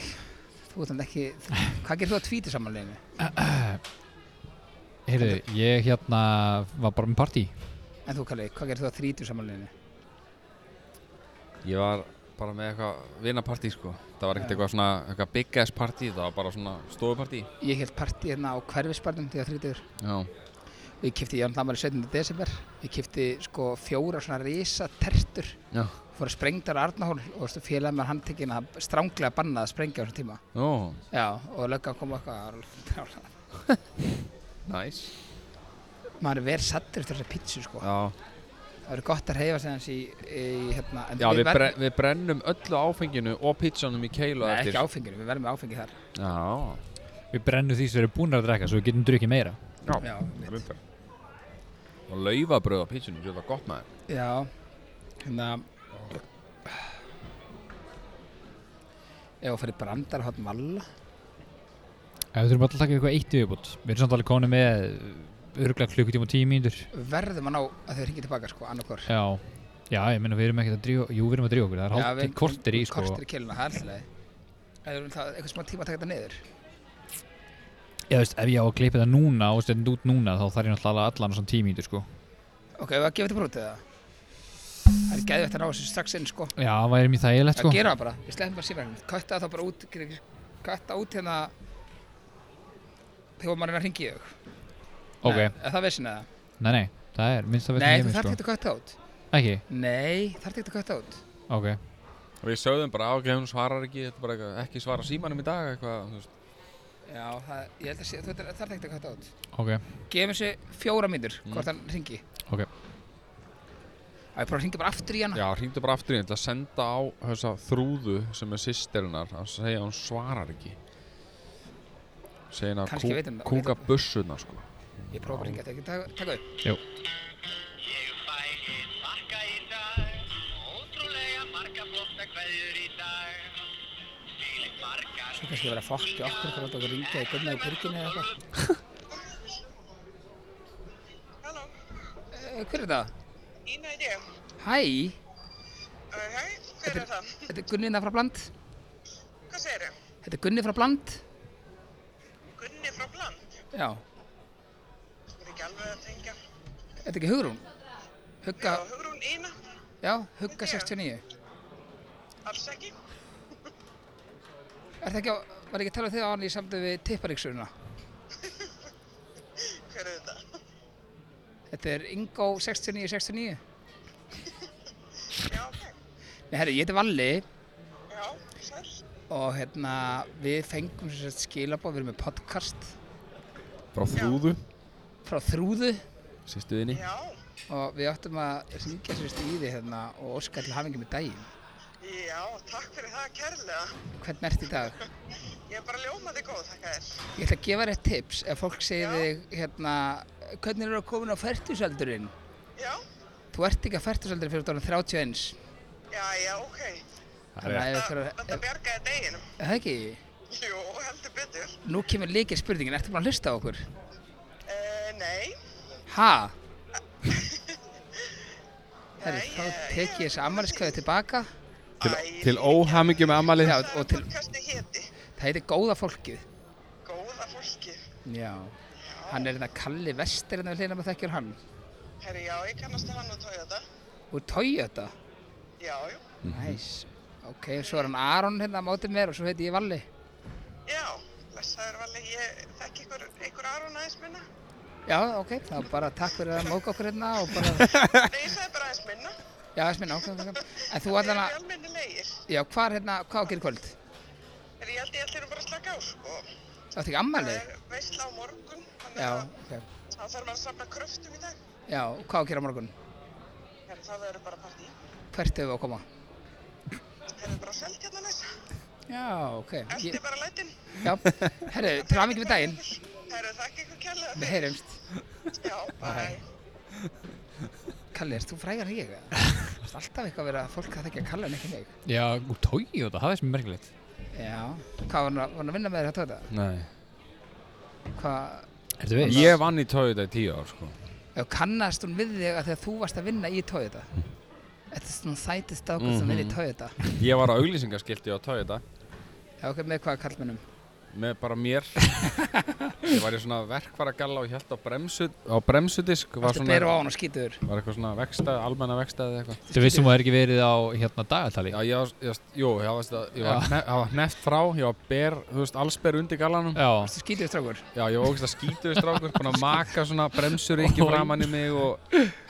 Speaker 2: þú ert hann ekki Hvað gerir þú á tvíti samanleginu?
Speaker 3: Heyrðu, ég hérna var bara með partí.
Speaker 2: En þú Kalli, hvað gerir þú á þrítu samanleginu?
Speaker 4: Ég var bara með eitthvað vinapartí sko Það var ekkert eitthvað svona eitthvað big ass partí Það var bara svona stofupartí
Speaker 2: Ég held partí hérna á hverfisbarnum þegar þrítur
Speaker 4: Já
Speaker 2: og ég kipti, ég var náttúrulega 17. desember ég kipti sko fjóra svona risa tertur
Speaker 4: Já
Speaker 2: fór að sprengdar á Arnahól og veistu, félagið mér handtekinn að stránglega bannað að sprengja á þessum tíma
Speaker 4: Ó,
Speaker 2: Já, og löggan kom og eitthvað það var alveg brjálað.
Speaker 4: næs
Speaker 2: maður er verið sattur eftir þessari pítsu sko
Speaker 4: Já,
Speaker 2: það eru gott að reyfa sig hans í, í hérna, en
Speaker 4: Já við,
Speaker 2: verðum-
Speaker 4: bre við brennum öllu áfenginu og pizzanum í keilu
Speaker 2: Nei,
Speaker 4: eftir
Speaker 2: ekki áfengir, við verðum með áfengi þar
Speaker 4: Já
Speaker 3: Við brennum því sem við erum búin að drekka svo við getum drukkið meira.
Speaker 2: Já,
Speaker 4: Það er bara- Og laufabröð á pizzunum, þetta var gott maður
Speaker 2: Já, hérna Ef þú fyrir brandar hótt malla
Speaker 3: Ef við þurfum alltaf að taka eitthvað eitt í viðbútt. Við erum samt alveg komin með örgulega klukkutíma og tíu mínútur.
Speaker 2: verðum að ná að þau ringir tilbaka sko, annarkor
Speaker 3: Já. Já, ég meina við erum ekkert að drífa, jú við erum að drífa okkur, það er hálft kortir í sko.
Speaker 2: Kortir í kéluna, það er alltaf leið Það er það eitthvað smá tíma að taka þetta niður
Speaker 3: Já, þú veist, ef ég á að klippa þetta núna og stendin út núna þá þarf ég náttúrulega allan á svona tíu mínútur sko.
Speaker 2: Ok, ef að gefa þetta brútið það Það er geðvægt að ná þessu strax inn sko
Speaker 3: Já, það væri mjög þægilegt
Speaker 2: Það
Speaker 3: sko.
Speaker 2: sko? gera það bara, við sleppum bara síðan Kötta það þá bara út Kötta út hérna Þegar maður er að ringi í þau
Speaker 3: Ok,
Speaker 2: Nei, er það vissin eða?
Speaker 3: nei, nei, það er minnst að
Speaker 2: Nei,
Speaker 3: veitna
Speaker 2: þú
Speaker 3: ég
Speaker 2: þarf
Speaker 3: sko.
Speaker 2: ekki að kötta út
Speaker 3: Ekki,
Speaker 2: Nei, þarf ekki að kötta út
Speaker 3: ok.
Speaker 4: Og við sögðum bara, ok, hún svarar ekki, þetta er bara eitthvað, ekki svara símanum í dag eitthvað, þú veist.
Speaker 2: Já, það, ég held að sé, þú þarf þarft ekkert að kvæta át.
Speaker 3: Ok,
Speaker 2: Gefum þessu fjóra mínur, hvort hann ringi.
Speaker 3: Ok.
Speaker 2: Að ég prófa að ringi bara aftur í hana.
Speaker 4: Já, hringdu bara aftur í, ég ætla að senda á þessa þrúðu sem er sýstirinnar, að segja að hún svarar ekki. Segja henn að
Speaker 2: Kannski veit hann það,
Speaker 4: kúka
Speaker 2: veit hann-
Speaker 4: bussuna, sko.
Speaker 2: Ég prófa bara að ringa þetta, ekki taka- taka upp.
Speaker 6: Ég fæ eitt bakka í dag, ótrúlega marga flotta hverjur í dag. Þvílík margar
Speaker 2: Svo kannski vera að fokki okkur, hvað láta okkur ringja í gumna í pyrkinu eða eitthvað.
Speaker 7: Halló,
Speaker 2: Eh, Hver er það?
Speaker 7: Ína heiti ég.
Speaker 2: Hæ,
Speaker 7: Uh, hæ, hver er það?
Speaker 2: þetta er Gunnina frá Bland.
Speaker 7: Hvað segir þau?
Speaker 2: Þetta er Gunni frá Bland.
Speaker 7: Gunni frá Bland.
Speaker 2: Já,
Speaker 7: Þú er ekki alveg að tengja.
Speaker 2: þetta er ekki Hugrún. Hugga,
Speaker 7: Já, Hugrún Ína,
Speaker 2: já, Hugga 69.
Speaker 7: alls ekki.
Speaker 2: Er það ekki á, var ekki að tala um þig á hann í samtöð við tipparíksuruna?
Speaker 7: Hver er þetta?
Speaker 2: Þetta er Ingo 6969.
Speaker 7: Já, ok.
Speaker 2: Nei, herri, ég heiti Valli.
Speaker 7: Já, sæl.
Speaker 2: og hérna við fengum sem sagt skilabóð, við erum með podcast
Speaker 4: Frá þrúðu,
Speaker 2: frá þrúðu
Speaker 4: sýstuðinni.
Speaker 7: Já,
Speaker 2: og við áttum að syngja sérst í því hérna og óska til hafingi með daginn.
Speaker 7: já, takk fyrir það kærlega.
Speaker 2: Hvernig ert í dag?
Speaker 7: Ég er bara ljómaði góð, þakka þér.
Speaker 2: Ég ætla að gefa þér eitt tips ef fólk segir
Speaker 7: Já.
Speaker 2: þig hérna hvernig eru að komin á færtusaldurinn?
Speaker 7: Já,
Speaker 2: Þú ert ekki á færtusaldurinn fyrir dólan 31.
Speaker 7: já, já, ok.
Speaker 2: Þannig að ef
Speaker 7: Það,
Speaker 2: þú
Speaker 7: þetta
Speaker 2: er
Speaker 7: bjargaði deginum.
Speaker 2: það ekki,
Speaker 7: Jú, heldur betur.
Speaker 2: nú kemur líkir spurningin, ertu búin að hlusta á okkur?
Speaker 7: Uh, nei,
Speaker 2: Ha? Herri,
Speaker 7: Nei,
Speaker 2: þá
Speaker 7: ég-
Speaker 2: tek ég þessi ammaliskveðu tilbaka.
Speaker 4: Til,
Speaker 7: Æ,
Speaker 4: til óhamingju með amalið.
Speaker 2: Já,
Speaker 7: það
Speaker 2: og til,
Speaker 7: podcasti héti.
Speaker 2: það heiti Góða fólkið.
Speaker 7: Góða fólkið.
Speaker 2: Já, hann er þetta Kalli Vester en við hlýðum að þekkjur hann.
Speaker 7: Herri, já, ég kannast að hann og tója þetta.
Speaker 2: Úr Toyota.
Speaker 7: Já, jú.
Speaker 2: Næs. Ok, svo er hann Aron hérna á mótið mér og svo heiti ég Valli.
Speaker 7: Já, blessaður vali, ég þekki ykkur, ykkur Aron aðeins minna.
Speaker 2: Já, ok, þá bara takk fyrir að móka okkur hérna og bara,
Speaker 7: Nei, ég sagði bara aðeins minna.
Speaker 2: já, þess minna, ok, ok. ok. hérna. En þú
Speaker 7: Þið
Speaker 2: allan
Speaker 7: eru
Speaker 2: að,
Speaker 7: almenni leir.
Speaker 2: Já, hvað er hérna, hvað á að gera í kvöld?
Speaker 7: En ég held ég ætlir nú bara að slaka á, sko.
Speaker 2: Það ekki
Speaker 7: Það
Speaker 2: ammali?
Speaker 7: er veistla á morgun, þannig
Speaker 2: Já,
Speaker 7: að
Speaker 2: ok.
Speaker 7: þá þarf maður að safna kröftum í dag.
Speaker 2: Já, hvað á að gera á morgun?
Speaker 7: Herra, það verður bara partí.
Speaker 2: Hvert hefur við að koma?
Speaker 7: Það verður bara selt hérna næst.
Speaker 2: Já, ok.
Speaker 7: Eldi
Speaker 2: Ég,
Speaker 7: bara lætin.
Speaker 2: já, herru, til hamingi með daginn.
Speaker 7: Herru, þakk ykkur kærlega.
Speaker 2: Við heyrumst.
Speaker 7: fyrir- Já, bæ.
Speaker 2: Kalli, erst þú frægar en ég? eða? Það er alltaf eitthvað að vera fólk að þekja Kalli en ekki mig.
Speaker 3: Já, úr tói og það, það er sem merkilegt.
Speaker 2: Já, hvað var hann að- var hann að vinna með þér að tóta?
Speaker 4: Nei.
Speaker 2: Hvað,
Speaker 3: Ertu veist?
Speaker 4: Ég vann í Toyota í tíu ár, sko.
Speaker 2: Já, kannast hún við þig að þegar þú varst að vinna í Toyota?
Speaker 3: Mhm.
Speaker 2: Þetta er svona sætið stákur sem vinna í Toyota.
Speaker 4: Ég var á auglýsingaskilti á Toyota
Speaker 2: Já, ok, með hvaða kallmennum?
Speaker 4: með bara mér. ég var í svona verkvaragalla og hjælt á, bremsu, á bremsudisk. Var,
Speaker 2: Þetta
Speaker 4: svona,
Speaker 2: berur á hann og skýtur.
Speaker 4: var eitthvað svona vegstæð, almenna vegstæð eða eitthvað.
Speaker 3: Þú vissum um að það er ekki verið á hérna dagatali.
Speaker 4: Já, ég var, ég, var- jú, ég var, ég var,
Speaker 3: Já.
Speaker 4: hne, það var hneft frá, ég var ber, þú veist, allsber undir gallanum.
Speaker 3: Já.
Speaker 2: Þú skýtur strákur.
Speaker 4: Já, ég var ógæst að skítu við strákur, búinn að maka svona bremsur ekki framann í mig og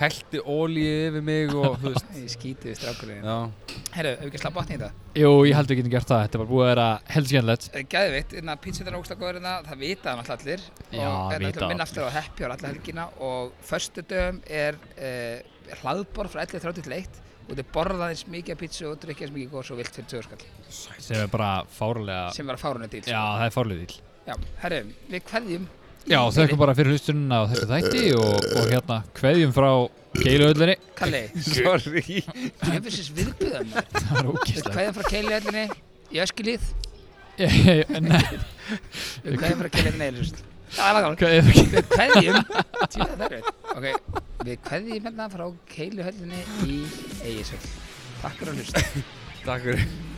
Speaker 4: heldi ólíu yfir mig og, þú veist,
Speaker 2: Ég skýtur strákurinn.
Speaker 4: já.
Speaker 2: Herru, hefur ekki að slá botni í þetta? Eh,
Speaker 3: Jú, ég held við getum gert það. Þetta var búið að vera helskjönlegt.
Speaker 2: Gæðvitt, innan pítsunar ógst að góður innan, það vita það náttúrulega allir.
Speaker 3: Já,
Speaker 2: og hérna,
Speaker 3: vita
Speaker 2: það. Minna
Speaker 3: allir.
Speaker 2: aftur á heppi á alla helgina og föstudöfum er uh, hlaðbor frá 11.30 til 1 og þið borðaðins mikið af pítsu og drikkjaðins mikið góðs og vilt fyrir tjóðskall
Speaker 3: Sem er bara fárulega...
Speaker 2: sem var að fárunni dýl.
Speaker 3: Já, það er fárulega dýl.
Speaker 2: Já, herru, við kveðjum.
Speaker 3: Já, þökkum bara fyrir hlustununa á þessu þætti og, og hérna kveðjum frá keiluhöllinni.
Speaker 2: Kalli,
Speaker 4: Sorry.
Speaker 2: djöfisins viðbjöðan maður.
Speaker 3: Það var
Speaker 2: Við
Speaker 3: ógæstlegt.
Speaker 2: kveðjum frá keilihöllinni í Öskilíð
Speaker 3: Nei,
Speaker 2: Við kveðjum frá keilihöllinni í Öskilíð Það var gaman
Speaker 3: kveðjum frá
Speaker 2: Við kveðjum Tjóða það er við Ok, við kveðjum hérna frá keilihöllinni í Egisöld Takk fyrir að hlusta
Speaker 4: Takk fyrir.